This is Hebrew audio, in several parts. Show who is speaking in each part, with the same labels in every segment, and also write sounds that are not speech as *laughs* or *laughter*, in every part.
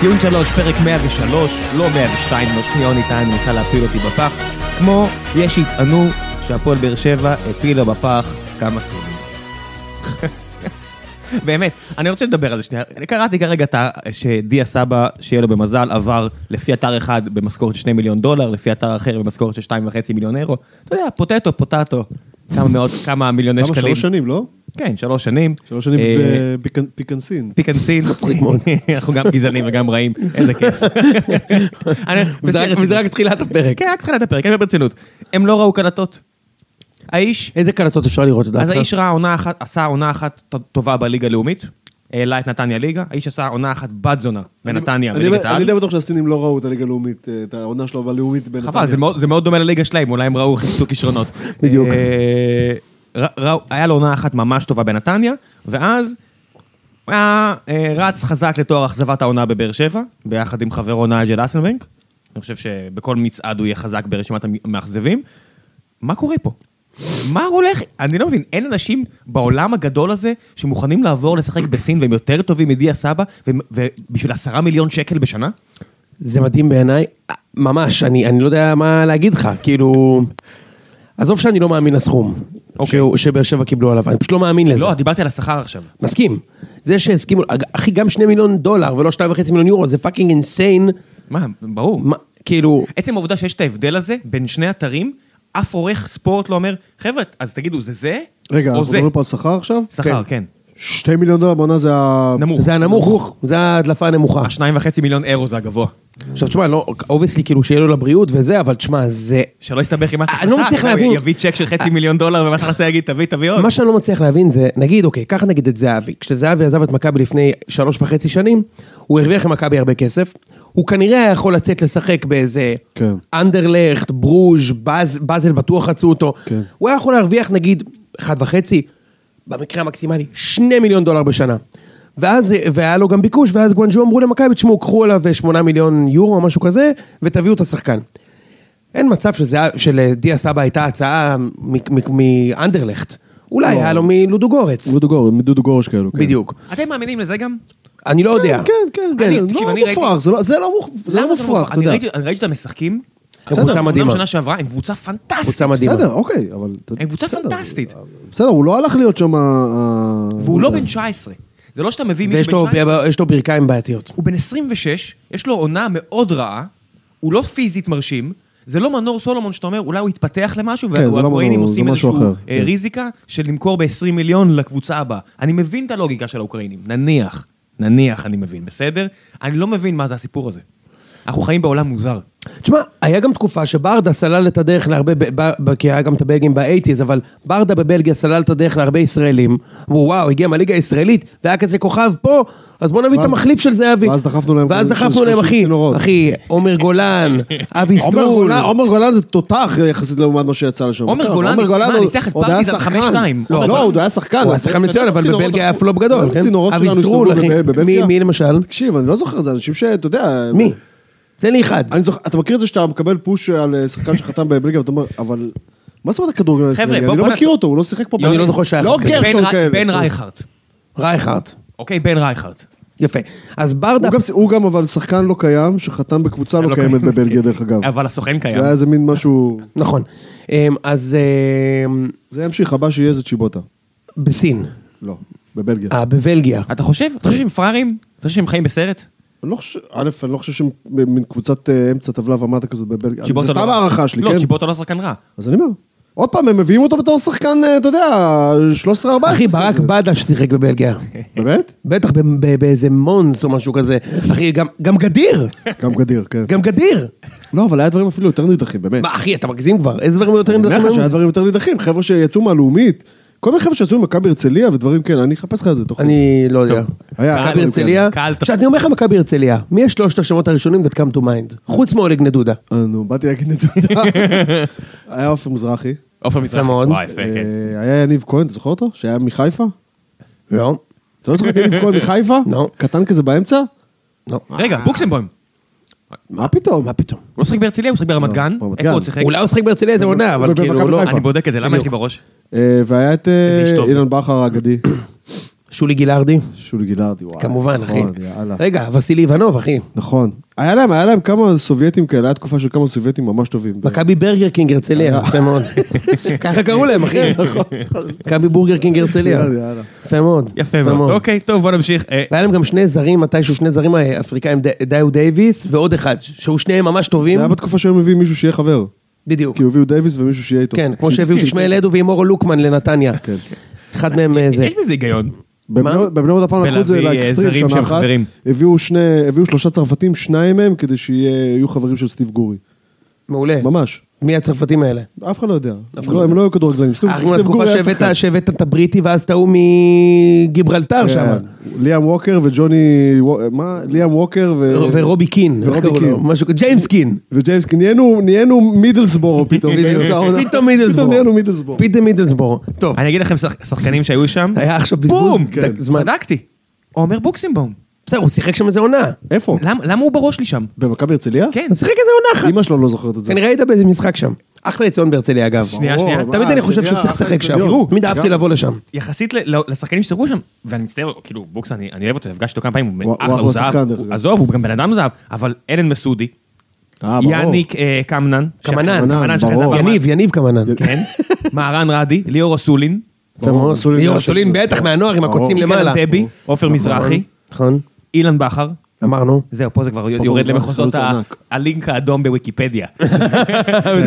Speaker 1: ציון 3, פרק 103, לא 102, לא שנייה יוני טיים ניסה להפיל אותי בפח, כמו יש שיטענו שהפועל באר שבע הפילה בפח כמה סיבים. *laughs* באמת, אני רוצה לדבר על זה שנייה. אני קראתי כרגע את ה- שדיה סבא, שיהיה לו במזל, עבר לפי אתר אחד במשכורת של 2 מיליון דולר, לפי אתר אחר במשכורת של 2.5 מיליון אירו. אתה יודע, פוטטו, פוטטו, כמה מאות, כמה מיליוני
Speaker 2: כמה
Speaker 1: שקלים.
Speaker 2: שלוש שנים, לא?
Speaker 1: כן, שלוש שנים.
Speaker 2: שלוש שנים
Speaker 1: אה,
Speaker 2: בפיקנסין.
Speaker 1: פיק אנד סין. מצחיק מאוד. *laughs* אנחנו גם גזענים וגם רעים, איזה כיף. אני-
Speaker 3: וזה
Speaker 1: בסדר,
Speaker 3: רק- וזה רק תחילת הפרק.
Speaker 1: כן, רק תחילת הפרק, אני ברצינות. הם לא ראו קלטות. האיש,
Speaker 3: איזה קלטות אפשר לראות לדעתך?
Speaker 1: אז האיש ראה עונה אחת, עשה עונה אחת ט- טובה בליגה הלאומית, העלה את נתניה ליגה, האיש עשה עונה אחת בת זונה בנתניה
Speaker 2: אני-
Speaker 1: בליגת
Speaker 2: אני
Speaker 1: העל.
Speaker 2: די בטוח שהסינים לא ראו את הליגה הלאומית, אה, את העונה שלו בלאומית בנתניה.
Speaker 1: חבל, זה מאוד- זה מאוד דומה לליגה שלהם, אולי הם ראו חיפשו כישרונות.
Speaker 3: בדיוק.
Speaker 1: אה, ר- ראו- היה לו עונה אחת ממש טובה בנתניה, ואז היה אה, רץ חזק לתואר אכזבת העונה בבאר שבע, ביחד עם חברו נג'ל אסנבנק. אני חושב שבכל מצעד הוא יהיה חזק ברשימת המ- המאכזבים. מה קורה פה? מה הולך? אני לא מבין, אין אנשים בעולם הגדול הזה שמוכנים לעבור לשחק בסין והם יותר טובים מדיה סבא ו- ובשביל עשרה מיליון שקל בשנה?
Speaker 3: זה מדהים בעיניי, אה, ממש, אני, אני לא יודע מה להגיד לך, כאילו... עזוב שאני לא מאמין לסכום
Speaker 1: אוקיי.
Speaker 3: שהוא- שבאר שבע קיבלו עליו, אני פשוט לא מאמין לזה.
Speaker 1: לא, דיברתי על השכר עכשיו.
Speaker 3: מסכים. זה שהסכימו, אג- אחי, גם שני מיליון דולר ולא שתיים וחצי מיליון יורו, זה פאקינג אינסיין.
Speaker 1: מה, ברור.
Speaker 3: מה- כאילו,
Speaker 1: עצם העובדה שיש את ההבדל הזה בין שני אתרים, אף עורך ספורט לא אומר, חבר'ה, אז תגידו, זה זה?
Speaker 2: רגע,
Speaker 1: או
Speaker 2: אנחנו
Speaker 1: זה?
Speaker 2: מדברים פה על שכר עכשיו?
Speaker 1: שכר, כן.
Speaker 2: שתי מיליון דולר בעונה זה ה...
Speaker 1: נמוך.
Speaker 3: זה הנמוך, זה ההדלפה הנמוכה.
Speaker 1: השניים וחצי מיליון אירו זה הגבוה.
Speaker 3: עכשיו תשמע, לא, אובייסלי כאילו שיהיה לו לבריאות וזה, אבל תשמע, זה...
Speaker 1: שלא יסתבך עם מס
Speaker 2: אה,
Speaker 1: הכנסה.
Speaker 3: אני לא מצליח
Speaker 1: אתה יודע,
Speaker 3: להבין.
Speaker 1: הוא יביא צ'ק של חצי מיליון דולר ומס הכנסה יגיד, תביא, תביא עוד.
Speaker 3: מה שאני לא מצליח להבין זה, נגיד, אוקיי, קח נגיד את זהבי. כשזהבי עזב את מכבי לפני שלוש וחצי שנים, הוא הרוויח עם מכבי הרבה כסף. הוא כנראה היה יכול לצאת לשחק באיזה
Speaker 2: כן.
Speaker 3: אנדרלכט, ברוז', באז, באזל בטוח רצו אותו.
Speaker 2: כן.
Speaker 3: הוא היה יכול להרוויח נגיד אחד וחצי, במקרה המקסימלי, שני מיליון דולר בשנה. ואז, והיה לו גם ביקוש, ואז גואנג'ו אמרו למכבי, תשמעו, קחו עליו אה, שמונה מיליון יורו או משהו כזה, ותביאו את השחקן. אין מצב שזה, שלדיה סבא הייתה הצעה מ- מ- מאנדרלכט. אולי היה לו מלודוגורץ.
Speaker 2: דודו גורש, מדודו גורש כאלו. לא. כן.
Speaker 3: בדיוק.
Speaker 1: אתם מאמינים לזה גם?
Speaker 3: אני לא יודע.
Speaker 2: כן, כן,
Speaker 1: אני-
Speaker 2: כן,
Speaker 1: תקשיב,
Speaker 2: לא
Speaker 1: אני ראיתי-
Speaker 2: מופרך, זה לא- זה לא מופ- זה
Speaker 1: למה
Speaker 2: לא מופרך, אתה
Speaker 1: אני
Speaker 2: יודע.
Speaker 1: ראיתי- אני ראיתי אותם משחקים.
Speaker 3: קבוצה
Speaker 1: בסדר,
Speaker 3: מדהימה.
Speaker 1: אומנם שנה שעברה, הם קבוצה פנטסטית.
Speaker 3: קבוצה מדהימה.
Speaker 2: בסדר, אוקיי, אבל... אתה-
Speaker 1: הם קבוצה
Speaker 2: בסדר.
Speaker 1: פנטסטית.
Speaker 2: בסדר, הוא לא הלך להיות שם... ה-
Speaker 1: והוא לא
Speaker 2: יודע.
Speaker 1: בן 19. זה לא שאתה מביא
Speaker 3: ויש
Speaker 1: מישהו
Speaker 3: לו-
Speaker 1: בן 19.
Speaker 3: יש לו ברכיים בעייתיות.
Speaker 1: הוא בן 26, יש לו עונה מאוד רעה, הוא לא פיזית מרשים, זה לא מנור סולומון שאתה אומר, אולי הוא יתפתח למשהו,
Speaker 2: זה לא
Speaker 1: והאוקראינים
Speaker 2: מנור, זה
Speaker 1: עושים
Speaker 2: משהו
Speaker 1: איזשהו
Speaker 2: אחר,
Speaker 1: אה,
Speaker 2: כן.
Speaker 1: ריזיקה של למכור ב-20 מיליון לקבוצה הבאה. אני מבין את הלוגיקה של האוקראינים, נניח, נניח אני מבין, בסדר? אני לא מבין מה זה הסיפור הזה. אנחנו חיים בעולם מוזר.
Speaker 3: תשמע, היה גם תקופה שברדה סלל את הדרך להרבה, ב- ב- ב- כי היה גם את הבלגים באייטיז, אבל ברדה בבלגיה סלל את הדרך להרבה ישראלים. אמרו, וואו, הגיע מהליגה הישראלית, והיה כזה כוכב פה, אז בוא נביא את
Speaker 2: ואז-
Speaker 3: המחליף של זהבי.
Speaker 2: ואז דחפנו להם
Speaker 3: ואז
Speaker 2: כזה
Speaker 3: דחפנו
Speaker 2: שלושים
Speaker 3: להם, אחי,
Speaker 2: צינורות.
Speaker 3: אחי, עומר גולן, אבי
Speaker 2: עומר
Speaker 3: סטרול.
Speaker 2: גולן- עומר גולן זה תותח יחסית לעומת מה שיצא לשם.
Speaker 1: עומר
Speaker 2: טוב,
Speaker 1: גולן ניצח- מה,
Speaker 2: עוד-
Speaker 1: ניצח את
Speaker 2: עוד היה
Speaker 1: פרטיזן
Speaker 2: שחקן.
Speaker 1: 5-2. עומר
Speaker 2: לא,
Speaker 1: גולן.
Speaker 2: הוא היה שחקן.
Speaker 3: הוא היה
Speaker 2: אבל-
Speaker 3: שחקן מצוין, אבל
Speaker 2: הצינורות-
Speaker 3: בבלגיה היה פלופ גדול.
Speaker 2: אבל
Speaker 3: כן?
Speaker 2: הצינורות
Speaker 3: אבי
Speaker 2: שלנו
Speaker 3: סטרול,
Speaker 2: הסתובבו
Speaker 3: אחי.
Speaker 2: בב- בבלגיה.
Speaker 3: מי- מי למשל?
Speaker 2: תקשיב, אני לא זוכר זה, אנשים שאתה יודע...
Speaker 3: מי? תן לי אחד.
Speaker 2: אני זוכר, אתה מכיר את זה שאתה מקבל פוש על אה, שחקן שחתם בבלגיה ואתה אומר, אבל... מה זאת אומרת הכדורגל הישראלי?
Speaker 1: בוא-
Speaker 2: אני
Speaker 1: בוא
Speaker 2: לא מכיר
Speaker 1: נעצור.
Speaker 2: אותו, הוא לא שיחק פה.
Speaker 3: אני לא זוכר שהיה
Speaker 2: לא
Speaker 3: אחד כזה.
Speaker 1: בן
Speaker 2: גרשון
Speaker 1: ר-
Speaker 2: כאלה.
Speaker 1: בן רייכרט,
Speaker 3: רייכרד.
Speaker 1: אוקיי? בן רייכרט.
Speaker 3: יפה. אז ברדה...
Speaker 2: הוא גם- הוא גם אבל שחקן לא קיים, שחתם בקבוצה לא קיימת בבלגיה דרך אגב.
Speaker 1: אבל הסוכן קיים.
Speaker 2: זה היה איזה מין משהו...
Speaker 3: נכון. אמ, אז אמ,
Speaker 2: זה ימשיך, הבא שיהיה זה צ'יבוטה.
Speaker 3: בסין.
Speaker 2: לא, בבלגיה.
Speaker 3: אה, בבלגיה.
Speaker 1: אתה חושב? אתה חושב שהם פראיירים? אתה חושב שהם חיים בסרט?
Speaker 2: אני לא חושב, א', אני לא חושב שהם מין קבוצת אה, אמצע טבלה ומטה כזאת בבלגיה.
Speaker 1: צ'יבוטה
Speaker 2: זה
Speaker 1: לא-
Speaker 2: סתם הערכה שלי,
Speaker 1: לא,
Speaker 2: כן?
Speaker 1: צ'יבוטה לא שחקן רע.
Speaker 2: אז אני אומר. עוד פעם, הם מביאים אותו בתור שחקן, אה, אתה יודע, 13-14.
Speaker 3: אחי, ברק בדש שיחק
Speaker 2: *laughs*
Speaker 3: בבלגיה.
Speaker 2: באמת?
Speaker 3: בטח ב- ב- באיזה מונס או משהו כזה. אחי, גם- גם גדיר!
Speaker 2: גם גדיר, כן.
Speaker 3: גם גדיר!
Speaker 2: *laughs* לא, אבל היה דברים אפילו יותר נידחים, באמת.
Speaker 3: מה, אחי, אתה מגזים כבר? איזה דברים יותר
Speaker 2: אני אומר לך שהיה
Speaker 3: נדחים?
Speaker 2: דברים יותר נידחים, חבר'ה שיצאו מהלאומית, כל מיני חבר'ה שיצאו ממכבי הרצליה ודברים כאלה, אני אחפש לך את זה תוך כדי.
Speaker 3: אני לא יודע.
Speaker 2: היה,
Speaker 3: מכבי
Speaker 2: קהל,
Speaker 3: הרצליה?
Speaker 1: קהל.
Speaker 3: עכשיו, אני אומר לך מכבי הרצליה. מי יש שלושת השמות הראשונים that come to mind? חוץ מאולג נדודה.
Speaker 2: אה, נו, באתי להגיד נדודה. היה עופר מזרחי,
Speaker 1: עופר מזרחי.
Speaker 3: מאוד.
Speaker 1: וואי, יפה, כן.
Speaker 2: אה, היה יניב כהן, אתה זוכר אותו? שהיה מחיפה?
Speaker 3: לא.
Speaker 2: אתה לא זוכר את יניב כהן מחיפה?
Speaker 3: לא.
Speaker 2: קטן כזה באמצע?
Speaker 3: לא.
Speaker 1: רגע, בוקסנבוים.
Speaker 2: מה פתאום?
Speaker 3: מה פתאום?
Speaker 1: הוא לא שיחק בהרצליה, הוא שיחק ברמת
Speaker 2: לא,
Speaker 1: גן.
Speaker 2: ברמת
Speaker 1: איפה
Speaker 2: גן.
Speaker 1: הוא שיחק?
Speaker 3: אולי הוא שיחק בהרצליה איזה עונה, אבל
Speaker 2: ובמכבי
Speaker 3: כאילו לא...
Speaker 2: חיפה.
Speaker 1: אני בודק את זה, למה יש לי בראש?
Speaker 2: אה, והיה את אה,
Speaker 1: איזה איש טוב.
Speaker 2: אילן בכר האגדי. *coughs*
Speaker 3: שולי גילארדי,
Speaker 2: שולי גילארדי, וואלה.
Speaker 3: כמובן, אחי.
Speaker 2: נכון, יאללה.
Speaker 3: רגע, וסילי איבנוב, אחי.
Speaker 2: נכון. היה להם, היה להם כמה סובייטים כאלה, הייתה תקופה של כמה סובייטים ממש טובים. ב-
Speaker 3: מכבי ברגר קינג הרצליה, יפה מאוד.
Speaker 2: *laughs*
Speaker 3: ככה קראו להם, אחי. מכבי בורגר קינג הרצליה.
Speaker 2: נכון, יאללה.
Speaker 3: יפה מאוד.
Speaker 1: יפה
Speaker 2: לא,
Speaker 1: מאוד. אוקיי, טוב, בוא נמשיך. אה,
Speaker 3: והיה להם גם שני זרים, מתישהו שני זרים אה, אפריקאים, ד- דאיו דייוויס ועוד אחד, שהוא שניהם ממש
Speaker 2: זה
Speaker 3: טובים.
Speaker 2: היה בתקופה שהיו מביאים מישהו שיהיה חבר.
Speaker 3: בדיוק.
Speaker 2: כי הביאו דייוויס ומישהו שיהיה איתו.
Speaker 3: כן, כמו שהביאו את
Speaker 2: שהצמיד.
Speaker 3: ישמעאל אדו ועם אורו לוקמן לנתניה.
Speaker 2: כן.
Speaker 3: אחד מהם אה, זה.
Speaker 1: יש בזה היגיון.
Speaker 2: בבני
Speaker 3: מה?
Speaker 2: בבני יהודה פעם לקחו את זה
Speaker 1: בלהביא, אה,
Speaker 2: לאקסטרים
Speaker 1: זרים
Speaker 2: שנה
Speaker 1: שהם
Speaker 2: אחת.
Speaker 1: חברים.
Speaker 2: הביאו שני, הביאו שלושה צרפתים, שניים מהם, כדי שיהיו חברים של סטיב גורי.
Speaker 3: מעולה.
Speaker 2: ממש.
Speaker 3: מי הצרפתים האלה?
Speaker 2: אף אחד לא יודע.
Speaker 3: כן. אחד
Speaker 2: לא,
Speaker 3: לא
Speaker 2: הם
Speaker 3: יודע.
Speaker 2: לא היו כדורגלנים. סטיב
Speaker 3: אחרי
Speaker 2: סטיב
Speaker 3: התקופה
Speaker 2: גורי היה
Speaker 3: שהבאת-
Speaker 2: שחקן.
Speaker 3: שהבאת את הבריטי ואז את ההוא מגיברלטר שם.
Speaker 2: כן. ליאם ווקר וג'וני... וו- מה? ליאם ווקר ו...
Speaker 3: ורובי קין, איך
Speaker 2: ורובי
Speaker 3: קראו לו?
Speaker 2: קין.
Speaker 3: משהו כזה, ג'יימס קין.
Speaker 2: וג'יימס, כי נהיינו, נהיינו
Speaker 3: *laughs*
Speaker 2: מידלסבורו פתאום.
Speaker 3: בדיוק.
Speaker 2: באמצע העונה.
Speaker 3: פתאום מידלסבור.
Speaker 2: פתאום נהיינו מידלסבורו.
Speaker 3: פתאום מידלסבור. טוב, כן.
Speaker 1: אני אגיד לכם שח- שחקנים שהיו שם.
Speaker 3: היה עכשיו בזבוז
Speaker 1: בום!
Speaker 3: ד- זמן.
Speaker 1: בדקתי. עומר בוקסימבום.
Speaker 3: בסדר, הוא שיחק שם איזה עונה.
Speaker 2: איפה?
Speaker 1: למה למה הוא בראש לי שם?
Speaker 2: במכבי הרצליה?
Speaker 1: כן.
Speaker 3: הוא שיחק איזה עונה אחת.
Speaker 2: אימא שלו לא זוכרת את זה.
Speaker 3: כנראה היית באיזה משחק שם. אחלה יציון בהרצליה אגב.
Speaker 1: שנייה, שנייה.
Speaker 2: ברור, אה,
Speaker 3: תמיד
Speaker 2: מה,
Speaker 3: אני חושב
Speaker 2: הרצליה,
Speaker 3: שהוא צריך
Speaker 2: אחלה
Speaker 3: לשחק שם.
Speaker 2: אצטדיון.
Speaker 3: תמיד אהבתי לבוא לשם.
Speaker 1: יחסית ל- ל- לשחקנים שסירבו שם, ואני מצטער, כאילו, בוקס, אני אני אוהב אותו, הפגשתי אותו כמה פעמים,
Speaker 2: הוא-
Speaker 1: הוא
Speaker 2: הוא
Speaker 1: אחלה,
Speaker 2: אחלה
Speaker 1: הוא זהב,
Speaker 2: שחקן, דרך
Speaker 1: הוא-
Speaker 2: אגב.
Speaker 1: עזוב, הוא גם בן אדם זהב, אבל אלן מסודי,
Speaker 2: אה, ברור.
Speaker 1: יאניק אה, קמנן,
Speaker 3: קמנן,
Speaker 1: שאחרי-
Speaker 2: קמנן,
Speaker 1: שאחרי זה
Speaker 2: ברור.
Speaker 1: עבר-
Speaker 3: יניב, יניב כמאנן.
Speaker 2: *laughs*
Speaker 1: כן, מהרן רדי, ליאור אסולין,
Speaker 3: יפה מאוד.
Speaker 2: אסולין
Speaker 3: ליאור
Speaker 2: היה
Speaker 3: אסולין
Speaker 2: שם.
Speaker 3: בטח מהנוער עם הקוצים
Speaker 1: יגאל
Speaker 3: למעלה.
Speaker 1: אנטבי, עופר מזרחי,
Speaker 3: נכון,
Speaker 1: אילן בכר,
Speaker 3: אמרנו.
Speaker 1: זהו, פה זה כבר יורד
Speaker 2: מזרחי,
Speaker 1: למחוזות
Speaker 2: חלוץ
Speaker 1: ה-
Speaker 2: ענק.
Speaker 1: הלינק האדום *laughs* בוויקיפדיה.
Speaker 3: זה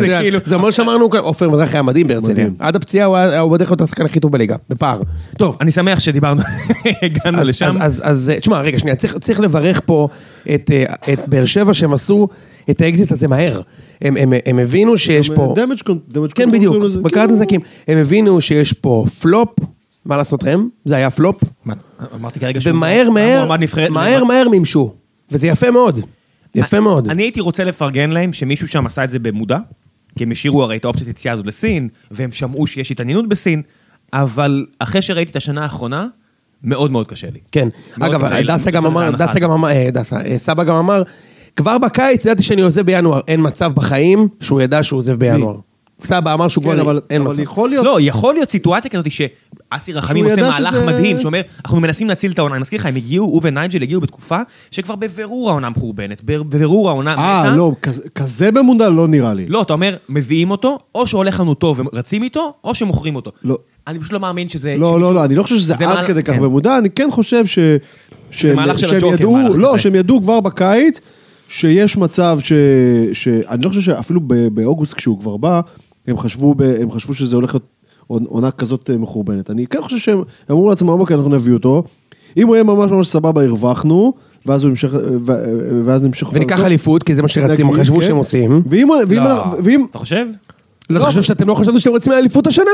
Speaker 1: זה כאילו,
Speaker 3: זה אומר שאמרנו, כאן, עופר מזרחי היה מדהים בהרצליה.
Speaker 2: מדהים.
Speaker 3: עד הפציעה הוא היה הוא בדרך כלל השחקן הכי טוב בליגה, בפער. טוב,
Speaker 1: אני שמח שדיברנו, *laughs* הגענו
Speaker 3: אז-
Speaker 1: לשם.
Speaker 3: אז- אז- אז אה, תשמע, רגע, שנייה, צריך- צריך לברך פה את אה, את באר שבע שהם עשו את האקזיט הזה מהר. הם- הם הם הבינו שיש פה...
Speaker 2: דמג' קונטרול.
Speaker 3: כן, בדיוק, בקרת
Speaker 2: לא,
Speaker 3: נזקים. הם הבינו שיש פה פלופ, מה לעשות להם? זה היה פלופ.
Speaker 1: מה, אמרתי כרגע שהוא-
Speaker 3: ומהר, מהר,
Speaker 1: המועמד נבחרת-
Speaker 3: מהר, מהר מימשו. וזה יפה מאוד. יפה מאוד.
Speaker 1: אני הייתי רוצה לפרגן להם שמישהו שם עשה את זה במודע, כי הם השאירו הרי את האופציית יציאה הזו לסין, והם שמעו שיש התעניינות בסין, אבל אחרי שראיתי את השנה האחרונה, מאוד מאוד קשה לי.
Speaker 3: כן.
Speaker 1: מאוד
Speaker 3: אגב,
Speaker 1: קשה לי
Speaker 3: דסה גם
Speaker 1: לעשות את
Speaker 3: אמר,
Speaker 1: ההנחה
Speaker 3: דסה גם אמר, אה, דסה, אה, סבא גם אמר, כבר בקיץ ידעתי שאני עוזב בינואר, אין מצב בחיים שהוא ידע שהוא עוזב בינואר. סבא אמר שהוא
Speaker 2: כן,
Speaker 3: כבר,
Speaker 2: אבל
Speaker 3: כאילו אין
Speaker 2: אבל
Speaker 3: מצב.
Speaker 2: יכול להיות...
Speaker 1: לא, יכול להיות סיטואציה כזאת שאסי רחמים
Speaker 2: שהוא
Speaker 1: עושה
Speaker 2: ידע
Speaker 1: מהלך
Speaker 2: שזה-
Speaker 1: מדהים, שאומר, אנחנו מנסים להציל את העונה. אני מזכיר לך, הם הגיעו, הוא ונייג'ל הגיעו בתקופה שכבר בבירור העונה מחורבנת, בבירור העונה
Speaker 2: אה,
Speaker 1: מתה.
Speaker 2: לא, כזה- כזה במונדל לא נראה לי.
Speaker 1: לא, אתה אומר, מביאים אותו, או שהולך לנו טוב ורצים איתו, או שמוכרים אותו.
Speaker 2: לא.
Speaker 1: אני פשוט לא מאמין שזה...
Speaker 3: אה,
Speaker 2: לא, לא, לא, אני לא חושב שזה
Speaker 1: זה
Speaker 2: עד
Speaker 1: מהלך-
Speaker 2: כדי כך
Speaker 1: כן.
Speaker 2: במודע, אני כן חושב ש... שהם-
Speaker 1: מהלך של
Speaker 2: שהם
Speaker 1: הג'וקר,
Speaker 2: ידעו-
Speaker 1: מהלך
Speaker 2: לא,
Speaker 1: כזה.
Speaker 2: שהם ידעו כבר בקיץ שיש מצב ש... ש- אני לא חושב שאפילו ב- באוגוסט כשהוא כבר בא, הם חשבו ב- הם חשבו שזה הולך להיות עונ- עונה כזאת אה, מחורבנת. אני כן חושב שהם הם אמרו לעצמם, אוקיי, אנחנו נביא אותו. אם הוא יהיה ממש ממש סבבה, הרווחנו, ואז הוא המשך... ו- ואז נמשך...
Speaker 3: וניקח אליפות, כי זה מה שרצים,
Speaker 2: נגיד,
Speaker 3: חשבו
Speaker 2: אוקיי. כן.
Speaker 3: שהם עושים.
Speaker 2: ואם... ואם-
Speaker 1: לא.
Speaker 2: ואם...
Speaker 1: אתה חושב?
Speaker 3: לא חושב שאתם לא חשבתם שאתם רצים לאליפות השנה?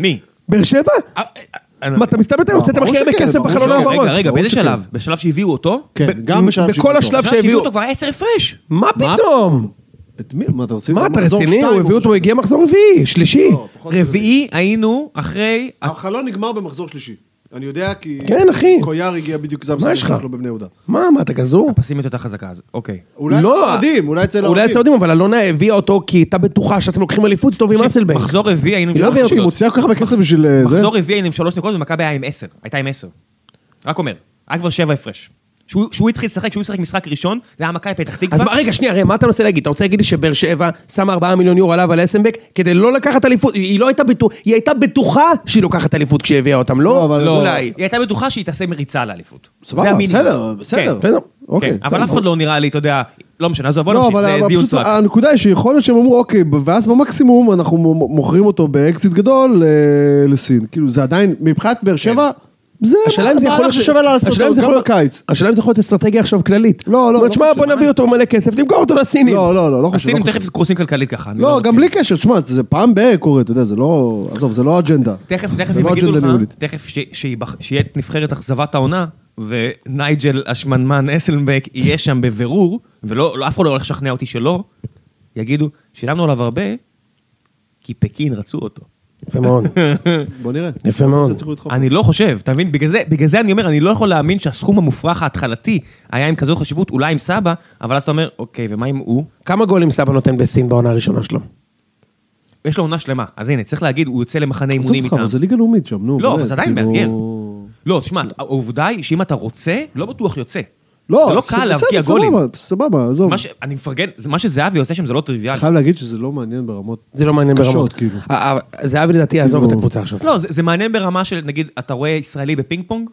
Speaker 1: מי?
Speaker 3: באר שבע?
Speaker 1: אה, אה,
Speaker 3: מה, אתה מסתלבט עלינו? הוצאתם
Speaker 2: ברור
Speaker 3: הכי הרבה
Speaker 2: שכן,
Speaker 3: כסף
Speaker 2: ברור
Speaker 3: בחלון
Speaker 2: שכן.
Speaker 3: ההעברות.
Speaker 1: רגע, רגע,
Speaker 2: ברור
Speaker 1: באיזה
Speaker 2: שכן.
Speaker 1: שלב? בשלב שהביאו אותו?
Speaker 2: כן,
Speaker 3: ב-
Speaker 2: גם
Speaker 3: ב-
Speaker 2: בשלב
Speaker 3: בכל
Speaker 2: שהביאו
Speaker 3: השלב
Speaker 1: בשלב שהביאו
Speaker 3: שהביאו...
Speaker 1: אותו כבר עשר הפרש.
Speaker 3: מה פתאום?
Speaker 2: את מי? מה אתה רוצה?
Speaker 3: מה, אתה
Speaker 2: מחזור
Speaker 3: רציני?
Speaker 2: שתיים
Speaker 3: הוא הביא אותו, הוא הגיע מחזור רביעי, שלישי.
Speaker 2: לא.
Speaker 1: רביעי היינו אחרי...
Speaker 2: החלון נגמר במחזור שלישי. אני יודע כי...
Speaker 3: כן, אחי.
Speaker 2: קויאר הגיע בדיוק, זה
Speaker 3: יש לך?
Speaker 2: המשחק שלו בבני יהודה.
Speaker 3: מה, מה, אתה גזור? לא.
Speaker 1: הפסימיות יותר חזקה אז, אוקיי.
Speaker 2: אולי אצל האוהדים, לא. אולי אצל
Speaker 3: אולי
Speaker 2: האוהדים.
Speaker 3: אצל האוהדים, אבל אלונה הביאה אותו כי הייתה בטוחה שאתם לוקחים אליפות איתו ועם אסלבנק.
Speaker 1: מחזור רביעי היינו עם
Speaker 3: היא לא
Speaker 1: שלוש
Speaker 3: הביאה
Speaker 2: שהיא
Speaker 1: נקודות.
Speaker 2: מוציאה כל כך הרבה כסף בשביל אה, זה?
Speaker 1: מחזור רביעי היינו עם שלוש נקודות ומכבי היה עם עשר. הייתה עם עשר. רק אומר, היה כבר שבע הפרש. שהוא שהוא התחיל לשחק, שהוא שיחק משחק ראשון, זה היה מכבי פתח תקווה.
Speaker 3: אז מה, רגע, שנייה, הרי מה אתה מנסה להגיד? אתה רוצה להגיד לי שבאר שבע שמה 4 מיליון יורו עליו על אסנבק כדי לא לקחת אליפות? היא לא הייתה בטוחה, היא הייתה בטוחה שהיא לוקחת אליפות כשהיא הביאה אותם,
Speaker 2: לא,
Speaker 3: לא?
Speaker 2: אבל-
Speaker 1: לא,
Speaker 3: אולי.
Speaker 1: היא הייתה בטוחה שהיא תעשה מריצה לאליפות. זה
Speaker 2: סבבה,
Speaker 1: המינימום.
Speaker 2: בסדר, בסדר.
Speaker 1: כן,
Speaker 3: בסדר,
Speaker 2: אוקיי.
Speaker 1: כן, אבל אף אחד לא נראה לי, אתה יודע, לא משנה, עזוב, בוא
Speaker 2: לא,
Speaker 1: נמשיך,
Speaker 2: אבל
Speaker 1: זה
Speaker 2: אבל
Speaker 1: דיון
Speaker 2: פשוט
Speaker 1: סרק.
Speaker 2: הנקודה היא שיכול להיות שהם אמרו, אוקיי, ב- ואז במקסימום אנחנו מ- מוכרים אותו באקזיט גדול אה, לסין. כאילו, זה עדיין, מבחינת באר שבע, זה
Speaker 3: השאלה אם זה יכול
Speaker 2: מהלך
Speaker 3: להיות...
Speaker 2: ששווה לעשות
Speaker 3: השאלה אם
Speaker 2: אותו
Speaker 3: זה
Speaker 2: גם
Speaker 3: יכול-
Speaker 2: בקיץ.
Speaker 3: השאלה אם זה יכול להיות אסטרטגיה עכשיו כללית.
Speaker 2: לא, לא,
Speaker 3: אומרת,
Speaker 2: לא
Speaker 3: שמע,
Speaker 2: חושב.
Speaker 3: בוא נביא אותו מלא כסף, נמכור אותו לסינים.
Speaker 2: לא, לא, לא, לא חושב.
Speaker 1: הסינים
Speaker 2: לא חושב.
Speaker 1: תכף קורסים כלכלית ככה. אני כן.
Speaker 2: לא,
Speaker 1: מסכים.
Speaker 2: גם בלי קשר, תשמע, זה פעם ב... קורה, אתה יודע, זה לא... עזוב, זה לא אג'נדה.
Speaker 1: תכף, תכף
Speaker 2: זה
Speaker 1: הם
Speaker 2: לא
Speaker 1: יגידו
Speaker 2: אג'נדה
Speaker 1: לך,
Speaker 2: ניהולית.
Speaker 1: תכף ש- שיבח- שיהיה את נבחרת אכזבת העונה, ונייג'ל השמנמן אסלבק יהיה שם בבירור, ולא, לא- אף אחד לא הולך לשכנע אותי שלא, יגידו, שילמנו עליו הרבה, כי פקין רצו אותו.
Speaker 2: *laughs*
Speaker 3: יפה מאוד,
Speaker 2: בוא נראה.
Speaker 3: יפה מאוד.
Speaker 2: תצליחו לדחוף.
Speaker 1: אני לא חושב, אתה מבין? בגלל זה, בגלל זה אני אומר, אני לא יכול להאמין שהסכום המופרך ההתחלתי היה עם כזו חשיבות, אולי עם סבא, אבל אז אתה אומר, אוקיי, ומה אם הוא?
Speaker 3: כמה גולים סבא נותן בסין בעונה הראשונה שלו?
Speaker 1: יש לו עונה שלמה, אז הנה, צריך להגיד, הוא יוצא למחנה
Speaker 2: עזוב
Speaker 1: אימונים
Speaker 2: אותך,
Speaker 1: איתם.
Speaker 2: אבל זה ליגה לאומית שם, נו.
Speaker 1: לא, אבל
Speaker 2: באמת,
Speaker 1: זה עדיין
Speaker 2: כאילו-
Speaker 1: מאתגר. לא, תשמע, העובדה היא שאם אתה רוצה, לא בטוח יוצא.
Speaker 2: לא,
Speaker 1: זה לא
Speaker 2: ס-
Speaker 1: קל
Speaker 2: בסדר,
Speaker 1: להבקיע גולים.
Speaker 2: סבבה, סבבה, עזוב.
Speaker 1: מה ש- אני מפרגן, זה- מה שזהבי עושה שם זה לא טריוויאלי.
Speaker 2: חייב להגיד שזה לא מעניין ברמות...
Speaker 3: זה לא מעניין
Speaker 2: קשות,
Speaker 3: ברמות.
Speaker 2: כאילו.
Speaker 3: אה, אה, זהבי לדעתי יעזוב את הקבוצה עכשיו.
Speaker 1: לא, זה, זה מעניין ברמה של, נגיד, אתה רואה ישראלי בפינג פונג,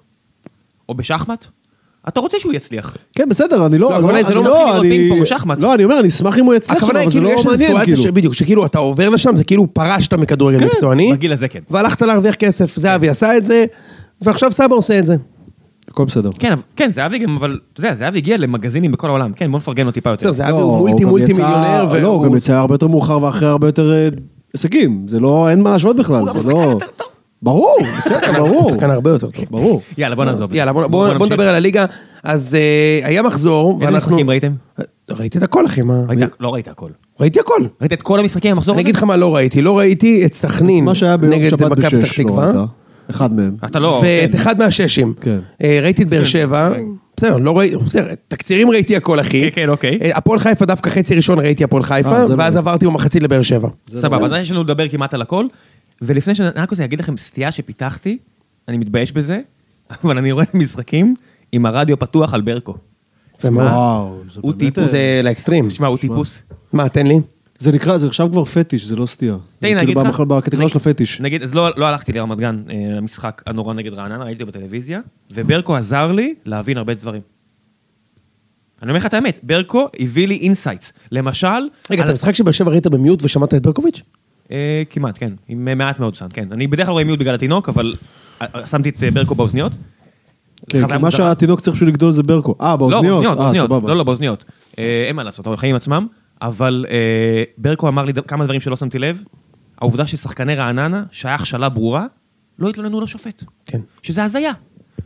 Speaker 1: או בשחמט, אתה רוצה שהוא יצליח.
Speaker 2: כן, בסדר, אני
Speaker 1: לא,
Speaker 2: לא...
Speaker 1: הכוונה היא, זה
Speaker 2: אני
Speaker 1: לא מתחיל לראות פינג פונג, שחמט.
Speaker 2: לא, אני אומר, אני אשמח אם הוא יצליח שם,
Speaker 3: הכוונה היא
Speaker 2: אבל זה
Speaker 3: כאילו
Speaker 2: לא
Speaker 3: יש איזו
Speaker 2: מעניין,
Speaker 3: סיטואציה
Speaker 2: כאילו.
Speaker 3: שבדיוק, שכאילו אתה עובר לשם, זה כאילו פרשת מכדורגל מקצועני.
Speaker 1: בגיל הזה כן.
Speaker 3: והלכת להרוויח כסף, זהבי עשה את זה, ועכשיו סבא עושה את זה.
Speaker 2: הכל בסדר.
Speaker 1: כן, אבל- כן, זהבי גם, אבל, אתה יודע, זהבי הגיע למגזינים בכל העולם. כן, בוא נפרגן לו טיפה יותר.
Speaker 3: בסדר, זהבי
Speaker 2: לא,
Speaker 3: הוא מולטי
Speaker 2: גם
Speaker 3: מולטי
Speaker 2: יצא-
Speaker 3: מיליונר,
Speaker 2: לא, הוא
Speaker 3: והוא-
Speaker 2: גם יצא הרבה יותר מאוחר ואחרי הרבה יותר אה, הישגים. זה לא, אין מה להשוות בכלל.
Speaker 1: הוא גם
Speaker 2: זה
Speaker 1: שחקן
Speaker 2: לא-
Speaker 1: יותר טוב.
Speaker 2: ברור, בסדר, ברור.
Speaker 3: הוא שחקן הרבה יותר טוב.
Speaker 2: ברור.
Speaker 1: יאללה, לא, בוא נעזוב. את זה.
Speaker 3: יאללה, בוא- בוא בוא
Speaker 1: נמשיך.
Speaker 3: נדבר על הליגה. אז אה, היה מחזור,
Speaker 1: איזה משחקים ראיתם?
Speaker 3: ראיתי את הכל, אחי, מה?
Speaker 1: ראית? לא ראית הכל.
Speaker 3: ראיתי הכל.
Speaker 1: ראית את כל המשחקים במחזור
Speaker 3: אני
Speaker 1: הזה?
Speaker 3: אגיד לך מה לא ראיתי, לא ראיתי את סכנין
Speaker 2: מה שהיה ביום
Speaker 3: נגד
Speaker 2: שבת
Speaker 3: מכבי פתח
Speaker 2: בשש, לא
Speaker 3: תקווה,
Speaker 2: ראית? אחד מהם.
Speaker 1: אתה לא...
Speaker 3: ואת אחד מהששים.
Speaker 2: כן.
Speaker 3: אה, ראיתי את באר שבע, בסדר, לא ראיתי, בסדר, תקצירים ראיתי הכל, אחי.
Speaker 1: כן, כן, אוקיי.
Speaker 3: אה, הפועל חיפה דווקא חצי ראשון ראיתי הפועל חיפה,
Speaker 2: אה, זה לא
Speaker 3: ואז
Speaker 2: ראיתי.
Speaker 3: עברתי במחצית לבאר שבע.
Speaker 1: סבבה, אז יש לנו לדבר כמעט על הכל. ולפני שאני אני רק רוצה להגיד לכם סטייה שפיתחתי, אני מתבייש בזה, *laughs* אבל אני רואה משחקים עם הרדיו פתוח על ברקו.
Speaker 2: וואו, זה
Speaker 1: הוא
Speaker 2: באמת... אה,
Speaker 1: טיפוס.
Speaker 3: זה לאקסטרים.
Speaker 1: תשמע, הוא טיפוס.
Speaker 3: מה, תן לי.
Speaker 2: זה נקרא, זה עכשיו כבר פטיש, זה לא סטייה.
Speaker 1: תן לי
Speaker 2: זה
Speaker 1: להגיד
Speaker 2: כאילו
Speaker 1: לך,
Speaker 2: בכלל בקטגוריה של הפטיש.
Speaker 1: נגיד, אז לא לא הלכתי לרמת גן אה, למשחק הנורא נגד רעננה, ראיתי אותו בטלוויזיה, וברקו עזר לי להבין הרבה דברים. אני אומר לך את האמת, ברקו הביא לי אינסייטס. למשל...
Speaker 3: רגע,
Speaker 1: על-
Speaker 3: את המשחק שבאר שבע ראית במיוט ושמעת את ברקוביץ'?
Speaker 1: אה, כמעט, כן. עם אה, מעט מאוד סאונד, כן. אני בדרך כלל רואה מיוט בגלל התינוק, אבל אה, אה, שמתי את אה, ברקו באוזניות.
Speaker 2: כן, כי
Speaker 1: חוויה
Speaker 2: מה
Speaker 1: מוזרה.
Speaker 2: שהתינוק צריך בשביל לגדול זה ברקו. אה, באוזניות.
Speaker 1: לא, באוזניות,
Speaker 2: אה,
Speaker 1: באוזניות.
Speaker 2: סבבה.
Speaker 1: לא, לא, באוזניות. אה, אין מה לעשות, אבל חיים עצמם. אבל אה, ברקו אמר לי ד- כמה דברים שלא שמתי לב. העובדה ששחקני רעננה, שהיה הכשלה ברורה, לא התלוננו לשופט.
Speaker 3: כן.
Speaker 1: שזה הזיה.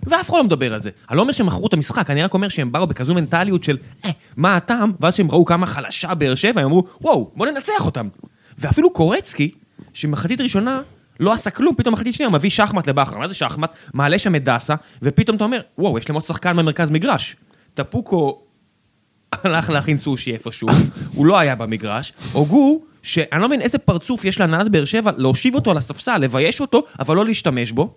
Speaker 1: ואף אחד לא מדבר על זה. אני לא אומר שהם מכרו את המשחק, אני רק אומר שהם באו בכזו מנטליות של, אה, מה הטעם? ואז שהם ראו כמה חלשה באר שבע, הם אמרו, וואו, בוא ננצח אותם. ואפילו קורצקי, שמחצית ראשונה לא עשה כלום, פתאום מחצית שנייה הוא מביא שחמט לבכר. מה זה שחמט? מעלה שם את דסה, ופתאום אתה אומר, וואו, יש להם עוד שחקן במרכז מגרש. טפוקו הלך להכין סושי איפשהו, הוא לא היה במגרש, הוגו, שאני לא מבין איזה פרצוף יש להנהלת באר שבע, להושיב אותו על הספסל, לבייש אותו, אבל לא להשתמש בו.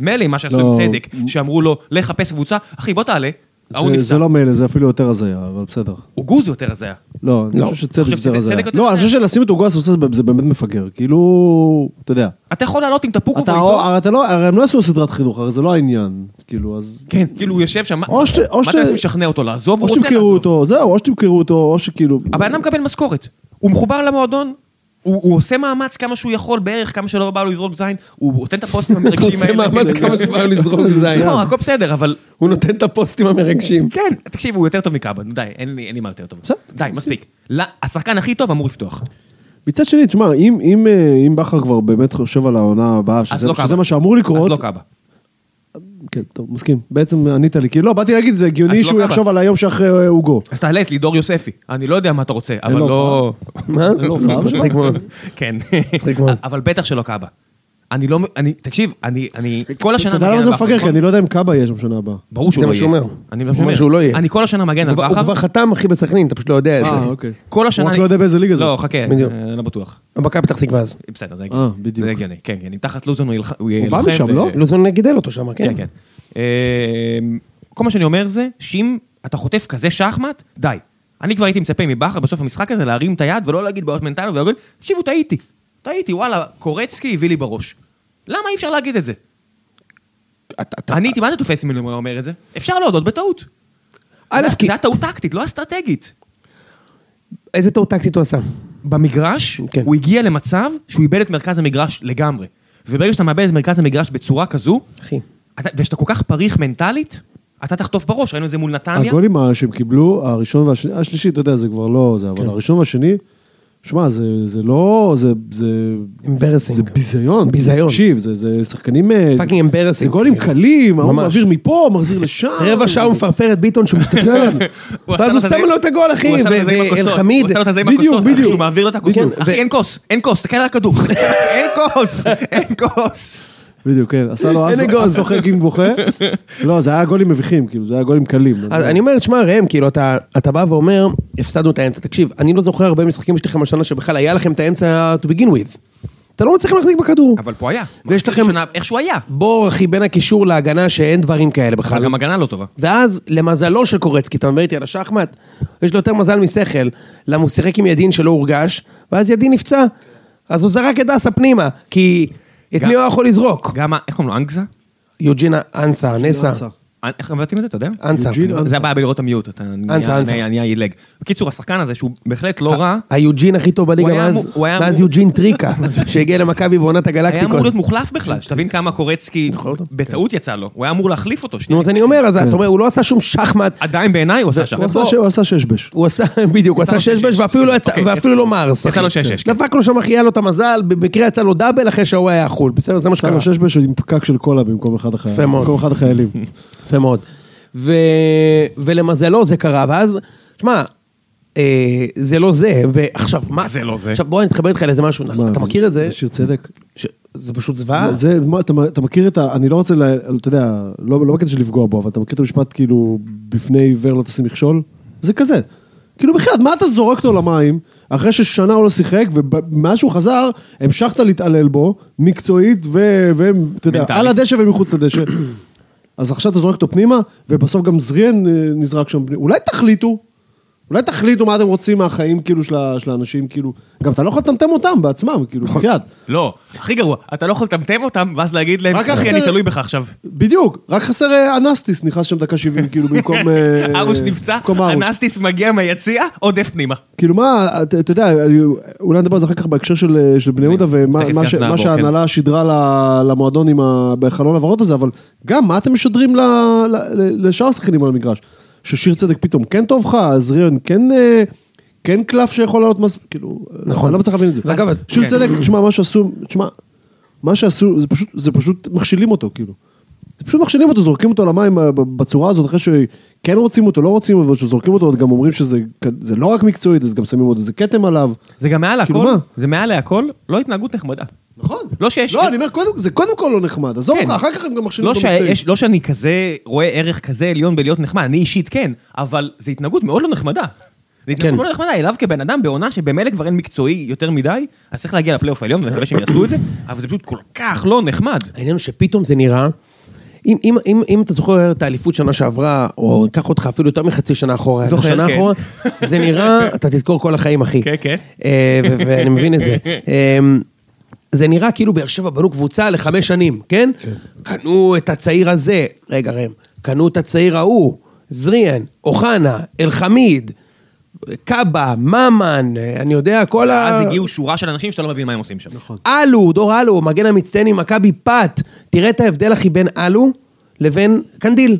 Speaker 1: מילא מה שעשו
Speaker 2: לא.
Speaker 1: עם צדק, שאמרו לו, לך חפש קבוצה, אחי בוא תעלה, ההוא
Speaker 2: זה-
Speaker 1: נפצע.
Speaker 2: זה לא מילא, זה אפילו יותר הזיה, אבל בסדר.
Speaker 1: הוגו זה יותר הזיה.
Speaker 2: לא, אני
Speaker 3: לא.
Speaker 2: חושב שצדק
Speaker 1: חושב
Speaker 2: יותר
Speaker 1: שזה-
Speaker 2: הזיה.
Speaker 1: צדק יותר
Speaker 2: לא, אני
Speaker 1: הזיה.
Speaker 2: חושב שלשים את עוגו הסוסס זה באמת מפגר. כאילו, אתה יודע.
Speaker 1: אתה יכול לעלות עם תפוקו
Speaker 2: אתה,
Speaker 1: ואיתו,
Speaker 2: הרי אתה לא, הרי הם לא עשו סדרת חינוך, הרי זה לא העניין. כאילו, אז...
Speaker 1: כן, כאילו הוא יושב שם, מה
Speaker 2: או שת- או
Speaker 1: מה
Speaker 2: שת-
Speaker 1: אתה מנסה לשכנע אותו לעזוב,
Speaker 2: או
Speaker 1: הוא רוצה
Speaker 2: שתמכרו
Speaker 1: לעזוב.
Speaker 2: אותו, זהו, או שתמכרו אותו, או שכאילו...
Speaker 1: הבן אדם מקבל משכורת, הוא מחובר למועדון. הוא, הוא עושה מאמץ כמה שהוא יכול בערך, כמה שלא בא לו לזרוק זין, הוא נותן את
Speaker 2: *laughs*
Speaker 1: הפוסטים
Speaker 3: הוא
Speaker 1: המרגשים
Speaker 3: עושה
Speaker 1: האלה.
Speaker 3: מאמץ
Speaker 1: *laughs*
Speaker 3: כמה שבאו לזרוק זין.
Speaker 1: לא, הכל בסדר, אבל
Speaker 3: הוא נותן את הפוסטים המרגשים.
Speaker 1: כן, תקשיב, הוא יותר טוב מקאבן, די, אין לי, אין לי מה יותר טוב.
Speaker 2: בסדר.
Speaker 1: די, מספיק. לא, השחקן הכי טוב אמור לפתוח.
Speaker 2: מצד שני, תשמע, אם, אם, אה, אם בכר כבר באמת חושב על העונה הבאה,
Speaker 1: אז
Speaker 2: שזה,
Speaker 1: לא
Speaker 2: שזה
Speaker 1: קאבה.
Speaker 2: מה שאמור לקרות,
Speaker 1: אז לא קאבה.
Speaker 2: כן, טוב, מסכים. בעצם ענית לי, כאילו, לא, באתי להגיד, זה
Speaker 1: אז
Speaker 2: הגיוני
Speaker 1: לא
Speaker 2: שהוא
Speaker 1: קאבה.
Speaker 2: יחשוב על היום שאחרי אה, הוגו.
Speaker 1: אז תעלה את לידור יוספי. אני לא יודע מה אתה רוצה, אבל
Speaker 2: לו
Speaker 1: לא...
Speaker 3: מה?
Speaker 1: *laughs*
Speaker 3: מצחיק מאוד.
Speaker 1: כן.
Speaker 3: מצחיק מאוד.
Speaker 1: אבל בטח שלא קאבה. אני לא... אני... תקשיב, אני... אני... כל השנה...
Speaker 2: אתה יודע
Speaker 1: מגן
Speaker 2: למה זה
Speaker 1: על בכר,
Speaker 2: מפגר? כי
Speaker 1: נכון?
Speaker 2: אני לא יודע אם קאבה יהיה שם שנה הבאה.
Speaker 1: ברור שהוא לא
Speaker 3: זה מה
Speaker 1: יהיה.
Speaker 3: שהוא אומר.
Speaker 1: אני
Speaker 3: הוא אומר שהוא לא יהיה.
Speaker 1: אני כל השנה מגן על
Speaker 3: הוא כבר- הוא כבר
Speaker 1: בכר.
Speaker 3: חתם אחי בסכנין, אתה פשוט לא יודע את
Speaker 2: אה,
Speaker 3: זה.
Speaker 2: אוקיי.
Speaker 1: כל השנה...
Speaker 2: הוא רק
Speaker 1: אני-
Speaker 2: לא יודע באיזה ליגה זה.
Speaker 1: לא, חכה.
Speaker 3: בדיוק.
Speaker 1: אה, לא בטוח.
Speaker 3: מכבי פתח תקווה אז.
Speaker 1: בסדר, זה
Speaker 2: אה,
Speaker 1: הגיוני.
Speaker 2: בדיוק.
Speaker 1: זה הגיוני. כן, כן. אם תחת לוזון הוא ילח- הוא יהיה...
Speaker 2: הוא בא
Speaker 1: לוחם
Speaker 2: משם,
Speaker 1: ו-
Speaker 2: לא?
Speaker 3: לוזון גידל אותו שם, כן.
Speaker 1: כן, כן. אמ, כל מה שאני אומר זה, שאם אתה חוטף כזה שחמט, די. אני כבר הייתי מצפה מבכר בסוף המשחק הזה להרים את היד ולא להגיד בעיות מנטליות ולהגיד, תקשיבו, טעיתי. טעיתי, וואלה, קורצקי הביא לי בראש. למה אי אפשר להגיד את זה?
Speaker 3: אתה- אתה-
Speaker 1: אני הייתי, מה זה תופס ממנו אם הוא היה אומר את זה? אפשר להודות בטעות.
Speaker 3: א',
Speaker 1: זה-
Speaker 3: כי...
Speaker 1: זה היה טעות טקטית, לא אסטרטגית.
Speaker 3: איזה טעות טקטית הוא עשה?
Speaker 1: במגרש,
Speaker 3: כן.
Speaker 1: הוא הגיע למצב שהוא איבד את מרכז המגרש לגמרי. וברגע שאתה מאבד את מרכז המגרש בצורה כזו,
Speaker 3: אחי.
Speaker 1: אתה- ושאתה כל כך פריך מנטלית, אתה תחטוף בראש, ראינו את זה מול נתניה. כן.
Speaker 2: הגולים ה- שהם קיבלו, הראשון והשני, השלישי, אתה יודע, זה כבר לא זה, אבל הראשון והשני, שמע, זה זה לא, זה... זה-
Speaker 3: Embarrassing.
Speaker 2: זה ביזיון. כאילו,
Speaker 3: ביזיון.
Speaker 2: תקשיב, זה- זה שחקנים... אה,
Speaker 3: Fucking embarrassing.
Speaker 2: זה גולים קלים, ההוא
Speaker 3: ממש.
Speaker 2: מעביר מפה, מחזיר לשם.
Speaker 3: רבע שעה הוא מפרפר את ביטון
Speaker 2: *laughs*
Speaker 3: שהוא מסתכל עליו.
Speaker 1: הוא
Speaker 3: ואז
Speaker 1: עשה
Speaker 3: הוא
Speaker 1: לו את
Speaker 3: שם
Speaker 1: הזה-
Speaker 3: לו את הגול, אחי.
Speaker 1: הוא עשה לו את
Speaker 3: ו-
Speaker 1: הזה עם הכוסות.
Speaker 3: ואלחמיד.
Speaker 1: הוא עשה לו את הזה עם
Speaker 2: בדיוק,
Speaker 1: הכוסות, אחי,
Speaker 2: בדיוק.
Speaker 1: הוא מעביר לו את הכוסות.
Speaker 3: בדיוק.
Speaker 1: אחי, אין כוס, אין כוס, תסתכל על *laughs* הכדור. אין כוס, אין כוס.
Speaker 2: בדיוק, כן, עשה לו
Speaker 3: אין
Speaker 2: אז-
Speaker 3: אגוז.
Speaker 2: אז צוחק עם בוכה. לא, זה היה גולים מביכים, כאילו, זה היה גולים קלים.
Speaker 3: אז אני אומר, תשמע, ראם, כאילו, אתה, אתה בא ואומר, הפסדנו את האמצע. תקשיב, אני לא זוכר הרבה משחקים שלכם השנה שבכלל היה לכם את האמצע to begin with. אתה אתם לא מצליחים להחזיק בכדור.
Speaker 1: אבל פה היה.
Speaker 3: ויש לכם-
Speaker 1: שנה- איכשהו היה.
Speaker 3: בור, אחי, בין הקישור להגנה, שאין דברים כאלה
Speaker 1: אבל
Speaker 3: בכלל.
Speaker 1: גם הגנה לא טובה.
Speaker 3: ואז, למזלו של קורצקי, אתה מדבר איתי על השחמט, יש לו יותר מזל משכל, למה הוא שיחק עם ידין שלא הורגש, ואז ידין נפצע, אז הוא זרק את דסה פנימה, כי את
Speaker 1: גם-
Speaker 3: מי הוא היה יכול לזרוק?
Speaker 1: גם, ה- איך קוראים לו, אנגזה?
Speaker 3: יוג'ינה אנסה, נסה,
Speaker 2: אנסה.
Speaker 1: אנ- איך מבטאים את זה, אתה יודע?
Speaker 3: אנסה. אה,
Speaker 2: יוג'ין אנסה.
Speaker 1: זה הבעיה בלראות את המיוט, אתה נהיה-
Speaker 3: אנסה, אנסה.
Speaker 1: נהיה נהיה עילג. בקיצור, השחקן הזה, שהוא בהחלט
Speaker 2: אה,
Speaker 1: לא רע,
Speaker 3: היוג'ין הכי טוב בליגה
Speaker 1: הוא היה
Speaker 3: מאז-
Speaker 1: אמור- הוא היה
Speaker 3: מאז
Speaker 1: אמור-
Speaker 3: יוג'ין
Speaker 1: *laughs*
Speaker 3: טריקה, שהגיע למכבי בעונת
Speaker 1: היה אמור
Speaker 3: הגלקטיקות.
Speaker 1: להיות מוחלף
Speaker 2: *laughs*
Speaker 1: בכלל, שתבין כמה קורצקי בטעות יצא לו. הוא היה אמור להחליף אותו, שנייה.
Speaker 3: נו, אז אני אומר,
Speaker 1: כן.
Speaker 3: אז אתה אומר, הוא לא עשה שום שחמט,
Speaker 1: עדיין בעיניי הוא עשה שם. לא,
Speaker 2: הוא עשה ש- הוא עשה ששבש.
Speaker 3: הוא עשה, *laughs* בדיוק, הוא
Speaker 1: יצא
Speaker 3: עשה
Speaker 1: לו
Speaker 3: שש
Speaker 1: שש-שש.
Speaker 3: בש ואפילו לא יצא,
Speaker 1: אוקיי,
Speaker 3: ואפילו
Speaker 1: יצא-
Speaker 3: לא מארס,
Speaker 1: יצא
Speaker 3: אחי.
Speaker 1: לו שש-שש, כן.
Speaker 3: דפק לו שם, אחי, היה לו את המזל, במקרה יצא לו דאבל אחרי שהוא היה חול, בסדר, זה מה
Speaker 2: עשה
Speaker 3: שקרה.
Speaker 2: לו ששבש עם פקק של קולה במקום אחד החיילים.
Speaker 3: יפה מאוד.
Speaker 2: במקום אחד החיילים.
Speaker 3: יפה מאוד. ו... ולמזלו זה קרה, ואז, שמע, אה, זה לא זה, ועכשיו, מה
Speaker 1: זה לא זה?
Speaker 3: עכשיו בוא אני אתחבר איתך לאיזה משהו,
Speaker 2: מה,
Speaker 3: אתה מכיר את זה?
Speaker 2: שיר צדק.
Speaker 3: ש... זה פשוט זוועה?
Speaker 2: זה, מה, אתה, אתה מכיר את ה... אני לא רוצה, ל, אתה יודע, לא, לא בקטע של לפגוע בו, אבל אתה מכיר את המשפט כאילו, בפני עיוור לא תשים מכשול? זה כזה. כאילו בחייאת, מה אתה זורק אותו למים, אחרי ששנה הוא לא שיחק, ומאז שהוא חזר, המשכת להתעלל בו, מקצועית, ו- והם, אתה יודע,
Speaker 1: מנטלית.
Speaker 2: על הדשא ומחוץ לדשא. אז עכשיו אתה זורק אותו פנימה, ובסוף גם זריאן אה, נזרק שם. פנימה. אולי תחליטו, אולי תחליטו מה אתם רוצים מהחיים, כאילו, של ה- של האנשים, כאילו. גם אתה לא יכול לטמטם אותם בעצמם, כאילו, בחייאת.
Speaker 1: לא, הכי גרוע, אתה לא יכול לטמטם אותם, ואז להגיד להם,
Speaker 2: רק
Speaker 1: אחי,
Speaker 2: אחרי-
Speaker 1: אני תלוי בך עכשיו.
Speaker 2: בדיוק, רק חסר אה, אנסטיס נכנס שם דקה 70,
Speaker 1: *laughs*
Speaker 2: כאילו במקום... אה,
Speaker 1: כן. ארוש נפצע,
Speaker 2: במקום ארוש.
Speaker 1: אנסטיס מגיע מהיציע, עודף פנימה.
Speaker 2: כאילו מה, אתה אתה יודע, אני- אולי נדבר על זה אחר כך בהקשר של אה, של בני יהודה, ומה
Speaker 1: תכף
Speaker 2: מה ש-
Speaker 1: נעבור,
Speaker 2: מה
Speaker 1: כן.
Speaker 2: שההנהלה שידרה ל- למועדון עם ה- בחלון הוורוד הזה, אבל גם, מה אתם משדרים ל- ל- לשאר השחקנים על המגרש? ששיר צדק פתאום כן טוב לך, זריאן כן... אה, כן קלף שיכול לעלות מס... כאילו, נכון, אני לא מצליח להבין את זה.
Speaker 3: ואגב,
Speaker 2: שיר
Speaker 1: כן.
Speaker 2: צדק, תשמע, מה שעשו, תשמע, מה שעשו, זה פשוט, זה פשוט מכשילים אותו, כאילו. זה פשוט מכשילים אותו, זורקים אותו למים אה, ב- בצורה הזאת, אחרי שכן רוצים אותו, לא רוצים, אבל כשזורקים אותו, גם אומרים שזה זה לא רק מקצועית, אז גם שמים עוד איזה כתם עליו.
Speaker 1: זה גם מעל
Speaker 2: כאילו
Speaker 1: הכל,
Speaker 2: מה?
Speaker 1: זה מעל להכל, לא התנהגות נחמדה.
Speaker 2: נכון.
Speaker 1: לא שיש-
Speaker 2: לא, אני אומר, קודם, זה קודם כל לא נחמד, עזוב
Speaker 1: כן.
Speaker 2: אותך, אחר כך הם גם מכשילים
Speaker 1: לא,
Speaker 2: אותו
Speaker 1: שיש, לא שאני כזה רואה ערך כזה עליון בלהיות נחמד, אני אישית כן, אבל זו התנהגות מאוד לא נחמדה. זו התנהגות
Speaker 3: כן.
Speaker 1: מאוד לא נחמדה, אליו כבן אדם בעונה שבמילא כבר אין מקצועי יותר מדי, אז צריך להגיע לפלייאוף העליון, ואני מקווה שהם יעשו את זה, אבל זה פשוט כל כך לא נחמד.
Speaker 3: העניין הוא שפתאום זה נראה, אם, אם, אם, אם אתה זוכר את האליפות שנה שעברה, או ניקח אותך אפילו יותר מחצי שנה אחורה,
Speaker 1: זוכר,
Speaker 3: שנה
Speaker 1: כן.
Speaker 3: אחורה, זה
Speaker 1: *laughs*
Speaker 3: נראה, אתה תזכור כל החיים, אחי.
Speaker 1: כן, כן.
Speaker 3: אה, ו- ואני מבין
Speaker 1: *laughs*
Speaker 3: את זה. אה, זה נראה כאילו באר שבע בנו קבוצה לחמש שנים, כן? קנו את הצעיר הזה, רגע ראם, קנו את הצעיר ההוא, זריאן, אוחנה, אלחמיד, קאבה, ממן, אה, אני יודע, כל ה...
Speaker 1: אז הגיעו שורה של אנשים שאתה לא מבין מה הם עושים שם. נכון.
Speaker 3: אלו, דור אלו, מגן המצטיין עם מכבי פת. תראה את ההבדל, אחי, בין אלו לבין קנדיל.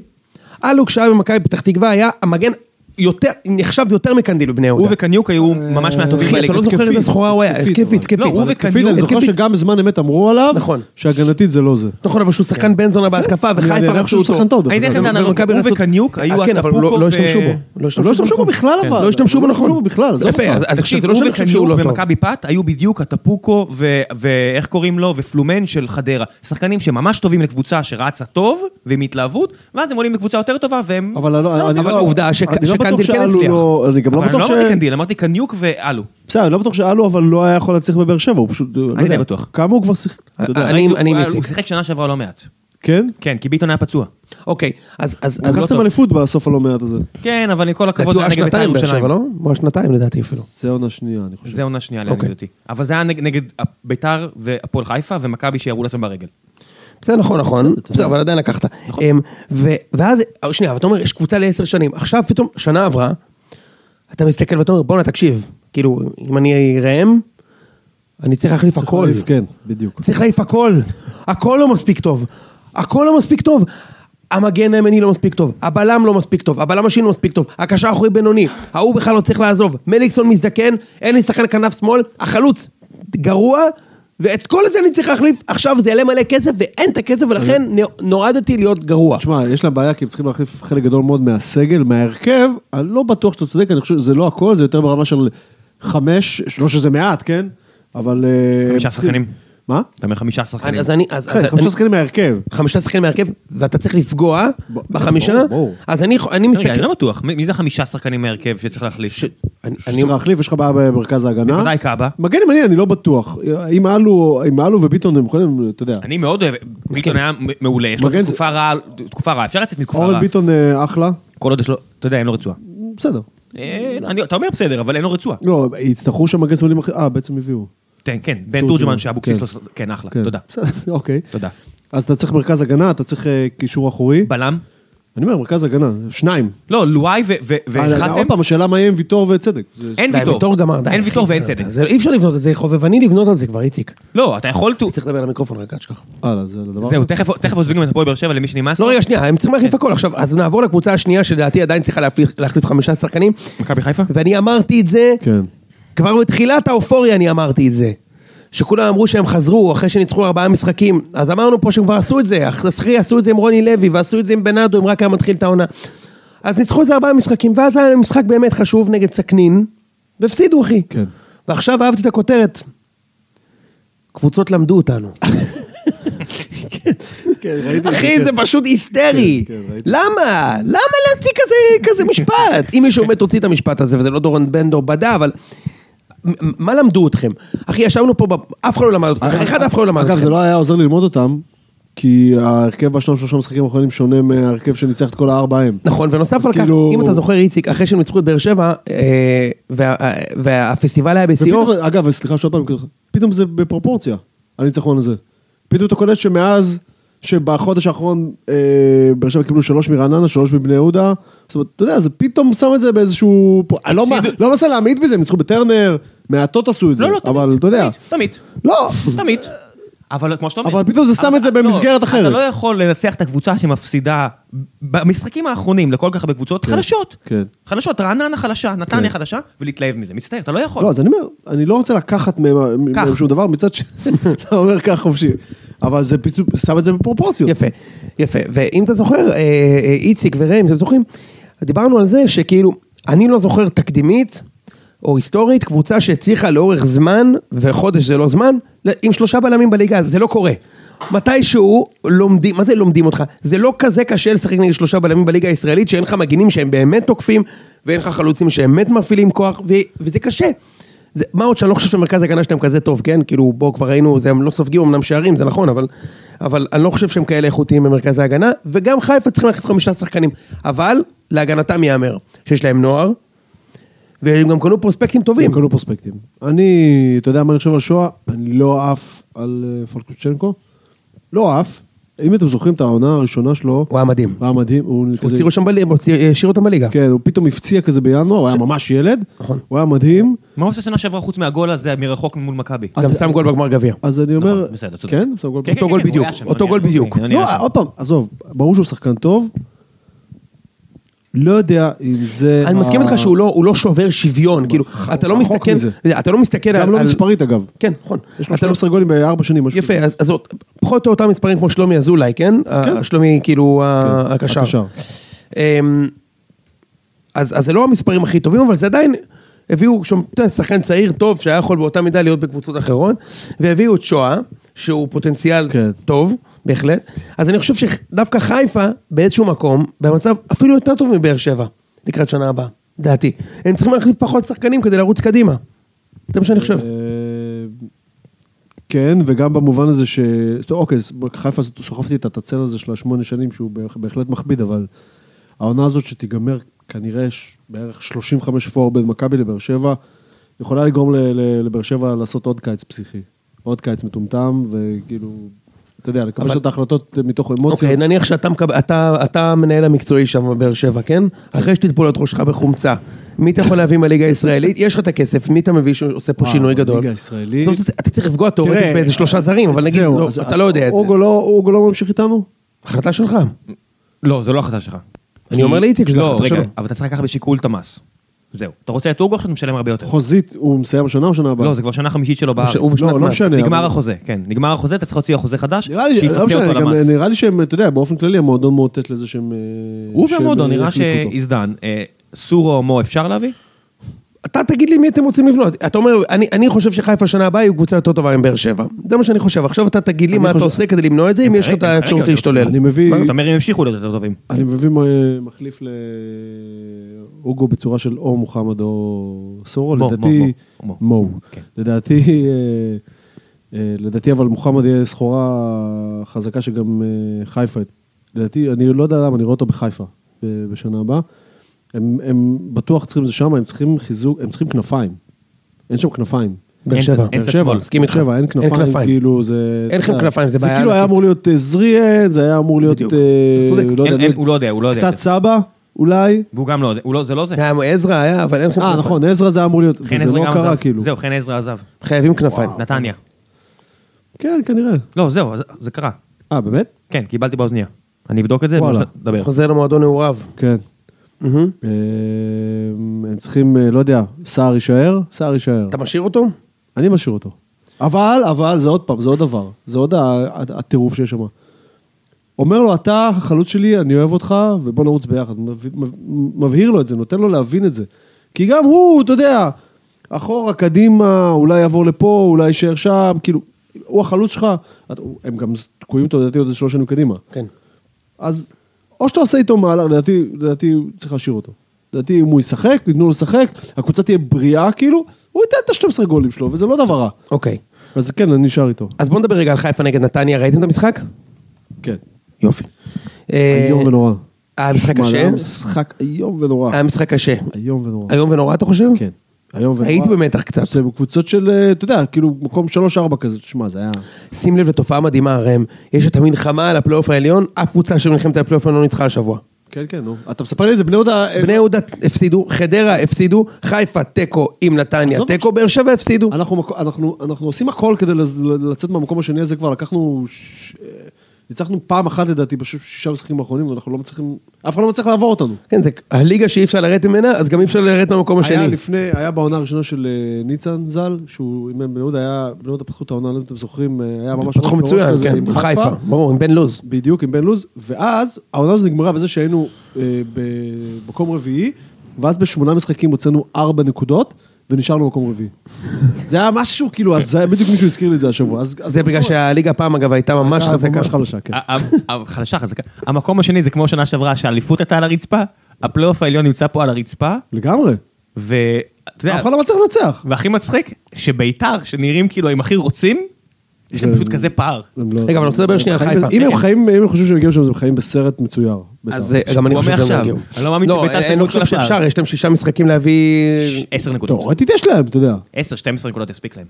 Speaker 3: אלו כשהיה במכבי פתח תקווה היה המגן יותר, נחשב יותר מקנדיל בבני
Speaker 1: הוא
Speaker 3: יהודה.
Speaker 1: וקניוק היו ממש מהטובים
Speaker 3: אחי, אתה
Speaker 1: בליגה.
Speaker 3: לא זוכר איזה סחורה הוא היה,
Speaker 2: התקפית,
Speaker 3: התקפית,
Speaker 1: לא,
Speaker 2: אבל.
Speaker 3: התקפית.
Speaker 1: הוא וקנדיל,
Speaker 3: התקפית,
Speaker 2: התקפית, אני זוכר
Speaker 3: התקפית.
Speaker 2: שגם בזמן אמת אמרו עליו,
Speaker 3: נכון.
Speaker 2: שהגנתית זה לא זה.
Speaker 3: נכון, אבל שהוא שחקן בן זונה בהתקפה,
Speaker 2: אני- אני
Speaker 3: וחיפה
Speaker 2: יודע
Speaker 3: רצו
Speaker 2: שהוא
Speaker 3: אותו. לא-
Speaker 2: שחקן טוב, דרך
Speaker 1: אני אתן לכם את
Speaker 2: אגב.
Speaker 1: ההנהלות.
Speaker 3: ומכבי
Speaker 1: הוא
Speaker 3: רצו-
Speaker 1: וקניוק
Speaker 3: אה,
Speaker 1: היו
Speaker 3: כן, אבל
Speaker 1: הטפוקו
Speaker 3: לא- לא
Speaker 1: ו-
Speaker 3: השתמשו בו.
Speaker 2: לא השתמשו בו בכלל, אבל.
Speaker 3: לא השתמשו בו
Speaker 2: לא
Speaker 3: נכון.
Speaker 2: השתמשו בו בכלל, עזוב
Speaker 3: יפה,
Speaker 2: אותך.
Speaker 3: אז- אז
Speaker 1: תקשיב,
Speaker 3: כשאתה
Speaker 1: הוא
Speaker 3: לא שתקשיב שהוא
Speaker 1: וקניוק
Speaker 3: לא טוב.
Speaker 1: במכבי פת היו בדיוק הטפוקו ו- ואיך קוראים לו, ופלומן של חדרה. שחקנים שממש טובים לקבוצה שרצה טוב ועם התלהבות, ואז הם עולים לקבוצה יותר טובה והם...
Speaker 2: אבל אני לא- אני
Speaker 3: אבל
Speaker 2: לא-
Speaker 3: עובדה שק-
Speaker 2: אני לא בטוח
Speaker 3: שקנדיל כן
Speaker 2: שאלו
Speaker 3: הצליח.
Speaker 2: לא- אני גם לא
Speaker 1: אבל אני
Speaker 2: בטוח
Speaker 1: לא
Speaker 2: ש...
Speaker 1: אמרתי קנדיל, אמרתי קניוק ואלו.
Speaker 2: בסדר, אני לא בטוח שאלו, אבל לא היה יכול להצליח בבאר שבע, הוא פשוט... לא
Speaker 1: די
Speaker 2: יודע,
Speaker 1: בטוח. אה,
Speaker 2: כמה הוא כבר שיחק? אתה יודע,
Speaker 3: אני-
Speaker 1: הוא-
Speaker 3: אני
Speaker 1: הוא-
Speaker 3: מציג.
Speaker 1: הוא שיחק שנה שעברה לא מעט.
Speaker 2: כן?
Speaker 1: כן, כי ביטון היה פצוע.
Speaker 3: אוקיי, אז... אז- אז לא
Speaker 2: לקחתם
Speaker 3: טוב.
Speaker 2: אליפות בסוף הלא מעט הזה.
Speaker 1: כן, אבל עם כל הכבוד,
Speaker 3: לדעתי
Speaker 1: זה
Speaker 3: הוא היה
Speaker 1: היה נגד בית"ר
Speaker 3: שנתיים באר שבע,
Speaker 1: ירושלים.
Speaker 3: לא? הוא היה שנתיים לדעתי אפילו.
Speaker 2: זה עונה שנייה, אני חושב.
Speaker 1: זה עונה שנייה לעניות
Speaker 3: אוקיי.
Speaker 1: אותי. אבל זה היה נג- נגד בית"ר והפועל חיפה ומכבי שירו לעצמם ברגל.
Speaker 3: בסדר, נכון, נכון, בסדר, אבל עדיין לקחת. אמ, ו- ואז, אבל שנייה, אבל אתה אומר, יש קבוצה לעשר שנים, עכשיו פתאום, שנה עברה, אתה מסתכל ואתה אומר, בואנה, תקשיב, כאילו, אם אני ראם, אני צריך להחליף הכל.
Speaker 2: להחליף, כן, בדיוק.
Speaker 3: צריך להעיף הכל. הכל לא מספיק טוב. הכל לא מספיק טוב. המגן הימני לא מספיק טוב, הבלם לא מספיק טוב, הבלם השני לא מספיק טוב, הקשר האחורי בינוני, ההוא בכלל לא צריך לעזוב, מליקסון מזדקן, אין לי שחקן כנף שמאל, החלוץ גרוע, ואת כל זה אני צריך להחליף, עכשיו זה יעלה מלא כסף ואין את הכסף ולכן
Speaker 2: אוקיי.
Speaker 3: נ- נועדתי להיות גרוע.
Speaker 2: תשמע, יש להם בעיה כי הם צריכים להחליף חלק גדול מאוד מהסגל, מההרכב, אני לא בטוח שאתה צודק, אני חושב שזה לא הכל, זה יותר ברמה של חמש, לא שזה מעט, כן? אבל... אה,
Speaker 1: חמישה
Speaker 2: הם צריכים-
Speaker 1: שחקנים.
Speaker 2: מה?
Speaker 1: אתה אומר חמישה שחקנים.
Speaker 3: אז אני... אז-
Speaker 2: כן,
Speaker 3: אז
Speaker 2: חמישה
Speaker 3: אני-
Speaker 2: שחקנים מההרכב.
Speaker 3: חמישה שחקנים מהרכב, ואתה צריך לפגוע
Speaker 2: ברור,
Speaker 3: בחמישה,
Speaker 2: ברור.
Speaker 3: אז אני אני
Speaker 1: רגע, אני
Speaker 3: מסתכל...
Speaker 1: לא בטוח, מי מי זה החמישה שחקנים מהרכב שצריך להחליף?
Speaker 3: ש- אני- אני-
Speaker 2: שצריך להחליף, יש לך בעיה במרכז ההגנה.
Speaker 1: בוודאי קאבה.
Speaker 2: מגן ימני, אני לא בטוח. אם אלו, אם אלו וביטון הם יכולים, אתה יודע.
Speaker 1: אני מאוד אוהב, ביטון היה מ- מעולה, יש לו
Speaker 2: מגן זה-
Speaker 1: תקופה רעה, תקופה רעה, אפשר לצאת מתקופה
Speaker 2: אורן
Speaker 1: רעה.
Speaker 2: ביטון אה, אחלה,
Speaker 1: כל עוד יש לו, אתה יודע, אין לו רצועה.
Speaker 2: בסדר.
Speaker 1: אה, אני- אתה אומר בסדר, אבל אין לו רצועה.
Speaker 2: לא, יצטרכו שם מגן שמאלים אחר, אה, בעצם הביאו.
Speaker 1: כן, כן, בן
Speaker 2: תורג'מן,
Speaker 1: תורג'מן שאבוקסיס
Speaker 2: כן.
Speaker 1: לא... כן, אחלה,
Speaker 2: כן.
Speaker 1: תודה.
Speaker 2: בסדר, *laughs* אוקיי.
Speaker 1: תודה.
Speaker 2: אז אתה צריך מרכז הגנה, אתה צריך אה, קישור אחורי.
Speaker 1: בלם?
Speaker 2: אני אומר, מרכז הגנה, שניים.
Speaker 1: לא, לואי ו- ו-
Speaker 2: אה, עוד
Speaker 1: והחתם?
Speaker 2: פעם, השאלה מה יהיה עם ויטור וצדק. זה-
Speaker 1: אין
Speaker 3: די,
Speaker 1: ויטור.
Speaker 3: גמר, די.
Speaker 1: אין
Speaker 3: אחי. אה,
Speaker 1: ויטור ואין
Speaker 3: אתה-
Speaker 1: צדק.
Speaker 3: זה- אי אפשר לבנות על זה, חובבני לבנות על זה כבר, איציק.
Speaker 1: לא, אתה יכול... to-
Speaker 3: צריך לדבר למיקרופון רגע, אל תשכח.
Speaker 2: הלאה, זה לדבר.
Speaker 1: זהו, תכף תכף עוזבים גם את הפועל באר שבע למי שנמאס.
Speaker 3: לא,
Speaker 1: לו.
Speaker 3: רגע, שנייה, הם צריכים
Speaker 1: כן.
Speaker 3: להחליף הכל. עכשיו, אז נעבור לקבוצה השנייה, שלדעתי עדיין צריכה להחליף- להחליף חמישה שחקנים,
Speaker 1: מכבי חיפה?
Speaker 3: ואני אמרתי את זה,
Speaker 2: כן.
Speaker 3: כבר בתחילת האופוריה אני אמרתי את זה. שכולם אמרו שהם חזרו אחרי שניצחו ארבעה משחקים, אז אמרנו פה שהם כבר עשו את זה, אחרי עשו את זה עם רוני לוי, ועשו את זה עם בנאדו, אם רק היה מתחיל את העונה. אז ניצחו איזה ארבעה משחקים, ואז היה להם משחק באמת חשוב נגד סכנין, והפסידו אחי.
Speaker 2: כן.
Speaker 3: ועכשיו אהבתי את הכותרת. קבוצות למדו אותנו.
Speaker 2: כן, ראיתי.
Speaker 3: אחי, זה פשוט היסטרי.
Speaker 2: כן, כן, ראיתי.
Speaker 3: למה? למה להמציא כזה, כזה משפט? אם מישהו באמת הוציא את המשפט הזה, וזה לא דורון בן דור בדה, אבל... מ- מה למדו אתכם? אחי, ישבנו פה, ב- אף אחד לא למד אותם. אחד אף אחד לא למד
Speaker 2: אגב, זה
Speaker 3: אתכם.
Speaker 2: לא היה עוזר ללמוד אותם, כי ההרכב בשלושה שלושה משחקים האחרונים שונה מההרכב שניצח את כל הארבע ההם.
Speaker 3: נכון, ונוסף
Speaker 2: אז
Speaker 3: על כך,
Speaker 2: כאילו-
Speaker 3: אם אתה זוכר, איציק, אחרי שהם ניצחו את באר שבע, אה, וה- אה, והפסטיבל היה בשיאו,
Speaker 2: ופתאום- אגב, סליחה שעוד פעם, פתאום זה בפרופורציה, הניצחון הזה. פתאום אתה קולט שמאז, שבחודש האחרון אה, באר שבע קיבלו שלוש מרעננה, שלוש מבני יהודה, זאת אומרת, אתה יודע, זה פתאום שם את זה באיזשהו... פר- אני לא מ-
Speaker 1: הפסידו-
Speaker 2: לא מנסה להמעיט בזה, הם ניצחו בטרנר, מעטות עשו את זה,
Speaker 1: לא, לא, תמיד. נכון.
Speaker 2: אבל אתה יודע,
Speaker 1: תמיד.
Speaker 2: לא,
Speaker 1: תמיד. אבל כמו שאתה אומר...
Speaker 2: אבל פתאום זה שם את זה
Speaker 1: אבל- לא,
Speaker 2: במסגרת
Speaker 1: אתה
Speaker 2: אחרת.
Speaker 1: לא יכול לנצח את הקבוצה שמפסידה במשחקים האחרונים לכל כך הרבה קבוצות חלשות.
Speaker 2: כן.
Speaker 1: חלשות, רעננה חלשה, נתניה
Speaker 2: כן.
Speaker 1: חלשה, ולהתלהב מזה. מצטער, אתה לא יכול.
Speaker 2: לא, אז אני אומר, אני לא רוצה לקחת מהם
Speaker 1: קח.
Speaker 2: מהם שום דבר, מצד ש... *laughs* אתה אומר כך חופשי, אבל זה פתאום שם את זה בפרופורציות.
Speaker 3: יפה, יפה. ואם אתה זוכר, אה, אה, איציק וראם, אתם זוכרים? דיברנו על זה שכאילו, אני לא זוכר תקדימית או היסטורית, קבוצה שהצליחה לאורך זמן, וחודש זה לא זמן, ל- עם שלושה בלמים בליגה, זה לא קורה. מתישהו לומדים, מה זה לומדים אותך? זה לא כזה קשה לשחק נגד שלושה בלמים בליגה הישראלית, שאין לך מגינים שהם באמת תוקפים, ואין לך חלוצים שהם באמת מפעילים כוח, ו- וזה קשה. זה, מה עוד שאני לא חושב שמרכז ההגנה שלהם כזה טוב, כן? כאילו, בואו כבר ראינו, זה, הם לא סופגים אמנם שערים, זה נכון, אבל, אבל אני לא חושב שהם כאלה איכותיים במרכז ההגנה, וגם חיפה צריכים ללכת חמישה שחקנים, אבל להגנתם ייאמר שיש להם נוער, והם גם קנו פרוספקטים טובים.
Speaker 2: הם קנו פרוספקטים. אני, אתה יודע מה אני חושב על שואה? אני לא עף על אה, פלקוצ'נקו. לא עף. אם אתם זוכרים את העונה הראשונה שלו,
Speaker 3: הוא היה מדהים.
Speaker 2: הוא היה מדהים. הוא
Speaker 3: הוא
Speaker 2: כזה-
Speaker 3: הוציאו שם בליגה, הוציא- השאיר אותם בליגה.
Speaker 2: כן, הוא פתאום הפציע כזה בינואר, הוא היה ממש ילד.
Speaker 3: נכון.
Speaker 2: הוא היה מדהים.
Speaker 1: מה הוא עושה שנה שעברה חוץ מהגול הזה מרחוק מול מכבי?
Speaker 2: אז- אה,
Speaker 3: גם שם גול בגמר גביע.
Speaker 2: אז אני אומר...
Speaker 1: נכון, בסדר, צודק.
Speaker 2: כן? שם גול
Speaker 1: כן,
Speaker 2: פתוח.
Speaker 1: כן,
Speaker 3: אותו גול
Speaker 1: כן, הוא
Speaker 3: בדיוק,
Speaker 1: היה שם,
Speaker 3: אותו
Speaker 1: אני-
Speaker 3: גול בדיוק.
Speaker 1: אני- אני
Speaker 2: לא,
Speaker 1: היה שם.
Speaker 2: עוד פעם, עזוב, ברור שהוא שחקן טוב. לא יודע אם זה...
Speaker 3: אני
Speaker 2: ה-
Speaker 3: מסכים איתך שהוא לא- הוא לא שובר שוויון, כאילו, אתה לא
Speaker 2: רחוק
Speaker 3: מסתכל,
Speaker 2: מזה.
Speaker 3: אתה לא מסתכל על...
Speaker 2: גם לא
Speaker 3: על-
Speaker 2: מספרית, אגב.
Speaker 3: כן, נכון.
Speaker 2: יש לו
Speaker 3: אתה לא-
Speaker 2: 12 גולים בארבע שנים. משהו
Speaker 3: יפה, אז, אז עוד, פחות או יותר אותם מספרים כמו שלומי אזולאי, כן? כן. שלומי כאילו ה-
Speaker 2: כן,
Speaker 3: הקשר.
Speaker 2: הקשר.
Speaker 3: אמ, אז, אז זה לא המספרים הכי טובים, אבל זה עדיין, הביאו שם אתה יודע, שחקן צעיר טוב שהיה יכול באותה מידה להיות בקבוצות אחרות, והביאו את שואה, שהוא פוטנציאל
Speaker 2: כן.
Speaker 3: טוב, בהחלט. אז אני חושב שדווקא חיפה, באיזשהו מקום, במצב אפילו יותר טוב מבאר שבע, לקראת שנה הבאה, דעתי. הם צריכים להחליף פחות שחקנים כדי לרוץ קדימה. זה מה שאני חושב.
Speaker 2: אה, כן, וגם במובן הזה ש... טוב, אוקיי, אז חיפה הזאת, סוחבתי את התצל הזה של השמונה שנים, שהוא בהח- בהחלט מכביד, אבל העונה הזאת שתיגמר כנראה ש- בערך 35 פור בין מכבי לבאר שבע, יכולה לגרום ל- ל- לבאר שבע לעשות עוד קיץ פסיכי. עוד קיץ מטומטם, וכאילו, אתה יודע, לקבל
Speaker 3: אבל-
Speaker 2: את ההחלטות מתוך אמוציות.
Speaker 3: אוקיי, נניח שאתה מקב- אתה- אתה המנהל המקצועי שם בבאר שבע, כן? אחרי שתטפול את ראשך בחומצה, מי אתה יכול להביא מהליגה הישראלית? יש לך את הכסף, מי אתה מביא שעושה פה
Speaker 2: וואו,
Speaker 3: שינוי גדול?
Speaker 2: בליגה אה, הישראלית.
Speaker 3: זאת אומרת, אתה צריך לפגוע תאורטית
Speaker 2: תראה,
Speaker 3: באיזה שלושה זרים, אבל נגיד,
Speaker 2: זהו,
Speaker 3: לא,
Speaker 2: אז
Speaker 3: אתה לא יודע את זה.
Speaker 2: אוגו לא- אוגו לא ממשיך איתנו?
Speaker 3: החלטה שלך.
Speaker 1: לא, זו לא החלטה שלך.
Speaker 3: אני אומר לאיציק שזו
Speaker 1: לא,
Speaker 3: החלטה
Speaker 1: רגע,
Speaker 3: שלו.
Speaker 1: אבל אתה צריך לקחת בשיקול את המס. זהו. אתה רוצה את אוגו עכשיו, אתה משלם הרבה יותר.
Speaker 2: חוזית, הוא מסיים השנה או שנה הבאה?
Speaker 1: לא, זה כבר שנה חמישית שלו בארץ.
Speaker 3: הוא בשנת
Speaker 2: לא, לא
Speaker 3: מס.
Speaker 2: משנה.
Speaker 1: נגמר
Speaker 2: אבל-
Speaker 1: החוזה, כן. נגמר החוזה, אתה צריך להוציא חוזה חדש,
Speaker 2: נראה לי, לא
Speaker 1: שיפצה
Speaker 2: משנה,
Speaker 1: אותו על
Speaker 2: גם
Speaker 1: המס.
Speaker 2: נראה לי שהם, אתה יודע, באופן כללי המועדון מאותת לזה שהם...
Speaker 1: הוא
Speaker 2: שהם
Speaker 1: והמודו, נראה
Speaker 2: יחליפו אותו.
Speaker 1: שהזדן. אה, סורו או מו אפשר להביא?
Speaker 3: אתה תגיד לי מי אתם רוצים לבנות. אתה אומר, אני, אני חושב שחיפה שנה הבאה יהיו קבוצה יותר טובה מבאר שבע. זה מה שאני חושב. עכשיו אתה תגיד לי
Speaker 2: אני
Speaker 3: מה אתה
Speaker 2: חושב-
Speaker 3: עושה כדי למנוע את זה, אם יש לך את
Speaker 1: כרגע,
Speaker 3: האפשרות
Speaker 1: כרגע,
Speaker 3: להשתולל.
Speaker 2: אני מביא,
Speaker 1: אתה אומר, הם המשיכו להיות יותר טובים.
Speaker 2: אני מביא מ- מחליף להוגו בצורה של או מוחמד או סורו,
Speaker 1: מו,
Speaker 2: לדעתי,
Speaker 1: מו, מו,
Speaker 2: מו.
Speaker 1: כן.
Speaker 2: לדעתי, אה, אה, לדעתי אבל מוחמד יהיה סחורה חזקה שגם אה, חיפה, לדעתי, אני לא יודע למה, אני רואה אותו בחיפה ב- בשנה הבאה. הם, הם בטוח צריכים את זה שם, הם צריכים חיזוק, הם צריכים כנפיים. אין שם כנפיים.
Speaker 3: באר שבע.
Speaker 1: אין
Speaker 2: באר
Speaker 1: צד
Speaker 2: שבע,
Speaker 1: שמאל,
Speaker 3: מסכים איתך.
Speaker 2: באר שבע, אין
Speaker 3: אין
Speaker 2: כנפיים,
Speaker 3: כנפיים.
Speaker 2: כאילו זה...
Speaker 3: אין לכם
Speaker 2: אתה יודע,
Speaker 3: כנפיים, זה בעיה
Speaker 2: זה כאילו היה
Speaker 3: ענקית.
Speaker 2: אמור להיות אה, זריאן, זה היה אמור להיות...
Speaker 3: בדיוק.
Speaker 2: אה,
Speaker 3: אתה צודק.
Speaker 2: לא יודע,
Speaker 1: אין- אין- הוא לא יודע, הוא לא יודע.
Speaker 2: קצת סבא, אולי.
Speaker 1: והוא גם לא יודע, הוא לא- זה לא זה.
Speaker 3: היה עזרא היה, אבל אין לכם
Speaker 2: אה,
Speaker 3: כנפיים.
Speaker 2: נכון, עזרא כן, זה היה אמור להיות,
Speaker 1: חן
Speaker 2: וזה
Speaker 1: כן, עזרא
Speaker 2: לא
Speaker 1: גם
Speaker 2: קרה
Speaker 1: עזב.
Speaker 2: כאילו.
Speaker 1: זהו, חן עזרא עזב.
Speaker 3: חייבים כנפיים.
Speaker 2: אה,
Speaker 1: נתניה.
Speaker 2: כן, כנראה.
Speaker 1: לא, זהו, אז- זה קרה.
Speaker 2: אה, באמת?
Speaker 1: כן, קיבלתי באוזניה. אני אבדוק את זה,
Speaker 2: וואלה.
Speaker 1: נדבר.
Speaker 3: חוזר למועדון נעוריו.
Speaker 2: כן.
Speaker 3: מהמם.
Speaker 2: אה, הם צריכים, אה, לא יודע, סער יישאר? סער יישאר.
Speaker 3: אתה משאיר אותו?
Speaker 2: אני משאיר אותו. אבל, אבל, זה עוד פעם, זה עוד דבר. זה עוד ה- ה- הטירוף שיש שם. אומר לו, אתה החלוץ שלי, אני אוהב אותך, ובוא נרוץ ביחד. מב- מב- מבהיר לו את זה, נותן לו להבין את זה. כי גם הוא, אתה יודע, אחורה, קדימה, אולי יעבור לפה, אולי יישאר שם, כאילו, הוא החלוץ שלך. את- הם גם תקועים אותו, לדעתי, עוד איזה שלוש שנים קדימה.
Speaker 3: כן.
Speaker 2: אז או שאתה עושה איתו מהלך, לדעתי, לדעתי צריך להשאיר אותו. לדעתי אם הוא ישחק, ייתנו לו לשחק, הקבוצה תהיה בריאה כאילו, הוא ייתן את ה-12 גולים שלו, וזה לא דבר רע.
Speaker 3: אוקיי.
Speaker 2: אז כן, אני נשאר איתו.
Speaker 3: אז בוא נדבר רגע על חיפה נגד נתניה, ראיתם את המשחק?
Speaker 2: כן.
Speaker 3: יופי. אה,
Speaker 2: איום ונורא.
Speaker 3: היה משחק
Speaker 2: שמע, זה
Speaker 3: קשה?
Speaker 2: היה לא, משחק איום ונורא.
Speaker 3: היה משחק קשה.
Speaker 2: איום ונורא.
Speaker 3: איום ונורא אתה חושב?
Speaker 2: כן. איום ונורא.
Speaker 3: הייתי במתח קצת.
Speaker 2: זה קבוצות של, אה, אתה יודע, כאילו מקום 3-4 כזה, שמע, זה היה...
Speaker 3: שים לב לתופעה מדהימה, ראם. יש את המלחמה על הפלייאוף העליון, אף קבוצה שנלחמת על הפלייאוף העליון לא ניצחה השבוע.
Speaker 2: כן, כן, נו. אתה מספר לי את זה, בני יהודה... אה,
Speaker 3: בני יהודה הפסידו, חדרה הפסידו, חיפה תיקו עם נתניה
Speaker 2: עזוב
Speaker 3: תיקו, באר שבע הפסידו.
Speaker 2: אנחנו, מקו- אנחנו, אנחנו עושים הכל כדי לז- לצאת מהמקום השני הזה כבר, לקחנו... ש... אה, ניצחנו פעם אחת לדעתי בשישה משחקים האחרונים, ואנחנו לא מצליחים... אף אחד לא מצליח לעבור אותנו.
Speaker 3: כן, זה הליגה שאי אפשר לרדת ממנה, אז גם אי אפשר לרדת מהמקום
Speaker 2: היה
Speaker 3: השני.
Speaker 2: לפני, היה בעונה הראשונה של אה, ניצן ז"ל, שהוא עם בני יהודה, היה, בני יהודה פתחו את העונה, לא יודע אם אתם זוכרים, אה, היה ממש...
Speaker 3: פתחו
Speaker 2: ראש בראש
Speaker 3: מצוין,
Speaker 2: כזה
Speaker 3: כן,
Speaker 2: עם
Speaker 3: עם חיפה, ברור, עם בן לוז.
Speaker 2: בדיוק, עם בן לוז, ואז העונה הזו נגמרה בזה שהיינו אה, במקום רביעי, ואז בשמונה משחקים הוצאנו ארבע נקודות, ונשארנו במקום רביעי. זה היה משהו, כאילו, אז זה- בדיוק מישהו הזכיר לי את זה השבוע. אז- אז
Speaker 3: זה בגלל שהליגה פעם אגב הייתה ממש
Speaker 2: אה,
Speaker 3: חזקה.
Speaker 2: ממש חלשה, כן.
Speaker 1: ה- ה- ה- חלשה חזקה. המקום השני זה כמו שנה שעברה, שהאליפות הייתה על הרצפה, הפלייאוף העליון נמצא פה על הרצפה,
Speaker 2: לגמרי.
Speaker 1: ואתה יודע,
Speaker 2: אף אחד לא מצליח לנצח.
Speaker 1: והכי מצחיק, שביתר, שנראים כאילו הם הכי רוצים, יש להם
Speaker 2: זה-
Speaker 1: פשוט כזה פער.
Speaker 2: הם לא-
Speaker 3: רגע, אבל אני רוצה לדבר שנייה על
Speaker 2: חיים
Speaker 3: חיפה.
Speaker 2: ב- אם הם חיים, אם הם חושבים שהם הגיעו שם, אז הם חיים בסרט מצויר. בטח.
Speaker 3: אז אה, גם אני
Speaker 1: הוא
Speaker 3: חושב
Speaker 1: אומר
Speaker 3: שהם
Speaker 1: עכשיו,
Speaker 3: לא הגיעו.
Speaker 1: אני לא מאמין שביתר
Speaker 3: אני-
Speaker 1: סיימו
Speaker 3: אני לא
Speaker 1: את כל
Speaker 3: חושב
Speaker 1: השאר.
Speaker 3: שאפשר, יש להם שישה משחקים להביא...
Speaker 1: 10 נקודות.
Speaker 2: תאורטית לא, יש להם, אתה יודע.
Speaker 1: 10, 12 נקודות יספיק להם.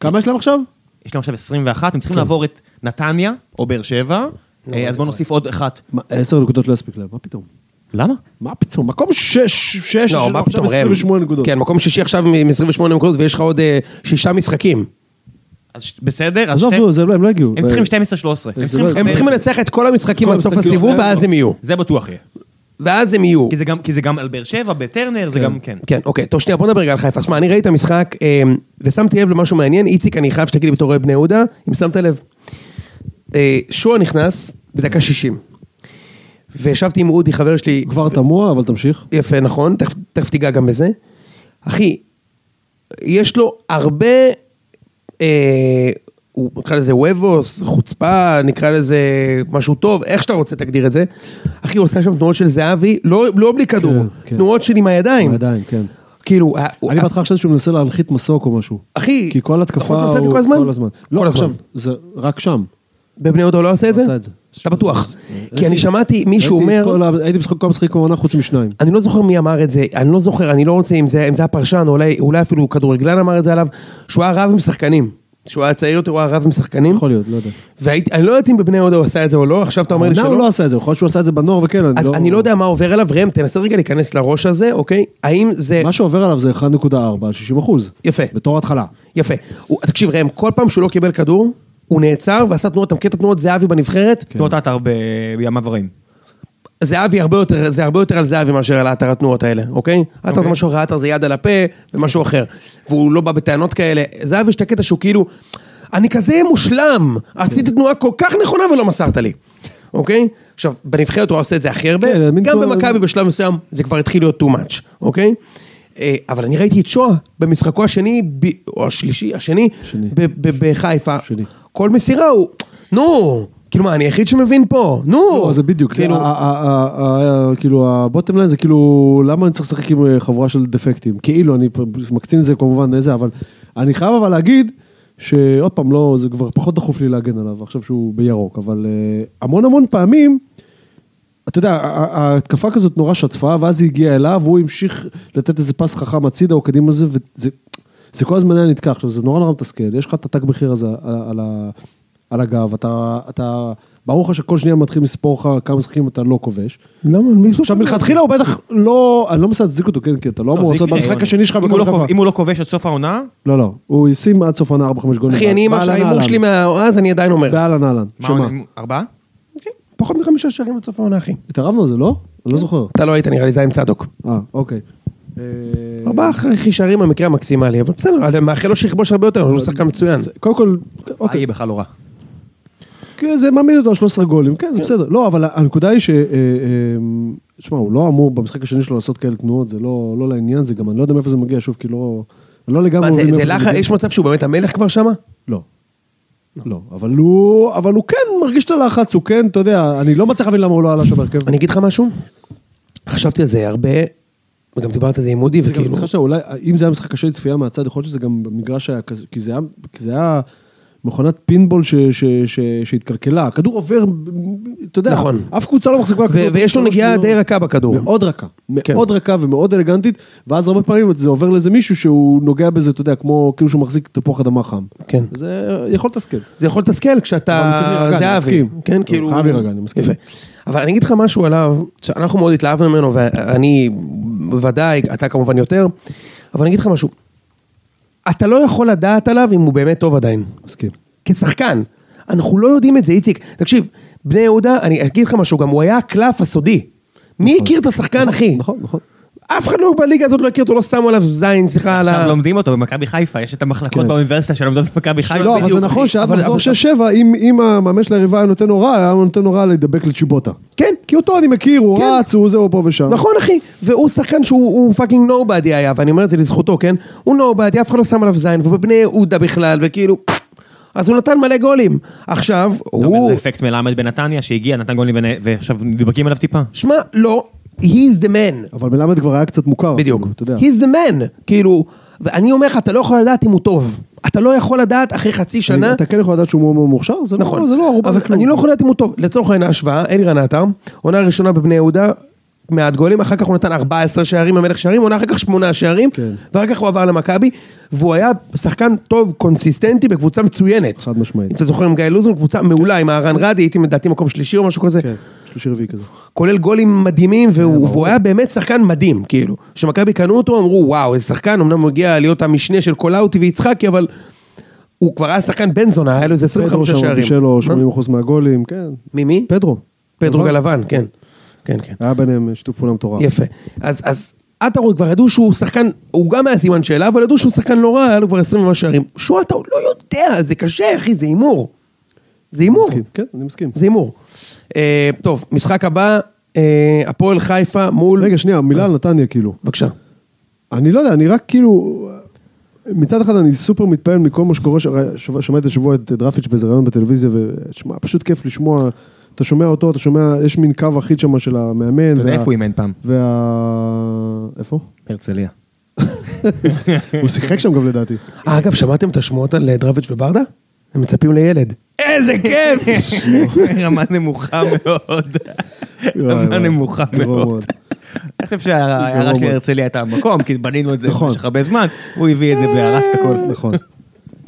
Speaker 2: כמה יש להם עכשיו?
Speaker 1: יש להם עכשיו 21, הם צריכים
Speaker 2: כן.
Speaker 1: לעבור את נתניה או באר שבע,
Speaker 2: לא,
Speaker 1: אה, אז בואו נוסיף עוד אחת.
Speaker 2: מה, עשר נקודות לא יספיק להם, מה פתאום?
Speaker 1: למה?
Speaker 2: מה פתאום? מקום שש, שש,
Speaker 3: לא, מה פתאום, ראם.
Speaker 2: 28 נקודות.
Speaker 3: כן, מקום שישי עכשיו עם 28 נקודות, ויש לך עוד אה, שישה משחקים.
Speaker 1: אה, אז ש- בסדר, אז
Speaker 2: עזוב,
Speaker 1: שתי-
Speaker 2: נו, זה לא- הם לא הגיעו.
Speaker 1: הם צריכים 12-13.
Speaker 2: זה
Speaker 1: הם צריכים
Speaker 2: לא-
Speaker 1: לחבר-
Speaker 3: הם צריכים לנצח את כל המשחקים
Speaker 2: כל
Speaker 3: עד סוף
Speaker 2: המשחקים,
Speaker 3: הסיבוב,
Speaker 2: לא.
Speaker 3: ואז הם יהיו.
Speaker 1: זה בטוח יהיה.
Speaker 3: ואז הם יהיו.
Speaker 1: אה, כי זה גם- כי זה גם על באר שבע, בטרנר, זה גם כן.
Speaker 3: כן, אוקיי, טוב, שנייה, בוא נדבר רגע על חיפה. אז מה, אני ראיתי את המשחק, אה, ושמתי לב למשהו מעניין. איציק, אני חייב שתגיד לי בתור אוהד בני יהודה, אם שמת לב. אה, שועה נכנס בדקה 60. וישבתי עם אודי, חבר שלי,
Speaker 2: כבר תמוה, אבל תמשיך.
Speaker 3: יפה, נכון, תכף, תכף תיגע גם בזה. אחי, יש לו הרבה, אה, הוא- נקרא לזה וובוס, חוצפה, נקרא לזה משהו טוב, איך שאתה רוצה תגדיר את זה. אחי, הוא עושה שם תנועות של זהבי, לא, לא בלי כדור,
Speaker 2: כן.
Speaker 3: תנועות של עם הידיים.
Speaker 2: עדיין, כן.
Speaker 3: כאילו, ה- הוא-
Speaker 2: אני בהתחלה חשבתי שהוא מנסה להנחית מסוק או משהו.
Speaker 3: אחי,
Speaker 2: כי כל התקפה
Speaker 3: נכון שהוא עושה את זה
Speaker 2: הוא...
Speaker 3: כל הזמן?
Speaker 2: לא,
Speaker 3: כל הזמן.
Speaker 2: עכשיו, זה רק שם.
Speaker 3: בבני יהודה הוא לא עושה את זה?
Speaker 2: עשה את זה.
Speaker 3: אתה בטוח.
Speaker 2: ראיתי-
Speaker 3: כי אני שמעתי מישהו
Speaker 2: הייתי את
Speaker 3: אומר...
Speaker 2: כל ה- הייתי משחק כל המשחקים בעונה חוץ משניים.
Speaker 3: אני לא זוכר מי אמר את זה, אני לא זוכר, אני לא רוצה אם זה, אם זה הפרשן, או אולי, אולי אפילו כדורגלן אמר את זה עליו, שהוא היה רב עם שחקנים. שהוא היה צעיר יותר, הוא היה רב עם שחקנים.
Speaker 2: יכול להיות, לא יודע.
Speaker 3: ואני לא יודעת אם בבני יהודה הוא עשה את זה או לא, עכשיו אתה אומר לי
Speaker 2: העונה
Speaker 3: שלא.
Speaker 2: הוא לא עשה את זה, יכול להיות שהוא עשה את זה בנוער וכן, אני
Speaker 3: אז
Speaker 2: לא...
Speaker 3: אני לא יודע מה עובר עליו, ראם, תנסה רגע להיכנס לראש הזה, אוקיי? האם זה...
Speaker 2: מה שעובר עליו זה 1.4, 60 אחוז.
Speaker 3: יפה.
Speaker 2: בתור התחלה.
Speaker 3: יפה. הוא, תקשיב, ראם, כל פעם שהוא לא קיבל כדור, הוא נעצר ועשה תנועות, אתה מכיר את התנועות זהבי בנבחרת?
Speaker 2: כן.
Speaker 1: תנועות עטר ב- בימיו הרעים.
Speaker 3: זהבי הרבה יותר, זה הרבה יותר על זהבי מאשר על עטר התנועות האלה, אוקיי? עטר זה משהו אחר, עטר זה יד על הפה ומשהו
Speaker 2: אוקיי.
Speaker 3: אחר. והוא לא בא בטענות כאלה. זהבי יש את הקטע שהוא כאילו, אני כזה מושלם,
Speaker 2: כן.
Speaker 3: עשיתי תנועה כל כך נכונה ולא מסרת לי, אוקיי? עכשיו, בנבחרת הוא עושה את זה הכי הרבה,
Speaker 2: כן, מין
Speaker 3: גם
Speaker 2: כמו-
Speaker 3: במכבי בשלב מסוים זה כבר התחיל להיות too much, אוקיי? אה, אבל אני ראיתי את שואה במשחקו השני, ב- או השלישי, השני,
Speaker 2: שני.
Speaker 3: ב- ב- בחיפה.
Speaker 2: שני.
Speaker 3: כל מסירה הוא, נו, כאילו מה, אני היחיד שמבין פה, נו.
Speaker 2: לא, זה בדיוק, זה
Speaker 3: כאילו,
Speaker 2: ה- ה- ה- ה- ה- כאילו הבוטם ליין זה כאילו, למה אני צריך לשחק עם אה, חבורה של דפקטים? כאילו, אני פ- מקצין את זה כמובן איזה, אבל אני חייב אבל להגיד, שעוד פעם, לא, זה כבר פחות דחוף לי להגן עליו, עכשיו שהוא בירוק, אבל אה, המון המון פעמים, אתה יודע, ה- ה- ההתקפה כזאת נורא שטפה, ואז היא הגיעה אליו, והוא המשיך לתת איזה פס חכם הצידה או קדימה לזה, וזה זה כל הזמן היה נתקע. עכשיו, זה נורא נורא מתסכל, יש לך את התג מחיר הזה על, ה- על, ה- על הגב, אתה, אתה, ברור לך שכל שנייה מתחיל לספור לך כמה משחקים אתה לא כובש.
Speaker 3: למה, מי זה?
Speaker 2: עכשיו, מלכתחילה הוא בטח לא, אני לא מנסה להצדיק אותו, כן, כי אתה לא
Speaker 1: לא,
Speaker 2: אמור
Speaker 1: זה
Speaker 2: לעשות
Speaker 1: יקרה.
Speaker 2: במשחק השני שלך
Speaker 1: אם הוא
Speaker 2: בכל
Speaker 1: לא
Speaker 2: חברה.
Speaker 1: כובש- אם הוא לא כובש עד סוף העונה,
Speaker 2: לא, לא, הוא ישים עד סוף העונה 4-5 גולים.
Speaker 3: אחי, אני עם
Speaker 2: באהלן,
Speaker 3: ההימור
Speaker 2: אהלן.
Speaker 3: שלי מהאז, אני עדיין אומר.
Speaker 2: באהלן אהלן,
Speaker 1: מה,
Speaker 2: שמה?
Speaker 1: אני- ארבעה?
Speaker 3: פחות מחמישה שערים עד סוף העונה, אחי.
Speaker 2: התערבנו על זה, לא? אני
Speaker 1: כן.
Speaker 2: לא זוכר.
Speaker 3: אתה לא היית נראה לי, זה היה עם צדוק.
Speaker 2: אה, אוקיי. אה,
Speaker 3: ארבעה אחי שערים במקרה המקסימלי, אבל בסדר, אני מאחל לו שיכבוש הרבה יותר, אבל הוא שחקן מצוין.
Speaker 2: קודם כל, אוקיי.
Speaker 1: אוקיי, בכלל לא רע.
Speaker 2: כן, זה מעמיד אותו על 13 גולים, כן, זה בסדר. לא, אבל הנקודה היא ש... אה, אה, תשמע, הוא לא אמור במשחק השני שלו לעשות כאלה תנועות, זה לא לא לעניין, זה גם, אני לא יודע מאיפה זה מגיע, שוב, כי לא... אני לא לגמרי
Speaker 3: מה, זה-
Speaker 2: מבין
Speaker 3: זה
Speaker 2: מאיפה
Speaker 3: לחץ,
Speaker 2: מגיע.
Speaker 3: יש מצב שהוא באמת המלך כבר שמה?
Speaker 2: לא. לא, אבל הוא, אבל הוא כן מרגיש את הלחץ, הוא כן, אתה יודע, אני לא מצליח להבין למה הוא לא עלה שם בהרכב.
Speaker 3: אני אגיד לך משהו? חשבתי על זה הרבה, וגם דיברת על זה עם מודי,
Speaker 2: זה גם,
Speaker 3: וכאילו...
Speaker 2: סליחה שאולי, אם זה היה משחק קשה לצפייה מהצד, יכול להיות שזה גם במגרש היה כזה, כי זה היה, כי זה היה מכונת פינבול ש, ש, ש, שהתקלקלה, הכדור עובר, אתה יודע,
Speaker 3: נכון.
Speaker 2: אף קבוצה לא מחזיקה
Speaker 3: ו- ויש לו
Speaker 2: שלוש
Speaker 3: נגיעה
Speaker 2: שניות.
Speaker 3: די רכה בכדור.
Speaker 2: לא- מאוד רכה,
Speaker 3: כן.
Speaker 2: מאוד רכה ומאוד אלגנטית, ואז הרבה פעמים זה עובר לאיזה מישהו שהוא נוגע בזה, אתה יודע, כמו כאילו שהוא מחזיק תפוח אדמה חם.
Speaker 3: כן.
Speaker 2: זה יכול לתסכל.
Speaker 3: זה יכול לתסכל
Speaker 2: אבל
Speaker 3: כשאתה...
Speaker 2: הוא צריך להירגע, אני
Speaker 3: זה אבי.
Speaker 2: מסכים.
Speaker 3: כן,
Speaker 2: הוא
Speaker 3: כאילו...
Speaker 2: חייב להירגע, אני מסכים.
Speaker 3: יפה. אבל אני אגיד לך משהו עליו, שאנחנו מאוד התלהבנו ממנו, ואני בוודאי, אתה כמובן יותר, אבל אני אגיד לך משהו. אתה לא יכול לדעת עליו אם הוא באמת טוב עדיין.
Speaker 2: מסכים.
Speaker 3: כשחקן. אנחנו לא יודעים את זה, איציק. תקשיב, בני יהודה, אני אגיד לך משהו, גם הוא היה הקלף הסודי. מי הכיר את השחקן, אחי?
Speaker 2: נכון, נכון.
Speaker 3: אף אחד לא בליגה הזאת לא הכיר אותו, לא שמו עליו זין, סליחה על
Speaker 1: עכשיו
Speaker 2: לא-
Speaker 3: ה...
Speaker 1: לומדים אותו במכבי חיפה, יש את המחלקות
Speaker 2: כן.
Speaker 1: באוניברסיטה שלומדות את מכבי חיפה.
Speaker 2: לא, אבל
Speaker 3: בדיוק,
Speaker 2: זה נכון
Speaker 3: אחי.
Speaker 2: שעד
Speaker 3: אבל-
Speaker 2: מחזור
Speaker 3: אבל-
Speaker 2: 6-7, אם- אם המאמן של היריבה היה נותן הוראה, היה נותן הוראה להידבק לצ'יבוטה.
Speaker 3: כן.
Speaker 2: כי אותו אני מכיר, הוא
Speaker 3: כן.
Speaker 2: רץ, הוא זה, הוא פה ושם.
Speaker 3: נכון אחי, והוא שחקן שהוא הוא פאקינג נובדי היה, ואני אומר את זה לזכותו, כן? הוא נובדי, אף אחד לא שם עליו זין, והוא בבני יהודה בכלל, וכאילו... אז הוא נתן מלא גולים. עכשיו,
Speaker 1: הוא...
Speaker 3: הוא...
Speaker 1: זה אפקט מלמד בנתניה שהגיע, נתן גולים ונ- ועכשיו נדבקים עליו טיפה.
Speaker 3: שמע, לא, he's the man.
Speaker 2: אבל מלמד כבר היה קצת מוכר.
Speaker 3: בדיוק.
Speaker 2: אפילו, אתה יודע.
Speaker 3: he's the man. כאילו, ואני אומר לך, אתה לא יכול לדעת אם הוא טוב. אתה לא יכול לדעת אחרי חצי שנה...
Speaker 2: אתה כן יכול לדעת שהוא מאוד מאוד מוכשר? זה לא-
Speaker 3: נכון.
Speaker 2: זה לא ערובה
Speaker 3: אבל
Speaker 2: לכלום.
Speaker 3: אני לא יכול לדעת אם הוא טוב. לצורך העניין ההשוואה, אלירן עטר, עונה ראשונה בבני יהודה, מעט גולים, אחר כך הוא נתן 14 שערים במלך שערים, עונה אחר כך 8 שערים,
Speaker 2: כן.
Speaker 3: ואחר כך הוא עבר למכבי, והוא היה שחקן טוב, קונסיסטנטי, בקבוצה מצוינת.
Speaker 2: חד משמעית.
Speaker 3: אם אתה זוכר עם גיא לוזון, קבוצה מעולה, עם אהרן רדי, הייתי לדעתי מקום שלישי או משהו כזה.
Speaker 2: כן, שלישי רביעי כזה.
Speaker 3: כולל גולים מדהימים, והוא, והוא היה באמת שחקן מדהים, כאילו. כשמכבי קנו אותו, אמרו, וואו, איזה שחקן, אמנם הוא הגיע להיות המשנה של קולאוטי ויצחקי, אבל הוא כבר היה שחקן בן זונה, היה לו איזה
Speaker 2: פדרו
Speaker 3: 25
Speaker 2: שם
Speaker 3: שערים.
Speaker 2: בישל לו
Speaker 3: מה?
Speaker 2: 80% מהגולים, כן.
Speaker 3: ממי?
Speaker 2: פדרו.
Speaker 3: פדרו
Speaker 2: נכון?
Speaker 3: גלבן, כן. כן, כן.
Speaker 2: היה ביניהם שיתוף פעולה מטורף.
Speaker 3: יפה. אז, אז עטרות כבר ידעו שהוא שחקן, הוא גם היה סימן שאלה, אבל ידעו שהוא שחקן לא רע, היה לו כבר 20 ומשהו שערים. שואה אתה עוד לא יודע, זה קשה, אחי, זה הימור. זה הימור.
Speaker 2: מסכים, כן, אני מסכים.
Speaker 3: זה הימור. אה, טוב, משחק הבא, אה, הפועל חיפה מול...
Speaker 2: רגע, שנייה, מילה על נתניה, כאילו.
Speaker 3: בבקשה.
Speaker 2: אני לא יודע, אני רק כאילו... מצד אחד אני סופר מתפעל מכל מה שקורה, ש- שב- שמעתי השבוע את דרפיץ' באיזה ראיון בטלוויזיה, ושמע, פשוט כיף לשמוע, אתה שומע אותו, אתה שומע, יש מין קו אחיד שם של המאמן.
Speaker 1: אתה יודע
Speaker 2: וה-
Speaker 1: איפה הוא אימן פעם?
Speaker 2: וה...
Speaker 1: *laughs*
Speaker 2: איפה?
Speaker 1: הרצליה.
Speaker 2: הוא שיחק שם גם לדעתי.
Speaker 3: אה, אגב, שמעתם את השמועות על אה, דרביץ' וברדה? הם מצפים לילד. איזה כיף!
Speaker 1: *laughs* רמה נמוכה מאוד. רמה נמוכה
Speaker 2: גרוע
Speaker 1: מאוד. אני חושב שההערה של
Speaker 2: מאוד.
Speaker 1: הרצליה הייתה במקום, כי בנינו את זה
Speaker 2: נכון.
Speaker 1: במשך הרבה זמן, הוא הביא את זה והרס את הכל.
Speaker 2: נכון.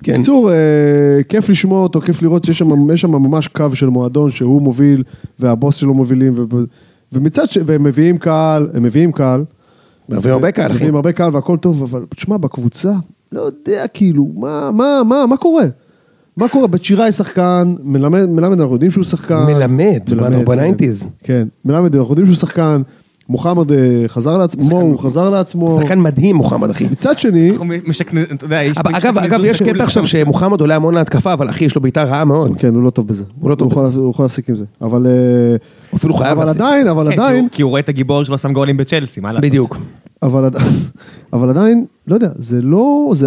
Speaker 3: כן.
Speaker 2: בקיצור, אה, כיף לשמוע אותו, כיף לראות שיש שם, יש שם ממש קו של מועדון שהוא מוביל, והבוס שלו מובילים, ו- ומצד ש... והם מביאים קהל, הם מביאים קהל.
Speaker 3: מביאים הרבה קהל, אחי.
Speaker 2: מביאים הרבה קהל והכל טוב, אבל תשמע, בקבוצה, לא יודע כאילו, מה, מה, מה, מה קורה? מה קורה? בת שיראי שחקן, מלמד, מלמד, אנחנו יודעים שהוא שחקן.
Speaker 3: מלמד, בנו,
Speaker 2: כן.
Speaker 3: בניינטיז.
Speaker 2: כן, מלמד, אנחנו יודעים שהוא שחקן. מוחמד אה, חזר לעצמו, הוא חזר לעצמו.
Speaker 3: שחקן מדהים, מוחמד, אחי.
Speaker 2: מצד שני,
Speaker 1: אנחנו משכנעים, אתה יודע, יש-
Speaker 3: אבל אגב,
Speaker 1: משכנעים
Speaker 3: אגב, יש
Speaker 1: מעולה.
Speaker 3: קטע עכשיו שמוחמד עולה המון להתקפה, אבל אחי, יש לו בעיטה רעה מאוד.
Speaker 2: כן, הוא לא טוב בזה.
Speaker 3: הוא לא טוב
Speaker 2: יכול- הוא יכול להפסיק עם זה. אבל... אה,
Speaker 3: אפילו חייב
Speaker 2: אבל
Speaker 3: להפסיק.
Speaker 2: עדיין, אבל
Speaker 1: כן, כי הוא-
Speaker 2: עדיין,
Speaker 1: כי הוא רואה את הגיבור שלו שם גולים בצ'לסי, מה לעשות?
Speaker 3: בדיוק.
Speaker 2: אבל, עד- *laughs* אבל עדיין, לא יודע, זה לא, זה,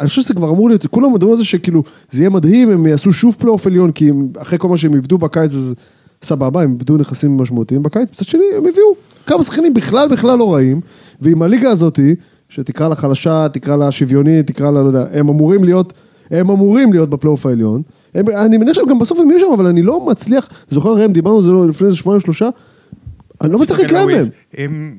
Speaker 2: אני חושב שזה כבר אמור להיות, כולם מדברים על זה שכאילו, זה יהיה מדהים, הם יעשו שוב פלייאוף עליון, כי הם, אחרי כל מה שהם איבדו בקיץ, אז סבבה, הם איבדו נכסים משמעותיים בקיץ, מצד שני, הם הביאו כמה שחקנים בכלל בכלל לא רעים, ועם הליגה הזאתי, שתקרא לה חלשה, תקרא לה שוויונית, תקרא לה, לא יודע, הם אמורים להיות, הם אמורים להיות בפלייאוף העליון. הם, אני מניח שהם גם בסוף הם יהיו שם, אבל אני לא מצליח, זוכר ראם, דיברנו על זה לא, לפני איזה שבועיים שלושה, אני לא מצליח להתלהב מהם.
Speaker 1: הם...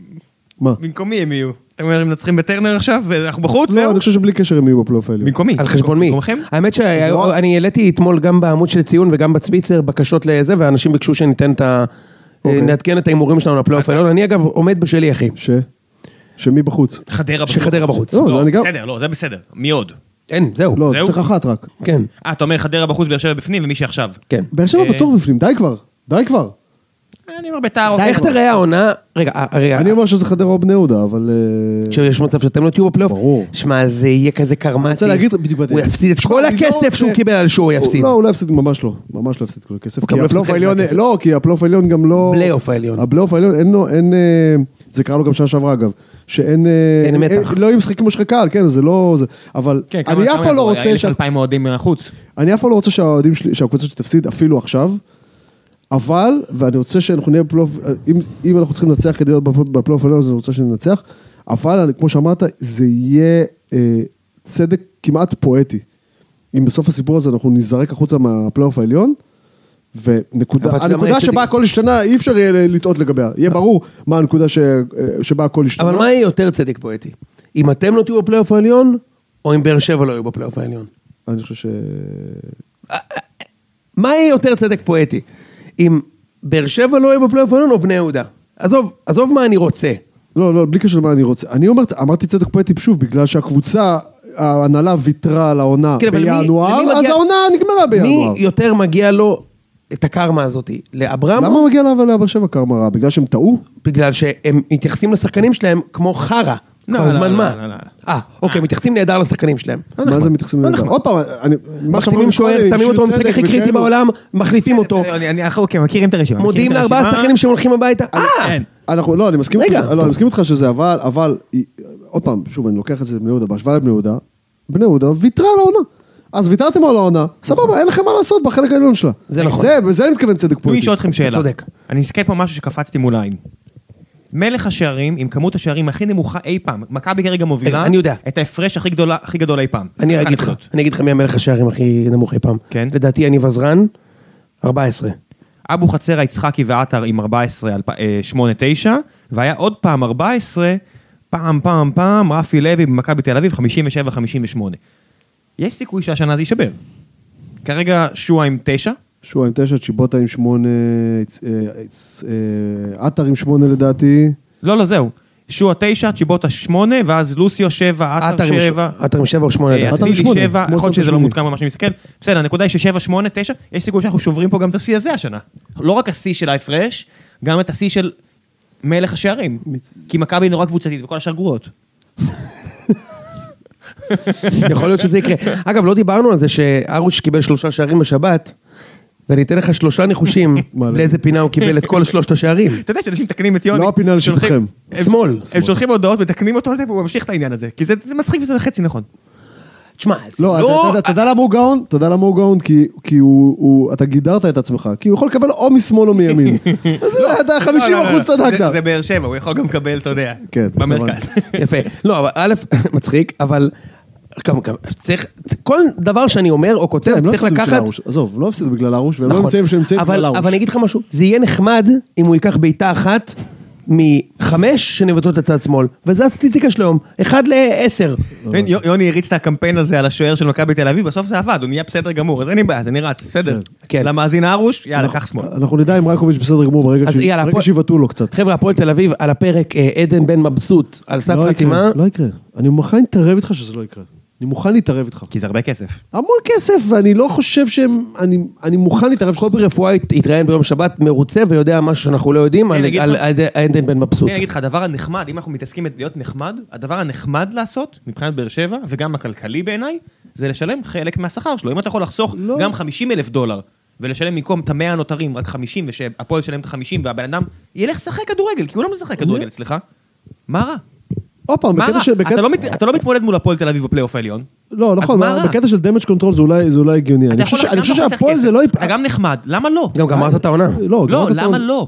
Speaker 2: מה?
Speaker 1: במקומי הם יהיו. אתם אומרים, מנצחים בטרנר עכשיו, ואנחנו בחוץ,
Speaker 2: לא,
Speaker 1: זהו?
Speaker 2: אני חושב שבלי קשר הם יהיו בפלייאוף העליון.
Speaker 1: במקומי.
Speaker 3: על חשבון מי?
Speaker 1: במקומכם?
Speaker 3: האמת
Speaker 2: לא.
Speaker 3: שאני העליתי אתמול גם בעמוד של ציון וגם בצוויצר בקשות לזה, ואנשים ביקשו שניתן את ה...
Speaker 2: אוקיי.
Speaker 3: נעדכן את ההימורים שלנו לפלייאוף העליון. אני אגב עומד בשלי, אחי.
Speaker 2: ש? שמי בחוץ?
Speaker 1: חדרה בחוץ.
Speaker 3: שחדרה בחוץ.
Speaker 2: לא, זה אני גם...
Speaker 1: בסדר, לא, זה בסדר. מי עוד?
Speaker 3: אין, זהו.
Speaker 2: לא,
Speaker 1: זהו?
Speaker 2: צריך אחת רק.
Speaker 3: כן,
Speaker 1: אה, אתה אומר חדרה בחוץ, באר שבע בפנים, ומי שעכשיו.
Speaker 3: כן.
Speaker 2: באר שבע
Speaker 1: אה.
Speaker 2: בטוח בפנים, די כבר. די כבר.
Speaker 1: אני אומר ביתר. אוקיי.
Speaker 3: איך תראה העונה... רגע, אה, רגע.
Speaker 2: אני אומר שזה חדרה או בני יהודה, אבל... אה,
Speaker 3: שיש מצב שאתם לא תהיו בפלייאוף?
Speaker 2: ברור.
Speaker 3: שמע, זה יהיה כזה קרמטי.
Speaker 2: רוצה להגיד אה, בדיוק בדרך.
Speaker 3: הוא יפסיד את
Speaker 2: שמע,
Speaker 3: כל
Speaker 2: אני לא
Speaker 3: הכסף
Speaker 2: רוצה-
Speaker 3: שהוא קיבל על שהוא יפסיד.
Speaker 2: לא, הוא לא יפסיד, ממש לא. ממש לא יפסיד כל הכסף.
Speaker 3: גם
Speaker 2: כי
Speaker 3: לא
Speaker 2: הפלייאוף
Speaker 3: יפסיד
Speaker 2: העליון...
Speaker 3: חלק מהכסף.
Speaker 2: לא, כי הפלייאוף העליון גם לא...
Speaker 3: פלייאוף העליון.
Speaker 2: הפלייאוף העליון, אין לו, אין... אה, זה קרה לו גם שנה שעברה, אגב. שאין... אה,
Speaker 3: אין מתח.
Speaker 2: לא יהיו משחקים כמו שלך קהל, כן, זה לא... זה- אבל
Speaker 1: כן, כמה-
Speaker 2: אני אף
Speaker 1: כמה
Speaker 2: פעם לא
Speaker 1: יבואו?
Speaker 2: רוצה...
Speaker 1: אלף
Speaker 2: שה-
Speaker 1: אלפיים אוהדים מהחוץ.
Speaker 2: אני אף פעם לא רוצה שהאוהדים שלי, שהקבוצה שלי תפסיד, אפילו עכשיו, אבל, ואני רוצה שאנחנו נהיה בפלייאוף, אם, אם אנחנו צריכים לנצח כדי להיות בפל- בפלייאוף העליון, אז אני רוצה שננצח, אבל אני, כמו שאמרת, זה יהיה אה, צדק כמעט פואטי. אם בסוף הסיפור הזה אנחנו ניזרק החוצה מהפלייאוף העליון,
Speaker 3: אבל
Speaker 2: ונקודה,
Speaker 3: אתה יודע מה,
Speaker 2: הנקודה
Speaker 3: יש
Speaker 2: שבה
Speaker 3: צדק- אה.
Speaker 2: הכל השתנה, אי אפשר יהיה לטעות לגביה. יהיה ברור מה הנקודה ש, אה, שבה הכל השתנה.
Speaker 3: אבל מה יהיה יותר צדק פואטי? אם אתם לא תהיו בפלייאוף העליון, או אם באר שבע לא יהיו בפלייאוף העליון?
Speaker 2: אני חושב ש...
Speaker 3: מה יהיה יותר צדק פואטי? אם באר שבע לא יהיה בפלייאוף העליון או בני יהודה? עזוב, עזוב מה אני רוצה.
Speaker 2: לא, לא, בלי קשר למה אני רוצה. אני אומר, אמרתי צדק פואטי שוב, בגלל שהקבוצה, ההנהלה ויתרה על העונה
Speaker 3: כן, אבל מי- למי
Speaker 2: בינואר,
Speaker 3: מגיע-
Speaker 2: אז העונה נגמרה
Speaker 3: מי
Speaker 2: בינואר.
Speaker 3: יותר מגיע לו את הקרמה הזאת? לאברהם?
Speaker 2: למה מגיע לה ולבאר שבע קרמה רע? בגלל שהם טעו?
Speaker 3: בגלל שהם מתייחסים לשחקנים שלהם כמו חרא.
Speaker 1: לא,
Speaker 3: כבר
Speaker 1: לא,
Speaker 3: זמן
Speaker 1: לא,
Speaker 3: מה.
Speaker 1: לא, לא, לא.
Speaker 3: אה, אוקיי, מתייחסים נהדר לשחקנים שלהם.
Speaker 2: מה זה מתייחסים לזה? עוד פעם, אני... מה שאמרנו
Speaker 3: נכון, לא מחתימים
Speaker 2: קודם,
Speaker 3: שוער, שמים
Speaker 2: בשביל
Speaker 3: אותו במשחק
Speaker 2: צדק
Speaker 3: הכי
Speaker 2: וכאלו.
Speaker 3: קריטי בעולם, מחליפים אותו,
Speaker 1: אני- אני- אנחנו אוקיי, מכירים את הרשימה.
Speaker 3: מודיעים
Speaker 1: מכירים את
Speaker 3: לארבעה
Speaker 1: הרשימה.
Speaker 3: שחקנים שהם הולכים הביתה. אה!
Speaker 1: כן.
Speaker 2: אנחנו, לא, אני מסכים
Speaker 3: רגע.
Speaker 2: איתך, לא, אני מסכים איתך שזה, אבל, אבל, היא- עוד פעם, שוב, אני לוקח את זה לבני יהודה, בהשוואה לבני יהודה, בני יהודה ויתרה על העונה. אז ויתרתם על העונה, סבבה, אין לכם מה לעשות בחלק העליון שלה.
Speaker 3: זה נכון.
Speaker 2: זה, בזה אני מתכוון צדק
Speaker 1: אני
Speaker 2: פוליטי.
Speaker 1: אשאל אתכם שאלה.
Speaker 3: צודק.
Speaker 1: אני מסתכל פה על משהו שקפצתי מול העין. מלך השערים עם כמות השערים הכי נמוכה אי פעם. מכבי כרגע מובילה.
Speaker 3: אני יודע.
Speaker 1: את ההפרש הכי גדולה- הכי גדול אי פעם.
Speaker 3: אני
Speaker 1: סליחה,
Speaker 3: אגיד לך,
Speaker 1: נקודות.
Speaker 3: אני אגיד לך מי המלך השערים הכי נמוך אי פעם.
Speaker 1: כן.
Speaker 3: לדעתי אני וזרן, 14.
Speaker 1: אבו חצרה, יצחקי ועטר עם 14, אלפ- אה, 8-9, והיה עוד פעם 14, פעם, פעם, פעם, רפי לוי במכבי תל אביב, 57-58. יש סיכוי שהשנה זה יישבר. כרגע שועה עם 9,
Speaker 2: שועה עם תשע, צ'יבוטה עם שמונה, אה, אה, אה, עטר עם שמונה לדעתי.
Speaker 1: לא, לא, זהו. שועה 9, צ'יבוטה 8, ואז לוסיו 7,
Speaker 3: אה,
Speaker 1: עטר 7.
Speaker 3: עטר עם 7 או 8
Speaker 1: אה,
Speaker 3: לדעתי.
Speaker 2: עטר עם
Speaker 1: אצילי
Speaker 2: שמונה,
Speaker 1: 7,
Speaker 2: כמו
Speaker 1: יכול להיות
Speaker 2: עשרים
Speaker 1: שזה לא
Speaker 2: ושמונה.
Speaker 1: מעודכן במה שאני מסתכל. בסדר, הנקודה היא ש-7, 8, 9, יש סיכוי שאנחנו שוברים פה גם את השיא הזה השנה. לא רק השיא של ההפרש, גם את השיא של מלך השערים.
Speaker 2: מצ-
Speaker 1: כי מכבי נורא קבוצתית וכל השאר גרועות.
Speaker 3: יכול להיות שזה יקרה. אגב, לא דיברנו על זה שארוש קיבל שלושה שערים בשבת, ואני אתן לך שלושה ניחושים
Speaker 2: מה, לא?
Speaker 3: לאיזה פינה הוא קיבל את כל שלושת השערים.
Speaker 1: אתה יודע שאנשים מתקנים את יוני.
Speaker 2: לא הפינה
Speaker 1: שולחים-
Speaker 2: לשבחכם.
Speaker 1: הם-
Speaker 3: שמאל.
Speaker 1: הם שולחים הודעות, מתקנים אותו על זה, והוא ממשיך את העניין הזה. כי זה זה מצחיק וזה חצי נכון.
Speaker 3: תשמע, זה
Speaker 2: לא, אתה- אתה- אתה יודע למה הוא גאון? אתה יודע למה הוא גאון? כי- כי הוא, הוא- אתה גידרת את עצמך, כי הוא יכול לקבל או משמאל או מימין. אז אתה 50
Speaker 1: לא, לא, לא.
Speaker 2: אחוז
Speaker 1: זה- זה
Speaker 2: צדקת.
Speaker 1: באר שבע, הוא יכול גם לקבל, אתה יודע.
Speaker 2: כן,
Speaker 1: במרכז.
Speaker 3: יפה. לא, אבל א', *laughs* מצחיק, אבל... גם, גם, צריך, כל דבר שאני אומר או כותב,
Speaker 2: הם לא
Speaker 3: צריך
Speaker 2: הפסידו בשביל
Speaker 3: לקחת... נכון.
Speaker 2: הרוש. עזוב, לא הפסידו בגלל הרוש, והם לא נמצאים שהם נמצאים
Speaker 3: אבל,
Speaker 2: בגלל הרוש.
Speaker 3: אבל אני אגיד לך משהו, זה יהיה נחמד אם הוא ייקח בעיטה אחת מחמש שנבטות לצד שמאל, וזו הסטטיסטיקה של היום, אחד לעשר.
Speaker 2: לא,
Speaker 1: כן, יו- יוני הריץ את הקמפיין הזה על השוער של מכבי תל אביב, בסוף זה עבד, הוא נהיה בסדר גמור, אז אין לי בעיה, אז אני רץ, בסדר.
Speaker 3: כן.
Speaker 1: למאזין הרוש, יאללה, קח שמאל.
Speaker 2: אנחנו נדע אם רייקוביץ' בסדר גמור ברגע
Speaker 3: אז
Speaker 2: ש-
Speaker 3: יאללה,
Speaker 2: ברגע
Speaker 3: הפועל-
Speaker 2: שיבעטו לו קצת.
Speaker 3: חבר'ה, הפועל תל אביב, על הפרק אה, עדן בן מבסוט, על סף
Speaker 2: לא
Speaker 3: חתימה.
Speaker 2: יקרה, לא יקרה. אני מוכן להתערב איתך שזה לא יקרה. אני מוכן להתערב איתך.
Speaker 1: כי זה הרבה כסף.
Speaker 2: המון כסף, ואני לא חושב שהם... אני- אני מוכן להתערב איתך.
Speaker 3: קובי רפואה הת- התראיין ביום שבת מרוצה ויודע משהו שאנחנו לא יודעים
Speaker 1: כן,
Speaker 3: על
Speaker 1: אני אגיד
Speaker 3: על-
Speaker 1: לך-
Speaker 3: על עדן בן מבסוט.
Speaker 1: אני אגיד לך, הדבר הנחמד, אם אנחנו מתעסקים בלהיות נחמד, הדבר הנחמד לעשות, מבחינת באר שבע, וגם הכלכלי בעיניי, זה לשלם חלק מהשכר שלו. אם אתה יכול לחסוך
Speaker 2: לא.
Speaker 1: גם 50 אלף דולר, ולשלם במקום את המאה הנותרים, רק 50, ושהפועל ישלם את ה-50, והבן אדם ילך לשחק כדורגל, כי הוא לא משחק כדורגל אצלך, מה רע?
Speaker 2: עוד פעם,
Speaker 1: מה
Speaker 2: בקטע
Speaker 1: רע?
Speaker 2: של... בקטע-
Speaker 1: אתה לא מת- אתה לא מתמודד מול הפועל תל אביב בפלייאוף העליון.
Speaker 2: לא, נכון,
Speaker 1: מה רע?
Speaker 2: בקטע של damage control זה אולי- זה אולי הגיוני. אני
Speaker 1: אתה
Speaker 2: חושב
Speaker 1: יכול-
Speaker 2: ש- אני
Speaker 1: גם
Speaker 2: חושב
Speaker 1: אתה חוסך
Speaker 2: שהפועל
Speaker 1: כסף.
Speaker 2: זה לא...
Speaker 1: אתה גם נחמד, למה לא?
Speaker 3: גם גמרת את העונה.
Speaker 2: לא,
Speaker 1: לא,
Speaker 2: גמרת את
Speaker 1: למה
Speaker 2: העונה.
Speaker 1: לא?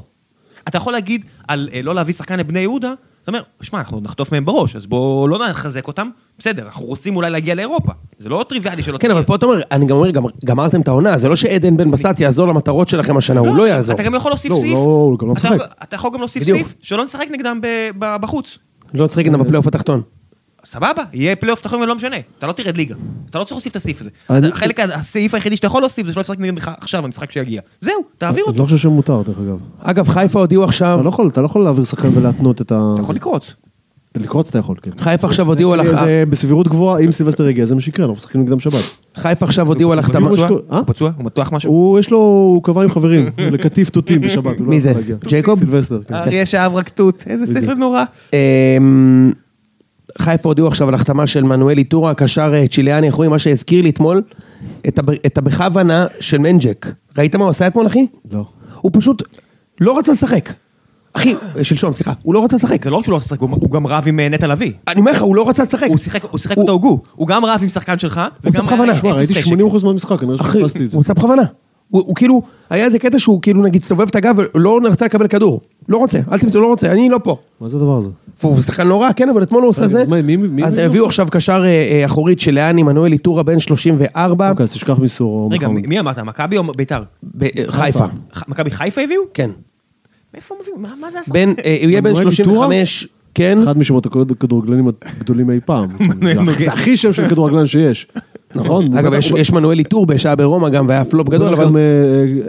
Speaker 1: אתה יכול להגיד על אה, לא להביא שחקן לבני יהודה, אתה אומר, שמע, אנחנו נחטוף מהם בראש, אז בואו לא נחזק אותם, בסדר, אנחנו רוצים אולי להגיע לאירופה. זה לא טריוויאלי שלא
Speaker 3: כן, אבל פה אתה אומר, אני גם אומר, גם- גמרתם את העונה, זה לא שעדן בן בסט יעזור למטרות שלכם השנה, הוא לא יעזור.
Speaker 1: אתה גם יכול להוסיף
Speaker 2: לא,
Speaker 1: סעיף.
Speaker 2: לא, הוא גם לא
Speaker 1: אתה-
Speaker 2: משחק.
Speaker 1: אתה יכול גם להוסיף
Speaker 3: בדיוק.
Speaker 1: סעיף, שלא נשחק נגדם ב- ב- בחוץ.
Speaker 3: לא צריך גם בפלייאוף התחתון.
Speaker 1: סבבה, יהיה פלייאוף תחתון ולא משנה, אתה לא תרד ליגה. אתה לא צריך להוסיף את הסעיף הזה.
Speaker 2: אני-
Speaker 1: אתה- חלק, הסעיף היחידי שאתה יכול להוסיף זה שלא לשחק נגדך עכשיו, במשחק שיגיע. זהו, תעביר
Speaker 2: אני
Speaker 1: אותו.
Speaker 2: לא חושב שמותר, דרך אגב.
Speaker 3: אגב, חיפה הודיעו עכשיו,
Speaker 2: אתה לא יכול- אתה לא יכול להעביר שחקן ולהתנות את ה...
Speaker 1: אתה יכול לקרוץ.
Speaker 2: לקרוץ אתה יכול, כן.
Speaker 3: חיפה עכשיו הודיעו על הח-
Speaker 2: זה בסבירות גבוהה, אם סילבסטר יגיע, זה מה שיקרה, אנחנו משחקים נגדם שבת.
Speaker 3: חיפה עכשיו הודיעו על
Speaker 1: הוא
Speaker 3: החתמה.
Speaker 1: פצוע?
Speaker 2: אה?
Speaker 1: הוא פצוע? הוא מתוח משהו?
Speaker 2: הוא, יש לו, הוא קבע עם חברים, *laughs* לקטיף תותים בשבת, הוא לא
Speaker 3: מי זה?
Speaker 2: יכול להגיע.
Speaker 3: ג'ייקוב?
Speaker 2: סילבסטר, כן.
Speaker 1: אריה שאב רק תות, איזה ספר נורא.
Speaker 3: אמ, חיפה הודיעו עכשיו על החתמה של מנואל איטורה, הקשר אה, צ'יליאני, איך אומרים, מה שהזכיר לי אתמול, את הב- את הבכוונה של מנג'ק. ראית מה הוא עשה אתמול, אחי?
Speaker 2: לא.
Speaker 3: הוא פשוט לא רצה לשחק. אחי, אה, שלשום, סליחה, הוא לא רצה לשחק.
Speaker 1: זה לא רק שהוא לא רצה לשחק, הוא הוא גם רב עם אה, נטע לביא.
Speaker 3: אני אומר לך, הוא לא רצה לשחק.
Speaker 1: הוא שיחק, הוא שיחק
Speaker 3: הוא-
Speaker 1: אותו הוגו. הוא גם רב עם שחקן שלך, וגם
Speaker 3: בכוונה.
Speaker 1: היה
Speaker 2: שמע,
Speaker 1: אפס
Speaker 2: ראיתי
Speaker 1: נשק.
Speaker 2: 80% מהמשחק, כנראה
Speaker 3: אחי,
Speaker 2: שפספסתי את זה.
Speaker 3: הוא עשה בכוונה. הוא הוא כאילו, היה איזה קטע שהוא כאילו נגיד סובב את הגב ולא רצה לקבל כדור. לא רוצה, אל תמצאו, לא רוצה, אני לא פה.
Speaker 2: מה זה הדבר הזה?
Speaker 3: והוא שחקן לא רע, כן, אבל אתמול הוא עשה
Speaker 2: רגע,
Speaker 3: זה.
Speaker 2: אז אה, מה, מי- מי-
Speaker 3: אז
Speaker 2: מי-
Speaker 3: הביאו עכשיו קשר אה, אה, אחורית של לאן עמנואל איטורה בן 34,
Speaker 2: אוקיי, אז תשכח מסורו.
Speaker 1: אה. רגע,
Speaker 2: מחמוד.
Speaker 1: מי מי אמרת? מכבי או ביתר?
Speaker 3: בחיפה.
Speaker 1: ח- מכבי חיפה הביאו?
Speaker 3: אה, כן.
Speaker 1: מאיפה הם הביאו? מה- מה זה הסרט?
Speaker 3: בן, אה, הוא יהיה בן
Speaker 2: עמנואל איטורה?
Speaker 3: 35, כן.
Speaker 2: אחד משמות הכדורגלנים הגדולים אי
Speaker 3: *laughs*
Speaker 2: פעם.
Speaker 1: מנואל
Speaker 2: זה הכי-
Speaker 1: נוגד.
Speaker 2: זה הכי שם של כדורגלן שיש. נכון?
Speaker 3: אגב, יש- יש מנואל איטור בשעה ברומא גם, והיה פלופ גדול,
Speaker 2: גדול,
Speaker 3: אבל...
Speaker 2: גם אה,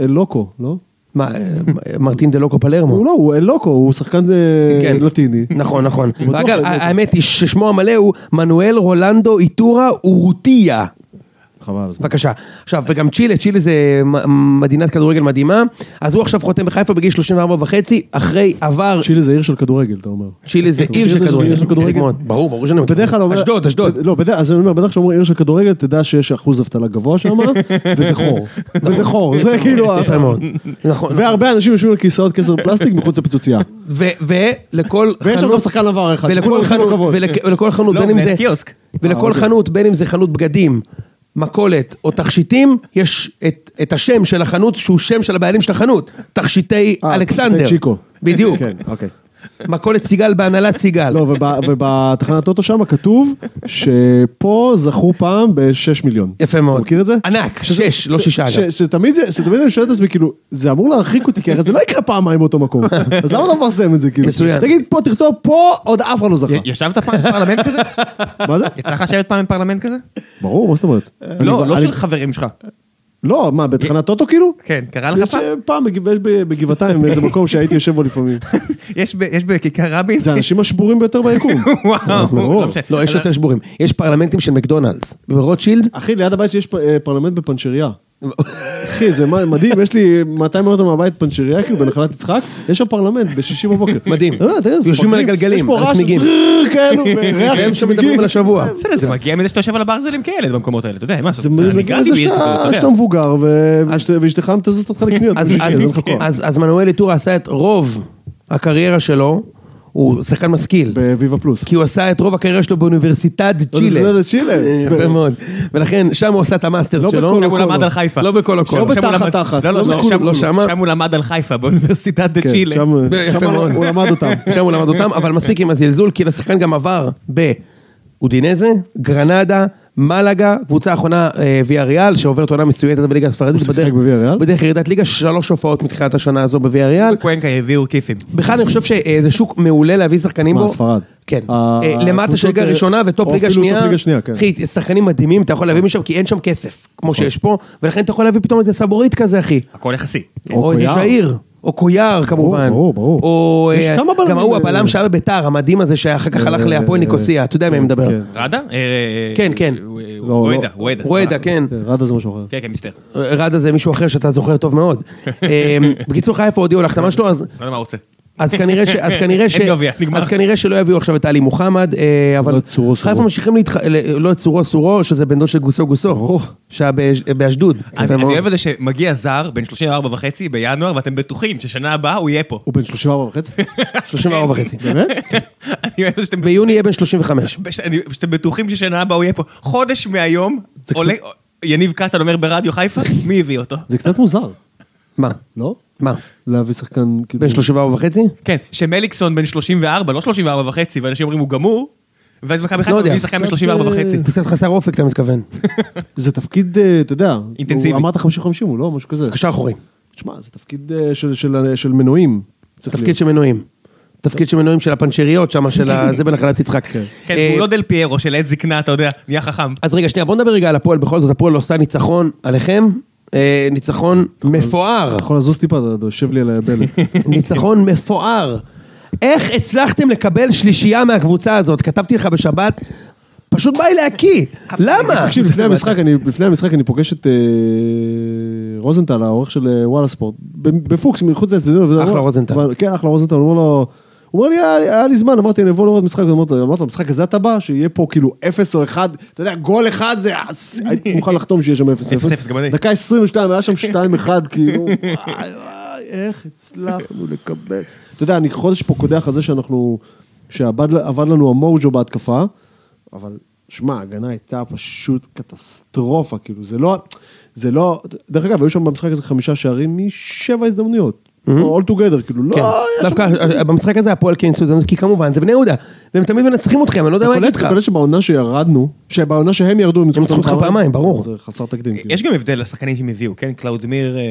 Speaker 2: אה, לוקו, לא?
Speaker 3: מה, אה, מרטין דה לוקו פלרמו.
Speaker 2: הוא לא, הוא אה, לוקו, הוא שחקן אה, לטיני.
Speaker 3: נכון, נכון.
Speaker 2: בטוח לא
Speaker 3: ואגב,
Speaker 2: לטיני.
Speaker 3: האמת היא ששמו המלא הוא מנואל רולנדו איטורה אורטיה.
Speaker 2: חבל. על הזמן.
Speaker 3: בבקשה. עכשיו, וגם צ'ילה, צ'ילה זה מ- מדינת כדורגל מדהימה, אז הוא עכשיו חותם בחיפה בגיל 34 וחצי, אחרי עבר,
Speaker 2: צ'ילי זה עיר של כדורגל, אתה אומר.
Speaker 3: צ'ילה זה עיר
Speaker 2: זה-
Speaker 3: של
Speaker 2: זה עיר של
Speaker 3: כדורגל.
Speaker 2: כדורגל.
Speaker 3: מצחיק מאוד. ברור, ברור שאני מכיר.
Speaker 2: בדרך כלל אומר...
Speaker 3: אשדוד, אשדוד.
Speaker 2: לא, בדרך, אז אני אומר, בדרך כשאומרים עיר של כדורגל, תדע שיש אחוז אבטלה גבוה
Speaker 3: *laughs*
Speaker 2: שם, וזה חור. וזה חור, זה כאילו...
Speaker 3: נכון. יפה מאוד. לא, נכון.
Speaker 2: והרבה אנשים יושבים על כיסאות כסר פלסטיק מחוץ לפיצוצייה.
Speaker 3: ו- ולכל חנות...
Speaker 2: ויש שם גם שחקן עבר אחד, שכולם
Speaker 3: ולכל
Speaker 2: עושים לו
Speaker 3: חנות,
Speaker 2: כבוד.
Speaker 3: ולק- ולכל חנות,
Speaker 1: לא,
Speaker 3: בין אם
Speaker 1: מנהל
Speaker 3: זה...
Speaker 1: קיוסק.
Speaker 2: אה,
Speaker 3: ולכל
Speaker 2: אוקיי.
Speaker 3: חנות, בין אם זה חנות בגדים, מכולת או תכשיטים, יש את- את השם של החנות, שהוא שם של הבעלים של החנות. תכשיטי
Speaker 2: אה,
Speaker 3: אלכסנדר.
Speaker 2: תכשיטי צ'יקו.
Speaker 3: בדיוק.
Speaker 2: כן, אוקיי.
Speaker 3: מכולת סיגל בהנהלת סיגל.
Speaker 2: לא, וב- ובתחנת אוטו שם כתוב שפה זכו פעם ב-6 מיליון.
Speaker 3: יפה מאוד.
Speaker 2: אתה מכיר את זה?
Speaker 3: ענק,
Speaker 2: שזה-
Speaker 3: שש, לא
Speaker 2: ש-
Speaker 3: שישה,
Speaker 2: ש-
Speaker 3: אגב.
Speaker 2: שתמיד זה, שתמיד אני שואל את עצמי, כאילו, זה אמור להרחיק אותי, כי הרי זה לא יקרה פעמיים באותו
Speaker 1: *laughs*
Speaker 2: מקום. אז למה אתה מפרסם את זה, כאילו?
Speaker 3: מצוין.
Speaker 2: תגיד, פה תכתוב, פה עוד אף אחד לא זכה.
Speaker 1: י- ישבת פעם בפרלמנט כזה?
Speaker 2: מה זה?
Speaker 1: *laughs* יצא לך לשבת פעם בפרלמנט כזה?
Speaker 2: ברור, מה זאת אומרת?
Speaker 1: לא,
Speaker 2: אה, אני-
Speaker 1: לא
Speaker 2: אני-
Speaker 1: של חברים שלך.
Speaker 2: לא, מה, בתחנת אוטו כאילו?
Speaker 1: כן, קרה לך
Speaker 2: יש
Speaker 1: פעם? *laughs*
Speaker 2: אה, פעם בגבע- יש ב- בגבעתיים איזה מקום שהייתי יושב בו לפעמים.
Speaker 1: יש ב- יש בכיכר רבין?
Speaker 2: זה
Speaker 1: *laughs*
Speaker 2: האנשים השבורים ביותר ביקום. אז ברור.
Speaker 1: לא משנה.
Speaker 3: לא, יש יותר שבורים. יש פרלמנטים של מקדונלדס. ברוטשילד,
Speaker 2: אחי, ליד הבית שלי יש פ- אה, פרלמנט בפנצ'ריה. אחי, זה מה- מדהים, יש לי 200 מטר מהבית פנצ'ריה, כאילו בנחלת יצחק, יש שם פרלמנט בשישי בבוקר.
Speaker 3: מדהים.
Speaker 2: לא, לא, תראה,
Speaker 3: יושבים
Speaker 2: פאקינג,
Speaker 3: על הגלגלים,
Speaker 2: יש פה
Speaker 3: על
Speaker 2: רעש של
Speaker 3: צמיגים.
Speaker 2: בררר
Speaker 3: *laughs*
Speaker 2: כאלו, וריח
Speaker 3: הם
Speaker 2: של
Speaker 3: שם מדברים
Speaker 2: צמיגים.
Speaker 3: על השבוע.
Speaker 1: בסדר, זה מגיע מזה שאתה יושב על הברזלים כילד במקומות האלה, אתה יודע, מה
Speaker 2: זה
Speaker 1: לעשות? אני
Speaker 2: מגיע
Speaker 1: גרתי
Speaker 2: לזה
Speaker 1: בעיר כזאת,
Speaker 2: שאתה
Speaker 1: אתה
Speaker 2: שאתה
Speaker 1: יודע.
Speaker 2: מבוגר, ו- ושת- ואשתך מתזזת אותך לקניות.
Speaker 3: אז-
Speaker 2: בשישי,
Speaker 3: אז-
Speaker 2: אז אין לך כוח.
Speaker 3: אז- אז מנואל איטור עשה את רוב הקריירה שלו, הוא שחקן משכיל.
Speaker 2: בוויבה פלוס.
Speaker 3: כי הוא עשה את רוב הקריירה שלו באוניברסיטת צ'ילה.
Speaker 2: לא, זה צ'ילה.
Speaker 3: יפה מאוד. ולכן שם הוא עשה את המאסטר
Speaker 2: לא בכל
Speaker 3: שלו.
Speaker 1: שם הוא
Speaker 2: הקולות.
Speaker 1: למד על חיפה.
Speaker 3: לא בכל הקולות.
Speaker 1: שם הוא
Speaker 2: לא בתחת
Speaker 1: למד-
Speaker 2: תחת,
Speaker 1: לא, לא,
Speaker 2: לא
Speaker 1: לא,
Speaker 2: בקול
Speaker 1: שם-
Speaker 3: קול.
Speaker 1: שם שם הוא למד על חיפה, באוניברסיטת דה
Speaker 2: כן,
Speaker 1: צ'ילה.
Speaker 2: שם
Speaker 3: יפה
Speaker 2: שם
Speaker 3: מאוד.
Speaker 2: הוא למד אותם.
Speaker 3: *laughs* שם הוא למד אותם, אבל מספיק עם הזלזול, כי לשחקן גם עבר באודינזה, גרנדה, מלאגה, קבוצה האחרונה אה, ויה ריאל, שעוברת עונה מסוימת בליגה הספרדית.
Speaker 2: הוא שיחק
Speaker 3: בדרך-
Speaker 2: בוויה ריאל?
Speaker 3: בדרך ירידת ליגה, שלוש הופעות מתחילת השנה הזו בוויה ריאל.
Speaker 1: בקוונקה הביאו כיפים.
Speaker 3: בכלל אני חושב שזה שוק מעולה להביא שחקנים
Speaker 2: מה,
Speaker 3: בו.
Speaker 2: ספרד?
Speaker 3: כן.
Speaker 2: ה-
Speaker 3: אה, למטה של
Speaker 2: הקבוצות,
Speaker 3: ליגה
Speaker 2: אה,
Speaker 3: ראשונה וטופ
Speaker 2: או
Speaker 3: ליגה
Speaker 2: אפילו
Speaker 3: שנייה.
Speaker 2: טופ ליגה שנייה, כן. נכון.
Speaker 3: אחי, שחקנים מדהימים, אתה יכול להביא משם, כי אין שם כסף, כמו שיש פה, ולכן אתה יכול להביא פתאום איזה סבורית כזה, אחי.
Speaker 1: הכל יחסי.
Speaker 2: או
Speaker 3: או איזה
Speaker 2: קויאר.
Speaker 3: שעיר. או קויאר כמובן.
Speaker 2: ברור, ברור.
Speaker 3: או...
Speaker 2: יש
Speaker 3: אה,
Speaker 2: כמה בלמים,
Speaker 3: גם ההוא
Speaker 2: אה,
Speaker 3: הבלם שהיה בביתר, המדהים הזה, שאחר כך הלך
Speaker 2: אה,
Speaker 3: להפועל
Speaker 2: אה,
Speaker 3: ניקוסיה, אתה יודע מי
Speaker 2: כן,
Speaker 3: אני מדבר.
Speaker 2: כן.
Speaker 1: ראדה? אה,
Speaker 3: כן, כן.
Speaker 1: אה, אה,
Speaker 2: לא.
Speaker 1: רואדה, רואדה.
Speaker 3: רואדה,
Speaker 1: סליחה.
Speaker 3: כן.
Speaker 2: רדה זה משהו אחר.
Speaker 1: כן, כן, מצטער.
Speaker 2: *laughs*
Speaker 3: רדה זה מישהו אחר שאתה זוכר טוב מאוד. אה, בקיצור, חיפה הודיעו על ההחתמה שלו, אז
Speaker 1: לא יודע מה הוא רוצה.
Speaker 3: אז כנראה ש... אז כנראה ש...
Speaker 1: אין גביע, נגמר.
Speaker 3: אז כנראה שלא יביאו עכשיו את עלי מוחמד, אה, אבל...
Speaker 2: לא את צורו,
Speaker 3: חיפה
Speaker 2: סורו.
Speaker 3: ממשיכים להתח... ל- לא את צורו סורו, שזה בן דוד של גוסו גוסו. שהיה באש- באשדוד.
Speaker 1: אני
Speaker 3: יפה
Speaker 1: אני
Speaker 3: מאוד.
Speaker 1: אוהב את זה שמגיע זר, בן 34 וחצי, בינואר, ואתם בטוחים ששנה הבאה הוא יהיה פה.
Speaker 3: *laughs*
Speaker 2: הוא בן 34 וחצי?
Speaker 3: 34 וחצי.
Speaker 2: באמת?
Speaker 1: אני אוהב את זה שאתם
Speaker 3: ביוני יהיה בן 35.
Speaker 1: בש- אני- שאתם בטוחים ששנה הבאה הוא יהיה פה. חודש מהיום,
Speaker 2: זה
Speaker 1: עולה- יניב קטן אומר ברדיו חיפה, מי הביא אותו?
Speaker 2: זה קצת מוזר,
Speaker 3: מה?
Speaker 2: לא?
Speaker 3: מה?
Speaker 2: להביא שחקן כאילו...
Speaker 3: בן 34 וחצי?
Speaker 1: כן, שמליקסון בן 34, לא 34 וחצי, ואנשים אומרים הוא גמור, ואז מכבי
Speaker 3: לא
Speaker 1: חיפה
Speaker 3: יודע. אה,
Speaker 1: מביא שחקן בן 34 וחצי.
Speaker 3: זה קצת חסר אופק,
Speaker 2: *laughs*
Speaker 3: אתה מתכוון.
Speaker 2: זה תפקיד, אה, אתה יודע...
Speaker 1: אינטנסיבי.
Speaker 2: הוא אמרת 50-50, הוא לא? משהו כזה.
Speaker 3: קשר אחורי.
Speaker 2: תשמע, זה תפקיד אה, של- של- של מנועים. צריך
Speaker 3: תפקיד
Speaker 2: להיות.
Speaker 3: של מנועים. תפקיד של מנועים של הפנצ'ריות שם,
Speaker 2: *laughs*
Speaker 3: של ה... זה בנחלת יצחק.
Speaker 1: כן,
Speaker 3: אה,
Speaker 1: הוא לא דל פיירו של עת זקנה, אתה יודע, נהיה חכם.
Speaker 3: אז רגע, שנייה, בוא נדבר רגע על הפועל. בכל זאת, הפועל עושה ניצחון עליכם. אה, ניצחון
Speaker 2: נכון.
Speaker 3: מפואר.
Speaker 2: אתה יכול לזוז טיפה, אתה- אתה יושב לי על היבלת.
Speaker 3: *laughs* ניצחון מפואר. איך הצלחתם לקבל שלישייה מהקבוצה הזאת? כתבתי לך בשבת, פשוט בא לי להקיא. למה?
Speaker 2: תקשיב, לפני המשחק, אני, לפני המשחק אני פוגש את אה, רוזנטל, העורך של אה, וואלה ספורט, ב- בפוקס, מחוץ לאצטדיון. ואני אומר-
Speaker 3: רוזנטל.
Speaker 2: אבל- כן, אחלה רוזנטל, הוא אומר לו... הוא אומר לי, "היה לי- היה לי זמן, אמרתי, אני אבוא לראות משחק, אמרתי לו, אמרתי לו, המשחק הזה אתה בא, שיהיה פה כאילו אפס או אחד, אתה יודע, גול אחד זה, אס- הייתי מוכן לחתום שיהיה שם אפס
Speaker 1: אפס אפס, גם אני.
Speaker 2: דקה 22, היה שם 2 1, כאילו, *laughs* וואי, וואי, איך הצלחנו לקבל. אתה יודע, אני חודש פה קודח על זה שאנחנו, שעבד עבד לנו המוג'ו בהתקפה, אבל שמע, ההגנה הייתה פשוט קטסטרופה, כאילו, זה לא, זה לא, דרך אגב, היו שם במשחק הזה חמישה שערים משבע הזדמנויות. All together, כאילו, לא,
Speaker 3: Mm-hmm. כן,
Speaker 2: היה שם-
Speaker 3: דווקא אה, במשחק הזה הפועל כן ניצחו את זה, כי כמובן זה בני יהודה, והם תמיד מנצחים אתכם, אני לא יודע מה
Speaker 2: אתה
Speaker 3: להגיד
Speaker 2: קולט-
Speaker 3: לך.
Speaker 2: אתה קולט שבעונה שירדנו, שבעונה שהם ירדו, הם
Speaker 3: ניצחו אותך פעמיים, ברור.
Speaker 2: זה חסר תקדים, כאילו.
Speaker 1: יש גם הבדל לשחקנים שהם הביאו, כן? קלאודמיר... אה,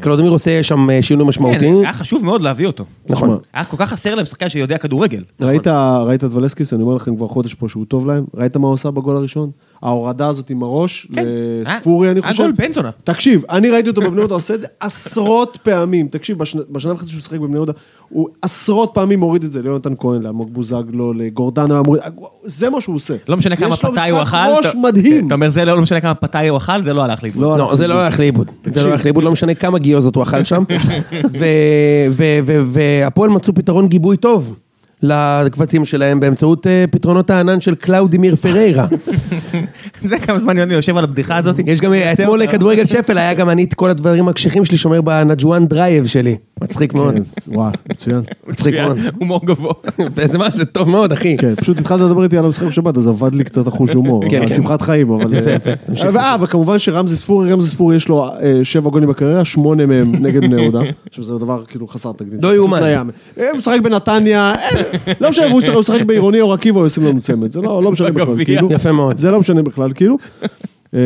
Speaker 3: קלודמיר עושה שם אה, שינוי משמעותי.
Speaker 1: כן, היה חשוב מאוד להביא אותו.
Speaker 3: נכון.
Speaker 2: תשמע,
Speaker 1: היה כל כך חסר להם שחקן שיודע כדורגל.
Speaker 2: ראית, ראית את ולסקיס, אני אומר לכם כבר חודש פה שהוא טוב להם, ראית מה הוא עשה בגול הראשון? ההורדה הזאת עם הראש,
Speaker 1: כן.
Speaker 2: לספורי
Speaker 1: היה-
Speaker 2: אני
Speaker 1: היה
Speaker 2: חושב.
Speaker 1: גול בן זונה.
Speaker 2: תקשיב, אני ראיתי אותו בבני יהודה *laughs* עושה את זה עשרות פעמים. תקשיב, בשנה, בשנה וחצי שהוא שיחק בבני יהודה, הוא עשרות פעמים הוריד את זה ליונתן כהן, לאלמוג בוזגלו, לגורדנה, אמור- זה מה שהוא עושה.
Speaker 1: לא משנה כמה פתאי הוא אכל.
Speaker 2: יש לו משחק ראש
Speaker 1: אתה-
Speaker 2: מדהים.
Speaker 1: אתה אומר, זה לא לא משנה כמה פתאי הוא אכל, זה לא הלך לאיבוד.
Speaker 2: לא,
Speaker 3: לא,
Speaker 2: אנחנו-
Speaker 3: זה לא הלך לאיבוד. זה
Speaker 2: תקשיב.
Speaker 3: לא הלך לאיבוד, לא משנה כמה גיוזות הוא אכל שם. ו- ו- ו- והפועל מצאו פתרון גיבוי טוב לקבצים שלהם באמצעות אה, פתרונות הענן של קלאודימיר פריירה.
Speaker 1: *laughs* זה כמה זמן יוני יושב על הבדיחה הזאת.
Speaker 3: יש גם, אה,
Speaker 1: זה
Speaker 3: אתמול
Speaker 1: אותה.
Speaker 3: כדורגל שפל, היה גם אני את כל הדברים הקשיחים שלי שומר בנג'ואן דרייב שלי. מצחיק מאוד.
Speaker 2: כן, וואו, מצוין.
Speaker 3: מצחיק מאוד.
Speaker 1: הומור גבוה.
Speaker 3: *laughs* וזה מה, זה טוב מאוד, אחי.
Speaker 2: כן, פשוט התחלת לדבר איתי על המשחק בשבת, אז עבד לי קצת החוש הומור,
Speaker 3: כן,
Speaker 2: אבל
Speaker 3: כן.
Speaker 2: שמחת חיים, אבל...
Speaker 3: יפה, יפה, תמשיך.
Speaker 2: אה, וכמובן שרמזי ספורי, רמזי ספורי יש לו אה, שבע גולים בקריירה, שמונה מהם נגד בני יהודה, שזה דבר כאילו חסר תקדים.
Speaker 3: לא יאומן.
Speaker 2: פשוט ים. אה, הוא משחק בנתניה, אה, לא משנה, והוא משחק- הוא משחק בעירוני או עקיבא, הוא ישים לנו צמד, זה לא לא משנה בכלל,
Speaker 1: בגביע.
Speaker 2: כאילו.
Speaker 3: יפה מאוד.
Speaker 2: זה לא משנה בכלל, כאילו. אה,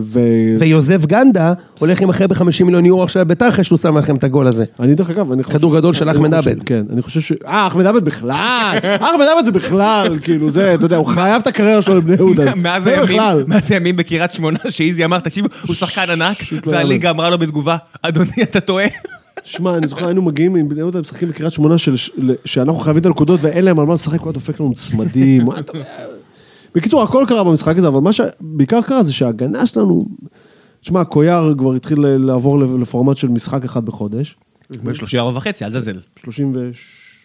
Speaker 2: ו-
Speaker 3: ויוזף גנדה הולך עם אחרי ב-50 מיליון יורו עכשיו לביתר אחרי שהוא שם לכם את הגול הזה.
Speaker 2: אני דרך אגב, אני חושב...
Speaker 3: כדור גדול של
Speaker 2: אני
Speaker 3: אחמד
Speaker 2: חושב-
Speaker 3: עבד.
Speaker 2: כן, אני חושב ש... אה, אחמד עבד
Speaker 3: *laughs*
Speaker 2: בכלל! אחמד עבד זה בכלל, כאילו, זה, אתה יודע, הוא חייב את הקריירה שלו לבני
Speaker 3: *laughs*
Speaker 1: *laughs*
Speaker 2: יהודה.
Speaker 1: מאז
Speaker 2: זה
Speaker 1: הימים,
Speaker 2: לא, בכלל.
Speaker 1: מאז הימים בקריית שמונה, שאיזי אמר, תקשיב, הוא שחקן ענק,
Speaker 2: לא
Speaker 1: והליגה אמרה לו בתגובה, אדוני, אתה טועה. *laughs*
Speaker 2: שמע, אני זוכר, היינו מגיעים עם בני יהודה משחקים בקריית שמונה, של- של- שאנחנו חייבים את הנקודות ואין להם על מה לשחק, הוא היה דופק לנו צמדים. מה אתה- בקיצור, הכל קרה במשחק הזה, אבל מה שבעיקר קרה זה שההגנה שלנו... שמע, קויאר כבר התחיל לעבור לפורמט של משחק אחד בחודש.
Speaker 1: הוא 34 וחצי, אל זלזל.
Speaker 2: 36...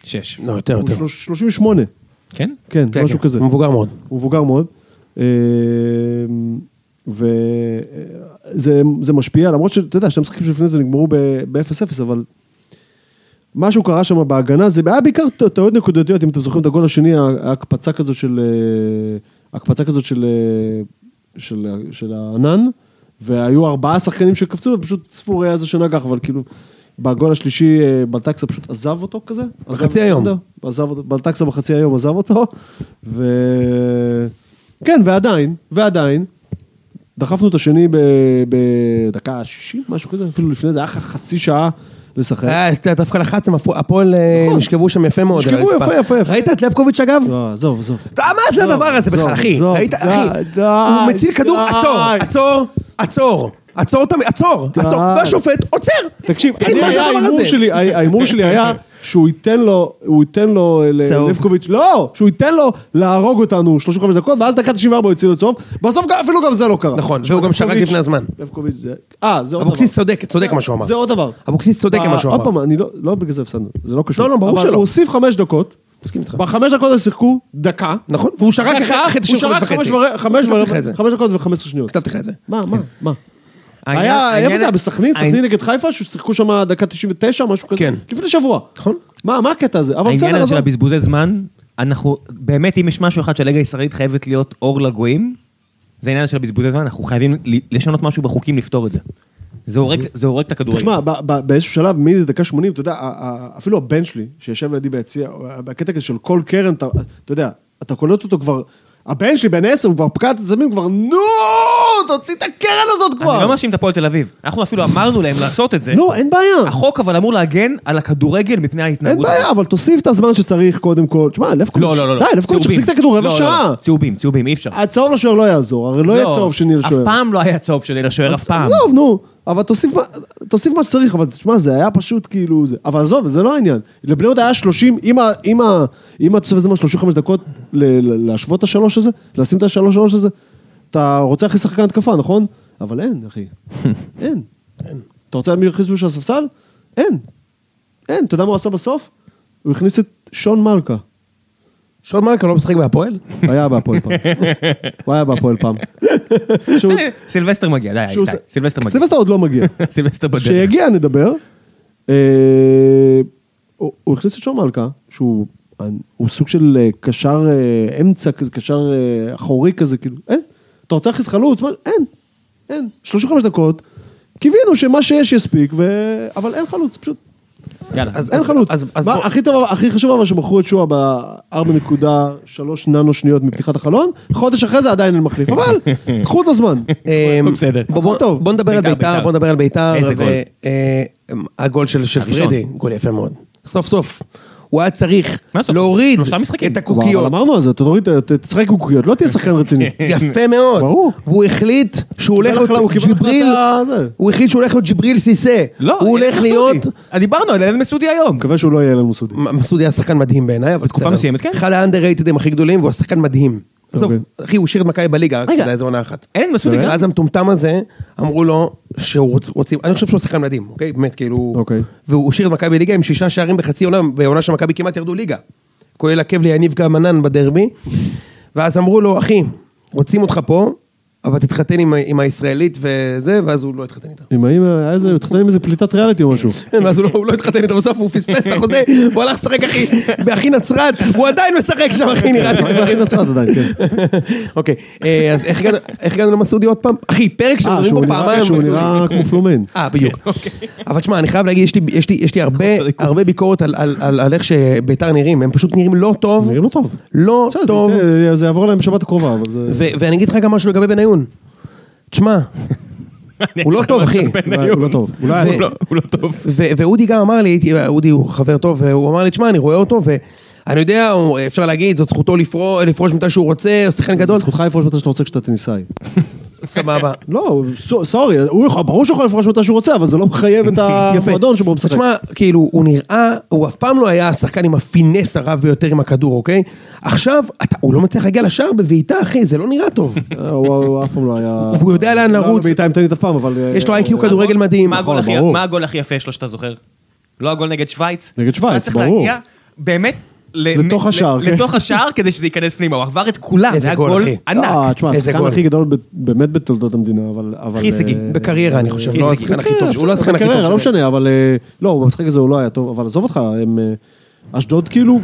Speaker 1: שש.
Speaker 3: לא, יותר, יותר.
Speaker 2: 38,
Speaker 1: כן?
Speaker 2: כן,
Speaker 3: כן,
Speaker 2: משהו
Speaker 3: כן,
Speaker 2: כזה.
Speaker 3: הוא מבוגר מאוד.
Speaker 2: הוא מבוגר מאוד. אה, וזה זה משפיע, למרות שאתה יודע, שני המשחקים שלפני זה נגמרו ב-0-0, אבל משהו קרה שם בהגנה, זה היה בעיקר ט- טעויות נקודתיות, אם אתם זוכרים את הגול השני, ההקפצה כזאת של... אה, הקפצה כזאת של... אה, של, אה, של הענן, והיו ארבעה שחקנים שקפצו, ופשוט ספורי היה זה שנגח, אבל כאילו, בגול השלישי אה, בלטקסה פשוט עזב אותו כזה. עזב
Speaker 3: בחצי
Speaker 2: את
Speaker 3: היום.
Speaker 2: הגנדה. עזב אותו, בלטקסה בחצי היום עזב אותו, ו... כן, ועדיין, ועדיין, דחפנו את השני ב- בדקה 60, משהו כזה, אפילו לפני זה, היה לך חצי שעה לשחק.
Speaker 3: היה אה, אתה דווקא לחצתם, הפו- הפועל אה,
Speaker 2: אה, נכון.
Speaker 3: נשכבו שם יפה מאוד. על
Speaker 2: נשכבו
Speaker 3: הרצפה.
Speaker 2: יפה, יפה, יפה.
Speaker 3: ראית את לבקוביץ' אגב?
Speaker 2: לא, עזוב, עזוב.
Speaker 3: אתה- מה זה הדבר הזה
Speaker 2: עזוב,
Speaker 3: בכלל, אחי?
Speaker 2: עזוב,
Speaker 3: ראית,
Speaker 2: די,
Speaker 3: אחי?
Speaker 2: די,
Speaker 3: הוא מציל כדור,
Speaker 2: די.
Speaker 3: עצור, עצור, עצור. עצור, תמיד, עצור, עצור.
Speaker 2: די.
Speaker 3: והשופט עוצר.
Speaker 2: תקשיב,
Speaker 3: תגיד,
Speaker 2: אני-
Speaker 3: מה זה הדבר
Speaker 2: ההימור
Speaker 3: הזה?
Speaker 2: שלי- ההימור שלי היה שהוא ייתן לו, הוא ייתן לו ל-
Speaker 4: צהוב.
Speaker 2: לבקוביץ', לא, שהוא ייתן לו להרוג אותנו 35 דקות, ואז דקה 94 הוא יוציא לו צהוב, בסוף גם- אפילו גם זה לא קרה.
Speaker 3: נכון, והוא גם שרק
Speaker 2: לבקוביץ'-
Speaker 3: לפני הזמן.
Speaker 2: לבקוביץ' זה... אה, זה עוד דבר.
Speaker 3: אבוקסיס צודק, צודק מה שהוא אמר.
Speaker 2: זה עוד דבר.
Speaker 3: אבוקסיס צודק עם מה שהוא אמר.
Speaker 2: עוד פעם, אני לא, לא בגלל זה הפסדנו, זה לא קשור.
Speaker 3: לא, לא, ברור
Speaker 2: אבל
Speaker 3: שלא.
Speaker 2: הוא הוסיף חמש דקות,
Speaker 3: מסכים איתך.
Speaker 2: בחמש דקות הם שיחקו דקה.
Speaker 3: נכון, והוא שרק
Speaker 2: דקה, כן,
Speaker 3: אחרי 95
Speaker 2: הוא שרק
Speaker 3: וחצי.
Speaker 2: חמש ורבע- חמש
Speaker 3: כתבתי לך את זה.
Speaker 2: ורבע- חמש דקות וחמש עשרה שניות.
Speaker 3: כתבתי לך את זה.
Speaker 2: מה, מה, מה?
Speaker 1: העניין-
Speaker 2: היה,
Speaker 1: העניין-
Speaker 2: איפה זה היה? בסכנין?
Speaker 1: העניין-
Speaker 2: סכנין נגד חיפה? ששיחקו שם דקה 99, משהו כזה?
Speaker 3: כן.
Speaker 2: לפני שבוע.
Speaker 3: נכון.
Speaker 2: מה, מה הקטע הזה? אבל
Speaker 1: העניין
Speaker 2: בסדר,
Speaker 1: הזה של
Speaker 2: עזוב.
Speaker 1: הבזבוזי זמן, אנחנו, באמת, אם יש משהו אחד שהליגה הישראלית חייבת להיות אור לגויים, זה העניין של הבזבוזי זמן, אנחנו חייבים ל- לשנות משהו בחוקים לפתור את זה. זה הורג- זה הורג את הכדורגל.
Speaker 2: תשמע, ב- ב- באיזשהו שלב, מדקה 80, אתה יודע, ה- ה- אפילו הבן שלי, שיושב לידי ביציע, בקטע כזה של כל קרן, אתה אתה יודע, אתה קולט אותו כבר... הבן שלי בן 10, הוא כבר פקע את הזמים, כבר נו, תוציא את הקרן הזאת כבר.
Speaker 1: אני לא מאשים את הפועל תל אביב. אנחנו אפילו אמרנו להם לעשות את זה.
Speaker 2: לא, אין בעיה.
Speaker 1: החוק אבל אמור להגן על הכדורגל מפני
Speaker 2: אין
Speaker 1: ההתנהגות.
Speaker 2: בעיה, אבל תוסיף את הזמן שצריך קודם כל. תשמע, לבקוביץ',
Speaker 1: לא, לא, לא. לא.
Speaker 2: די, לבקוביץ'
Speaker 1: צהובים.
Speaker 2: החזיק את הכדור רבע
Speaker 1: לא, לא,
Speaker 2: שעה.
Speaker 1: לא. צהובים, צהובים, אי אפשר.
Speaker 2: הצהוב לשוער לא יעזור, הרי לא יהיה צהוב שני לשוער.
Speaker 1: אף פעם לא היה צהוב שני לשוער, אף פעם.
Speaker 2: עזוב, נו. אבל תוסיף, מה- תוסיף מה שצריך, אבל תשמע, זה היה פשוט כאילו... זה, אבל עזוב, זה לא העניין. לבני יהודה היה 30, אם ה- אם ה- אם התוספת זמן 35 דקות ל- ל- להשוות את השלוש הזה, לשים את השלוש שלוש הזה, אתה רוצה להכניס שחקן התקפה, נכון? אבל אין,
Speaker 1: *laughs*
Speaker 2: אחי. אין. אתה רוצה להמיר חיסבו של הספסל? אין. אין. אתה יודע מה הוא עשה בסוף? הוא הכניס את שון מלכה.
Speaker 3: שון מלכה לא משחק בהפועל?
Speaker 2: היה
Speaker 1: *laughs*
Speaker 2: בהפועל פעם. הוא היה בהפועל פעם. שהוא-
Speaker 1: סילבסטר מגיע, די,
Speaker 2: שהוא-
Speaker 1: די, סילבסטר מגיע.
Speaker 2: סילבסטר עוד לא מגיע.
Speaker 1: סילבסטר בדרך.
Speaker 2: כשיגיע נדבר. אה, הוא הוא הכניס את שון מלכה, שהוא הוא סוג של אה, קשר אה, אמצע כזה, קשר אה, אחורי כזה, כאילו, אין. אתה רוצה להכניס חלוץ? מה? אין, אין. 35 דקות, קיווינו שמה שיש יספיק, ו... אבל אין חלוץ, פשוט.
Speaker 1: יאללה.
Speaker 3: אז-
Speaker 2: אין חלוץ.
Speaker 3: אז- אז
Speaker 2: מה,
Speaker 3: בוא-
Speaker 2: הכי טוב, הכי חשוב אבל שמכרו את שועה ב-4.3 ננו שניות מפתיחת החלון, חודש אחרי זה עדיין אין מחליף, אבל קחו את הזמן.
Speaker 3: אמ,
Speaker 1: הכל בסדר.
Speaker 3: בוא- בוא-
Speaker 2: הכל טוב.
Speaker 3: בוא נדבר על
Speaker 1: בית"ר,
Speaker 3: ביתר,
Speaker 1: בית"ר.
Speaker 3: בוא נדבר על ביתר.
Speaker 1: איזה
Speaker 3: ו-
Speaker 1: גול?
Speaker 3: אה, אמ, הגול של של
Speaker 1: הראשון.
Speaker 3: פרידי, גול יפה מאוד. סוף סוף. הוא היה צריך
Speaker 1: מה סוף?
Speaker 3: להוריד
Speaker 1: שלושה משחקים.
Speaker 3: את
Speaker 2: אבל
Speaker 3: הקוקיות.
Speaker 2: אמרנו על זה, אתה תוריד, ת- תשחק עם קוקיות, לא תהיה שחקן *laughs* רציני. לא,
Speaker 3: יפה מאוד.
Speaker 2: ברור.
Speaker 3: והוא החליט שהוא הולך
Speaker 2: קיבל
Speaker 3: להיות
Speaker 2: החלטה- הוא קיבל
Speaker 3: ג'יבריל,
Speaker 2: החלטה, זה.
Speaker 3: הוא החליט שהוא הולך להיות ג'יבריל סיסא.
Speaker 1: לא,
Speaker 3: הוא הולך
Speaker 1: אלן
Speaker 3: להיות...
Speaker 1: מסודי. דיברנו על אלן מסודי היום.
Speaker 2: מקווה שהוא לא יהיה לנו סודי.
Speaker 3: מ- מסעודי היה שחקן מדהים בעיניי, אבל
Speaker 1: בתקופה
Speaker 3: בסדר.
Speaker 1: מסוימת, כן.
Speaker 3: אחד האנדררייטדים הכי גדולים, והוא השחקן מדהים. עזוב,
Speaker 2: אוקיי.
Speaker 3: אחי, הוא השאיר את מכבי בליגה, רק
Speaker 1: רגע.
Speaker 3: בגלל איזה עונה אחת.
Speaker 1: אלן מסודי גם.
Speaker 3: ואז המטומטם הזה, אמרו לו שהוא רוצ- רוצים, אני חושב שהוא שחקן מדהים, אוקיי? באמת, כאילו...
Speaker 2: אוקיי.
Speaker 3: והוא השאיר את מכבי בליגה עם שישה שערים בחצי עונה, בעונה שמכבי כמעט ירדו ליגה. כולל עקב ליניב גמנן בדרבי. ואז אמרו לו, אחי, רוצים אותך פה, אבל תתחתן עם ה- עם הישראלית וזה, ואז הוא לא התחתן איתה.
Speaker 2: אם האמא, היה איזה, הוא התחתן עם איזה פליטת ריאליטי או משהו. *laughs*
Speaker 3: כן, ואז הוא לא- הוא לא התחתן איתו בסוף, הוא פספס את החוזה, הוא הלך לשחק אחי, באחי נצרת, הוא עדיין משחק שם אחי נראה
Speaker 2: לפעמים
Speaker 3: לי.
Speaker 2: להכין נצרת עדיין, *laughs* כן.
Speaker 3: אוקיי, אה, אז איך הגענו- איך הגענו למסעודי עוד פעם? אחי, פרק
Speaker 2: אה,
Speaker 3: שמדברים
Speaker 2: שהוא
Speaker 3: פה
Speaker 2: נראה-
Speaker 3: פעמיים. על
Speaker 2: שהוא
Speaker 3: מסעודי.
Speaker 2: נראה אוקיי. כמו *laughs* פלומיין.
Speaker 3: אה, בדיוק. אבל תשמע, אני חייב להגיד, יש לי- יש לי- יש לי הרבה- הרבה ביקורת על- על- על על איך שביתר נראים, הם פשוט נראים לא טוב,
Speaker 2: נראים לא טוב.
Speaker 3: לא
Speaker 2: בסדר, זה
Speaker 3: טוב,
Speaker 2: יצא- אה, זה יעבור להם בשבת הקרובה, אבל *laughs* זה...
Speaker 3: ו- ואני אגיד לך גם משהו לגבי בניון.
Speaker 2: *laughs*
Speaker 3: תשמע, הוא לא טוב, אחי.
Speaker 2: אולי- הוא לא טוב. אולי...
Speaker 3: ו-
Speaker 2: היה טוב.
Speaker 1: לא, הוא לא טוב.
Speaker 3: ו- ואודי גם אמר לי, הייתי- אודי הוא חבר טוב, והוא אמר לי, תשמע, אני רואה אותו, ואני יודע, הוא- אפשר להגיד, זאת זכותו לפרוש, לפרוש מתי שהוא רוצה, הוא שחקן
Speaker 2: *laughs*
Speaker 3: גדול,
Speaker 2: זכותך לפרוש מתי שאתה רוצה כשאתה טניסאי. *laughs*
Speaker 3: סבבה.
Speaker 2: לא, ס- סורי, הוא יכול- ברור שהוא יכול לפרוש מתי שהוא רוצה, אבל זה לא מחייב *laughs* את המועדון שבו הוא משחק.
Speaker 3: תשמע, כאילו, הוא נראה, הוא אף פעם לא היה השחקן עם הפינס הרב ביותר עם הכדור, אוקיי? עכשיו, אתה- הוא לא מצליח להגיע לשער בבעיטה, אחי, זה לא נראה
Speaker 2: *laughs*
Speaker 3: טוב.
Speaker 2: אה, הוא הוא אף פעם לא היה...
Speaker 3: והוא יודע לאן
Speaker 2: לא היה
Speaker 3: לרוץ.
Speaker 2: בבעיטה עם טנית אף פעם, אבל... אה,
Speaker 3: יש לו איי-קיו
Speaker 2: הוא-
Speaker 3: כדורגל מדהים.
Speaker 1: מה הגול הכי-
Speaker 2: נכון, ברור.
Speaker 1: מה הגול הכי יפה שלו שאתה זוכר? לא הגול נגד שווייץ?
Speaker 2: נגד שווייץ,
Speaker 1: היה צריך
Speaker 2: ברור.
Speaker 1: להגיע באמת... ל-
Speaker 2: לתוך
Speaker 1: ל-
Speaker 2: השער, כן.
Speaker 1: לתוך השער כדי שזה ייכנס פנימה, הוא עבר את כולם,
Speaker 3: איזה
Speaker 1: זה היה
Speaker 3: גול,
Speaker 1: גול
Speaker 3: אחי.
Speaker 2: אה,
Speaker 1: ענק.
Speaker 2: תשמע,
Speaker 3: איזה
Speaker 2: השחקן
Speaker 3: גול.
Speaker 2: הכי גדול ב- באמת בתולדות המדינה, אבל... אבל,
Speaker 1: הישגי,
Speaker 2: אה,
Speaker 3: בקריירה, אני חושב, לא השחקן הכי טוב,
Speaker 2: כן,
Speaker 3: שלו, הוא לא השחקן
Speaker 2: בסדר,
Speaker 3: הכי טוב.
Speaker 2: בקריירה,
Speaker 3: שלו.
Speaker 2: לא משנה, אבל אה, לא, במשחק הזה הוא לא היה טוב, אבל עזוב אותך, הם... אה, אשדוד כאילו,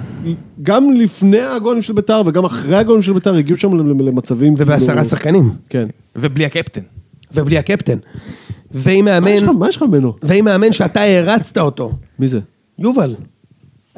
Speaker 2: גם לפני הגולים של ביתר וגם אחרי הגולים של ביתר הגיעו שם ל- ל- למצבים כאילו...
Speaker 3: ובעשרה שחקנים,
Speaker 2: כן.
Speaker 1: ובלי הקפטן.
Speaker 3: ובלי הקפטן. ועם
Speaker 2: מה יש לך-
Speaker 3: מאמן,
Speaker 2: מה יש לך ממנו?
Speaker 3: ועם מאמן שאתה הרצת אותו.
Speaker 2: מי זה?
Speaker 3: יובל.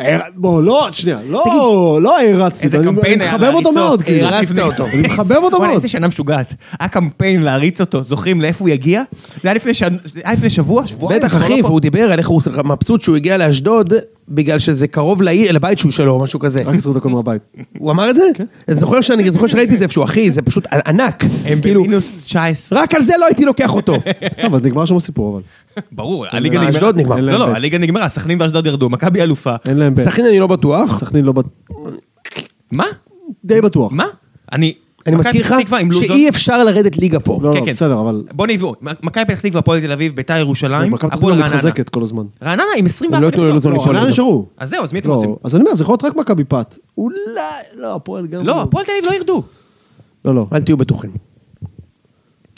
Speaker 3: אה,
Speaker 2: הער- בוא, לא, שנייה, לא, לא הערצתי,
Speaker 1: איזה
Speaker 2: אני-
Speaker 1: קמפיין
Speaker 2: אני
Speaker 1: היה
Speaker 2: מחבב אותו
Speaker 1: להריץ
Speaker 2: מאוד,
Speaker 1: אותו.
Speaker 2: כאילו.
Speaker 1: הערצת
Speaker 3: הרצת אה, אותו.
Speaker 2: אני מחבב אותו
Speaker 1: וואלה,
Speaker 2: מאוד.
Speaker 1: איזה שנה משוגעת. היה קמפיין להריץ אותו, זוכרים לאיפה הוא יגיע? זה היה לפני שנ- זה היה לפני שבוע, שבועיים.
Speaker 3: בטח
Speaker 1: אנחנו לא
Speaker 3: אחי,
Speaker 1: פה.
Speaker 3: והוא דיבר על איך הוא מבסוט שהוא הגיע לאשדוד בגלל שזה קרוב לעיר, לבית שהוא שלו, או משהו כזה.
Speaker 2: רק 20 דקות מהבית.
Speaker 3: הוא אמר את זה? כן. אני זוכר שאני אני זוכר שראיתי את זה איפשהו, אחי, זה פשוט ענק.
Speaker 1: הם
Speaker 3: כאילו,
Speaker 1: במינוס 19.
Speaker 3: רק על זה לא הייתי
Speaker 1: *laughs*
Speaker 3: לוקח אותו.
Speaker 2: טוב, אז נגמר שם הסיפור, אבל.
Speaker 1: ברור, הליגה נגמרה.
Speaker 3: אשדוד נגמר.
Speaker 2: אין
Speaker 1: לא,
Speaker 2: להם
Speaker 1: לא,
Speaker 2: בית.
Speaker 1: הליגה נגמרה, סכנין ואשדוד ירדו, מכבי אלופה.
Speaker 2: אין להם בן.
Speaker 3: סכנין אני לא בטוח.
Speaker 2: סכנין לא... בט-
Speaker 1: מה?
Speaker 2: די בטוח.
Speaker 1: מה? אני...
Speaker 3: אני
Speaker 1: מכבי
Speaker 3: מזכיר לך
Speaker 1: פתח תקווה עם לוזון.
Speaker 3: שאי אפשר לרדת ליגה פה.
Speaker 2: לא,
Speaker 1: כן,
Speaker 2: לא,
Speaker 1: כן.
Speaker 2: בסדר, אבל...
Speaker 1: בוא נעבור, מכבי פתח תקווה, הפועל תל אביב, ביתר ירושלים,
Speaker 2: מכבי פתח
Speaker 1: אה? הפועל
Speaker 2: תקווה
Speaker 1: רעננה.
Speaker 2: מתחזקת כל הזמן.
Speaker 1: רעננה עם 24
Speaker 3: הם לא יתנו ללוזון
Speaker 2: לא,
Speaker 3: ליפול.
Speaker 2: רעננה נשארו.
Speaker 1: אז זהו, אז מי אתם
Speaker 2: לא,
Speaker 1: רוצים?
Speaker 2: אז אני אומר, זה יכול להיות רק מכבי פת. אולי... לא, הפועל גם...
Speaker 1: לא, הפועל תל אביב לא ירדו.
Speaker 2: לא, לא,
Speaker 3: אל תהיו בטוחים.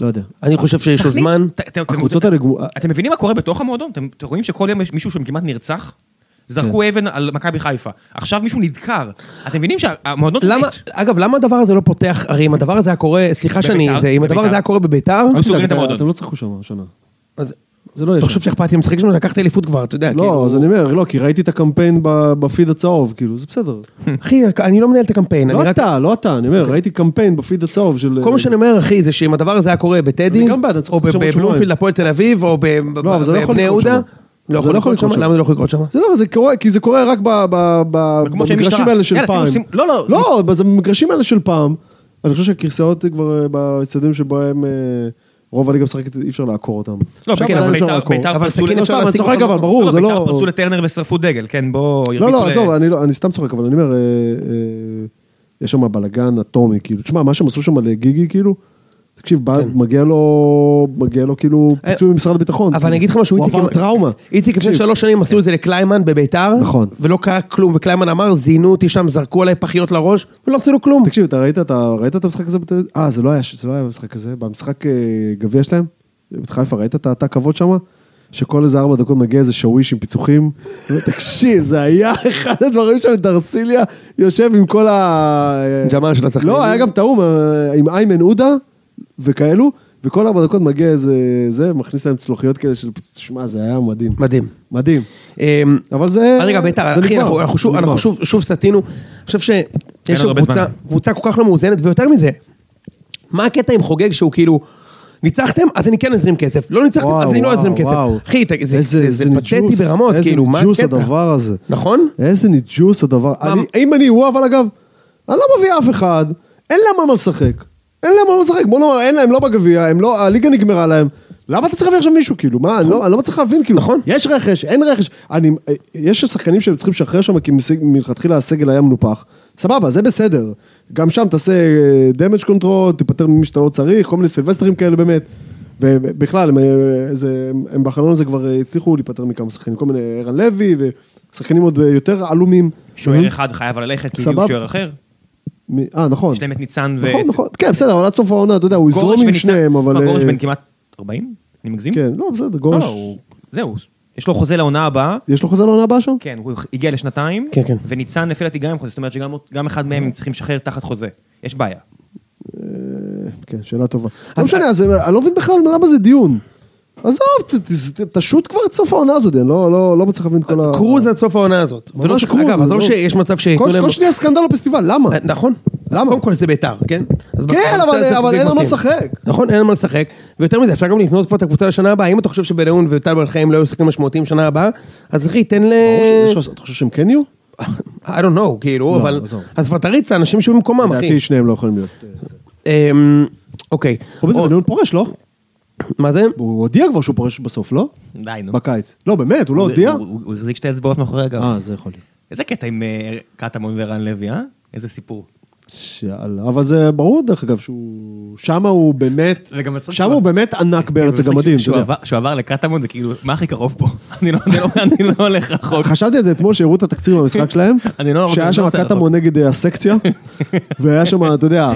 Speaker 2: לא יודע.
Speaker 3: אני חושב שיש לו
Speaker 1: סכנין,
Speaker 3: זמן.
Speaker 1: ת- ת- אתם-
Speaker 2: הקבוצות האלה גרו-
Speaker 1: אתם מבינים מה קורה בתוך המועדון? אתם אתם רואים שכל יום יש מישהו שם כמעט נרצח?
Speaker 2: כן.
Speaker 1: זרקו אבן על מכבי חיפה. עכשיו מישהו נדקר. אתם מבינים שהמועדון...
Speaker 3: למה, אגב, למה הדבר הזה לא פותח, הרי אם הדבר הזה היה קורה, סליחה שאני,
Speaker 1: בביתר,
Speaker 3: זה, אם הדבר
Speaker 1: בביתר.
Speaker 3: הזה היה קורה בביתר,
Speaker 1: היו סוגרים את
Speaker 2: אתה-
Speaker 1: המועדון.
Speaker 2: אתם לא צחקו שם השנה.
Speaker 3: אז
Speaker 2: זה לא יש.
Speaker 3: אתה חושב שאכפת לי המשחק שלנו? לקחת אליפות כבר, אתה יודע,
Speaker 2: לא,
Speaker 3: כאילו,
Speaker 2: אז אני אומר, לא, כי ראיתי את הקמפיין ב- בפיד הצהוב, כאילו, זה בסדר.
Speaker 3: אחי, אני לא מנהל את הקמפיין, אני
Speaker 2: לא
Speaker 3: רק,
Speaker 2: אתה, לא אתה, אני אומר, ראיתי קמפיין בפיד הצהוב של...
Speaker 3: כל מה שאני אומר, אחי, זה שאם הדבר הזה היה קורה בטדי,
Speaker 2: אני גם בעד, אני צריך
Speaker 3: או
Speaker 2: לעשות שם עוד
Speaker 3: בבלומפילד
Speaker 2: שבועיים.
Speaker 3: הפועל תל אביב, או ב-
Speaker 2: לא, אבל זה לא יכול
Speaker 3: בבני
Speaker 2: לקרות
Speaker 3: יהודה,
Speaker 2: שם.
Speaker 3: לא
Speaker 2: זה
Speaker 3: יכול לקרות שם, למה זה לא יכול לקרות שם?
Speaker 2: זה לא, זה קורה, כי זה קורה רק ב- ב- ב-
Speaker 1: מקומות של
Speaker 2: במגרשים
Speaker 1: משטרה.
Speaker 2: האלה של
Speaker 1: יאללה, שימו-
Speaker 2: פעם.
Speaker 1: שימו- לא, לא.
Speaker 2: לא, אז במגרשים האלה של פעם, אני חושב שהכרסאות כבר אה, באצטדיונים שבהם אה, רוב הליגה משחקת, אי אפשר לעקור אותם.
Speaker 1: לא,
Speaker 2: שם
Speaker 1: כן,
Speaker 2: עדיין
Speaker 1: אבל
Speaker 2: אפשר
Speaker 1: ביתר-
Speaker 2: לעקור.
Speaker 1: ביתר
Speaker 3: אבל
Speaker 1: פרצו
Speaker 3: סכין
Speaker 2: לא
Speaker 1: לטרנר-
Speaker 3: אפשר
Speaker 2: סתם, אני
Speaker 3: להשיג
Speaker 2: צוחק
Speaker 3: אותו
Speaker 2: אבל,
Speaker 3: במקום.
Speaker 2: ברור, זה
Speaker 1: ביתר
Speaker 2: לא...
Speaker 1: פרצו לטרנר ושרפו דגל, כן, בוא...
Speaker 2: לא,
Speaker 1: ירביצו
Speaker 2: לא,
Speaker 1: ל-
Speaker 2: עזוב, אני לא- אני סתם צוחק, אבל אני אומר, אה, אה, יש שם בלאגן אטומי, כאילו, תשמע, מה שהם עשו שם לגיגי, כאילו, תקשיב,
Speaker 1: כן.
Speaker 2: בא- מגיע לו, מגיע לו כאילו
Speaker 3: אה,
Speaker 2: פיצוי ממשרד הביטחון.
Speaker 3: אבל
Speaker 2: כאילו.
Speaker 3: אני אגיד לך משהו,
Speaker 2: הוא עבר
Speaker 3: הם-
Speaker 2: טראומה.
Speaker 3: איציק, לפני
Speaker 2: תקשיב, כן.
Speaker 3: שלוש שנים עשו את זה לקליימן בביתר,
Speaker 2: נכון.
Speaker 3: ולא קרה כלום, וקליימן אמר, זיינו אותי שם, זרקו עליי פחיות לראש, ולא עשינו כלום.
Speaker 2: תקשיב, אתה ראית, אתה ראית את המשחק הזה? בטלוויזיה? אה, זה לא היה, זה לא היה המשחק הזה. במשחק אה, גביע שלהם, בחיפה, ראית את העתק כבוד שם? שכל איזה ארבע דקות מגיע איזה שוויש עם פיצוחים. *laughs* תקשיב, זה היה *laughs* אחד הדברים שם, דרסיליה יושב עם כל ה...
Speaker 3: ג'מאל של הסכנין.
Speaker 2: לא, היה גם טעום עם איימן עודה וכאלו, וכל ארבע דקות מגיע איזה... זה, מכניס להם צלוחיות כאלה של... פיצ- שמע, זה היה מדהים.
Speaker 3: מדהים.
Speaker 2: מדהים.
Speaker 3: אמ,
Speaker 2: אבל זה...
Speaker 3: רגע, ביתר,
Speaker 2: זה
Speaker 3: אחי,
Speaker 2: נגמר.
Speaker 3: אנחנו- אנחנו שוב-
Speaker 2: זה
Speaker 3: אנחנו
Speaker 2: נגמר.
Speaker 3: שוב שוב סטינו. אני חושב
Speaker 1: אין
Speaker 3: שיש
Speaker 1: עוד
Speaker 3: לו
Speaker 1: הרבה
Speaker 3: קבוצה-
Speaker 1: זמן.
Speaker 3: קבוצה כל כך לא מאוזנת, ויותר מזה, מה הקטע עם חוגג שהוא כאילו... ניצחתם, אז אני כן אזרים כסף. לא ניצחתם,
Speaker 2: וואו,
Speaker 3: אז אני לא
Speaker 2: וואו,
Speaker 3: אזרים כסף.
Speaker 2: וואו.
Speaker 3: אחי, תגיד, זה-
Speaker 2: איזה-
Speaker 3: זה זה
Speaker 2: איזה
Speaker 3: פתטי
Speaker 2: ניג'וס,
Speaker 3: ברמות,
Speaker 2: איזה
Speaker 3: כאילו, מה
Speaker 2: ניג'וס
Speaker 3: הקטע?
Speaker 2: הדבר הזה.
Speaker 3: נכון?
Speaker 2: איזה ניג'וס הדבר.
Speaker 3: מה-
Speaker 2: אני- אם אני הוא, אבל אגב, אני לא מביא אף אחד, אין להם על מה לשחק. אין להם על מה לשחק. בוא נאמר, אין להם לא בגביע, הם לא, הליגה נגמרה להם. למה אתה צריך להביא עכשיו מישהו, כאילו? מה, אני לא- אני לא מצליח להבין, כאילו.
Speaker 3: נכון.
Speaker 2: יש רכש, אין רכש. אני, אה, יש שחקנים שהם צריכים לשחרר שם, כי מסיג- מלכתחילה הסגל היה מנופח. סבבה, זה בסדר. גם שם תעשה דמג' קונטרול, תיפטר ממי שאתה לא צריך, כל מיני סילבסטרים כאלה באמת. ובכלל, הם, אה, זה, הם- הם בחלון הזה כבר אה, הצליחו להיפטר מכמה שחקנים, כל מיני ערן לוי, ושחקנים עוד אה, יותר עלומים.
Speaker 1: שוער אחד חייב ללכת, כי הגיעו
Speaker 2: סבבה.
Speaker 1: שוער אחר.
Speaker 2: מ- אה, נכון.
Speaker 1: יש להם את ניצן ו...
Speaker 2: נכון, נכון. כן, בסדר, אבל עד סוף העונה, אתה יודע, הוא
Speaker 1: גורש
Speaker 2: יזרום עם
Speaker 1: וניצן-
Speaker 2: שניהם, אבל...
Speaker 1: מה, גורש
Speaker 2: אה,
Speaker 1: בן כמעט 40? אני מגזים?
Speaker 2: כן, לא, בסדר,
Speaker 1: לא,
Speaker 2: גורש.
Speaker 1: לא, הוא- זהו, יש לו חוזה לעונה הבאה.
Speaker 2: יש לו חוזה לעונה הבאה שם?
Speaker 1: כן, הוא הגיע לשנתיים,
Speaker 3: כן, כן.
Speaker 1: וניצן לפי דעתי גם עם חוזה, זאת אומרת שגם גם אחד
Speaker 2: אה.
Speaker 1: מהם הם צריכים לשחרר תחת חוזה. יש בעיה.
Speaker 2: כן, שאלה טובה. לא משנה, אז אני לא מבין בכלל למה זה דיון. עזוב, ת- ת- ת- תשוט כבר את סוף העונה הזאת, אני לא- לא לא מצליח להבין את כל ה...
Speaker 3: קרוז עד סוף העונה הזאת.
Speaker 2: ממש
Speaker 3: ולא צריך-
Speaker 2: קרוז,
Speaker 3: אגב, עזוב
Speaker 2: לא-
Speaker 3: שיש מצב ש...
Speaker 2: כל כל שנייה סקנדל בפסטיבל, למה?
Speaker 3: נכון. למה? קודם כל זה ביתר, כן? אז
Speaker 2: כן, אבל-
Speaker 3: בקבוצה הזאת
Speaker 2: אבל
Speaker 3: זה
Speaker 2: אין על מה
Speaker 3: מתאים.
Speaker 2: לשחק.
Speaker 3: נכון, אין על מה לשחק. ויותר מזה, אפשר גם לבנות כבר את הקבוצה לשנה הבאה. אם אתה חושב שבניון וטל בן חיים לא יהיו שחקנים משמעותיים שנה הבאה, אז אחי, תן ל...
Speaker 2: ברור ש- אתה חושב שהם כן יהיו?
Speaker 3: I don't know, כאילו, אבל...
Speaker 2: עזוב.
Speaker 3: אז כבר תריץ לאנשים שבמקומם, אה, אחי.
Speaker 2: לדעתי שניהם לא יכולים להיות.
Speaker 3: אמ, אוקיי.
Speaker 2: חוץ מזה,
Speaker 3: עוד-
Speaker 2: בניון פורש, לא?
Speaker 3: מה זה?
Speaker 2: הוא הודיע כבר שהוא פורש בסוף, לא?
Speaker 1: די, נו.
Speaker 2: בקיץ. לא, באמת, הוא לא
Speaker 1: הוא-
Speaker 2: הודיע?
Speaker 1: הוא- הוא הוא החזיק שתי אצבעות מאחורי הגב.
Speaker 2: אה, זה יכול להיות.
Speaker 1: איזה קטע עם אה, קטמון ורן לוי, אה? איזה סיפור.
Speaker 2: שאלה, אבל זה ברור דרך אגב שהוא, שם הוא באמת,
Speaker 1: וגם מצחיק
Speaker 2: שם
Speaker 1: שהוא-
Speaker 2: הוא באמת ענק בארץ
Speaker 1: כאילו,
Speaker 2: הגמדים, אתה
Speaker 1: שהוא
Speaker 2: יודע.
Speaker 1: עבר- שהוא עבר לקטמון זה כאילו, מה הכי קרוב פה? *laughs* אני לא- אני לא- אני לא הולך
Speaker 2: *laughs*
Speaker 1: רחוק.
Speaker 2: חשבתי על זה אתמול שהראו את התקציר
Speaker 1: *laughs*
Speaker 2: במשחק שלהם,
Speaker 1: אני לא-
Speaker 2: שהיה
Speaker 1: אני
Speaker 2: שם
Speaker 1: לא עושה
Speaker 2: קטמון נגד אה, הסקציה, *laughs* והיה שם, אתה יודע,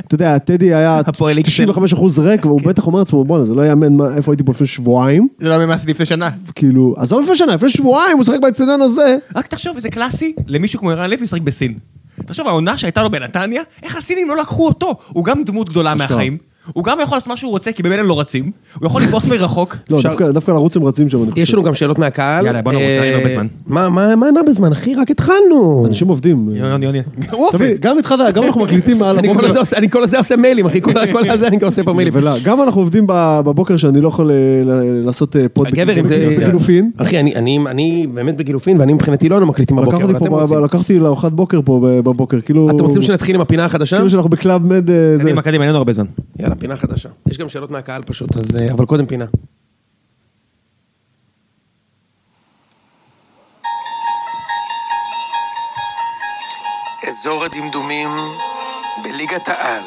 Speaker 2: אתה יודע, טדי היה
Speaker 1: *laughs* הפועל איקסל. כן.
Speaker 2: 95% ריק, והוא בטח אומר לעצמו, בואנה, זה לא יאמן מה- איפה הייתי פה לפני שבועיים,
Speaker 1: זה לא ממה עשיתי לפני שנה.
Speaker 2: כאילו, עזוב לפני שנה, לפני שבועיים הוא שיחק באצטדיון הזה.
Speaker 1: רק תחשוב, איזה קלאסי למישהו כמו ערן לוי לשחק בסין. תחשוב, העונה שהייתה לו בנתניה, איך הסינים לא לקחו אותו? הוא גם דמות גדולה
Speaker 2: אשכרה.
Speaker 1: מהחיים. הוא גם יכול לעשות מה שהוא רוצה, כי במילא לא רצים. הוא יכול לבעוט מרחוק.
Speaker 2: לא,
Speaker 3: אפשר-
Speaker 2: דווקא- דווקא לרוץ הם רצים שם, אני
Speaker 3: יש
Speaker 2: חושב.
Speaker 3: לנו גם שאלות מהקהל.
Speaker 1: יאללה, בוא נרוץ,
Speaker 3: אה,
Speaker 1: אין הרבה זמן.
Speaker 3: מה- מה מה אין הרבה זמן, אחי? רק התחלנו.
Speaker 2: אנשים עובדים.
Speaker 1: יוני, יוני.
Speaker 3: הוא
Speaker 2: תבין,
Speaker 3: אופן.
Speaker 2: גם התחלת, גם אנחנו מקליטים מעל
Speaker 3: *laughs* אני לא כל
Speaker 2: הבוקר.
Speaker 3: הזה עושה- אני כל הזה עושה מיילים, אחי. כל כל הזה אני עושה פה מיילים.
Speaker 2: ולא, גם אנחנו עובדים ב- בבוקר שאני לא יכול אה, ל- לעשות אה, פוד
Speaker 3: גבר, אם זה...
Speaker 2: בגילופין.
Speaker 3: אחי, אני- אני אני באמת בגילופין, ואני מבחינתי לא היינו מקליטים בבוקר, אבל
Speaker 2: לקחתי
Speaker 3: אתם
Speaker 2: פה-
Speaker 3: רוצים.
Speaker 2: לקחתי לארוחת בוקר פה ב- בבוקר, כאילו...
Speaker 3: אתם רוצים שנתחיל עם הפינה החדשה?
Speaker 2: כאילו שאנחנו בקלאב מד... אה, זה.
Speaker 1: אני מקדם, אין לנו הרבה זמן.
Speaker 3: יאללה, פינה חדשה. יש גם שאלות מהקהל פשוט, אז... אה, אבל קודם פינה.
Speaker 4: אזור הדמדומים בליגת העל.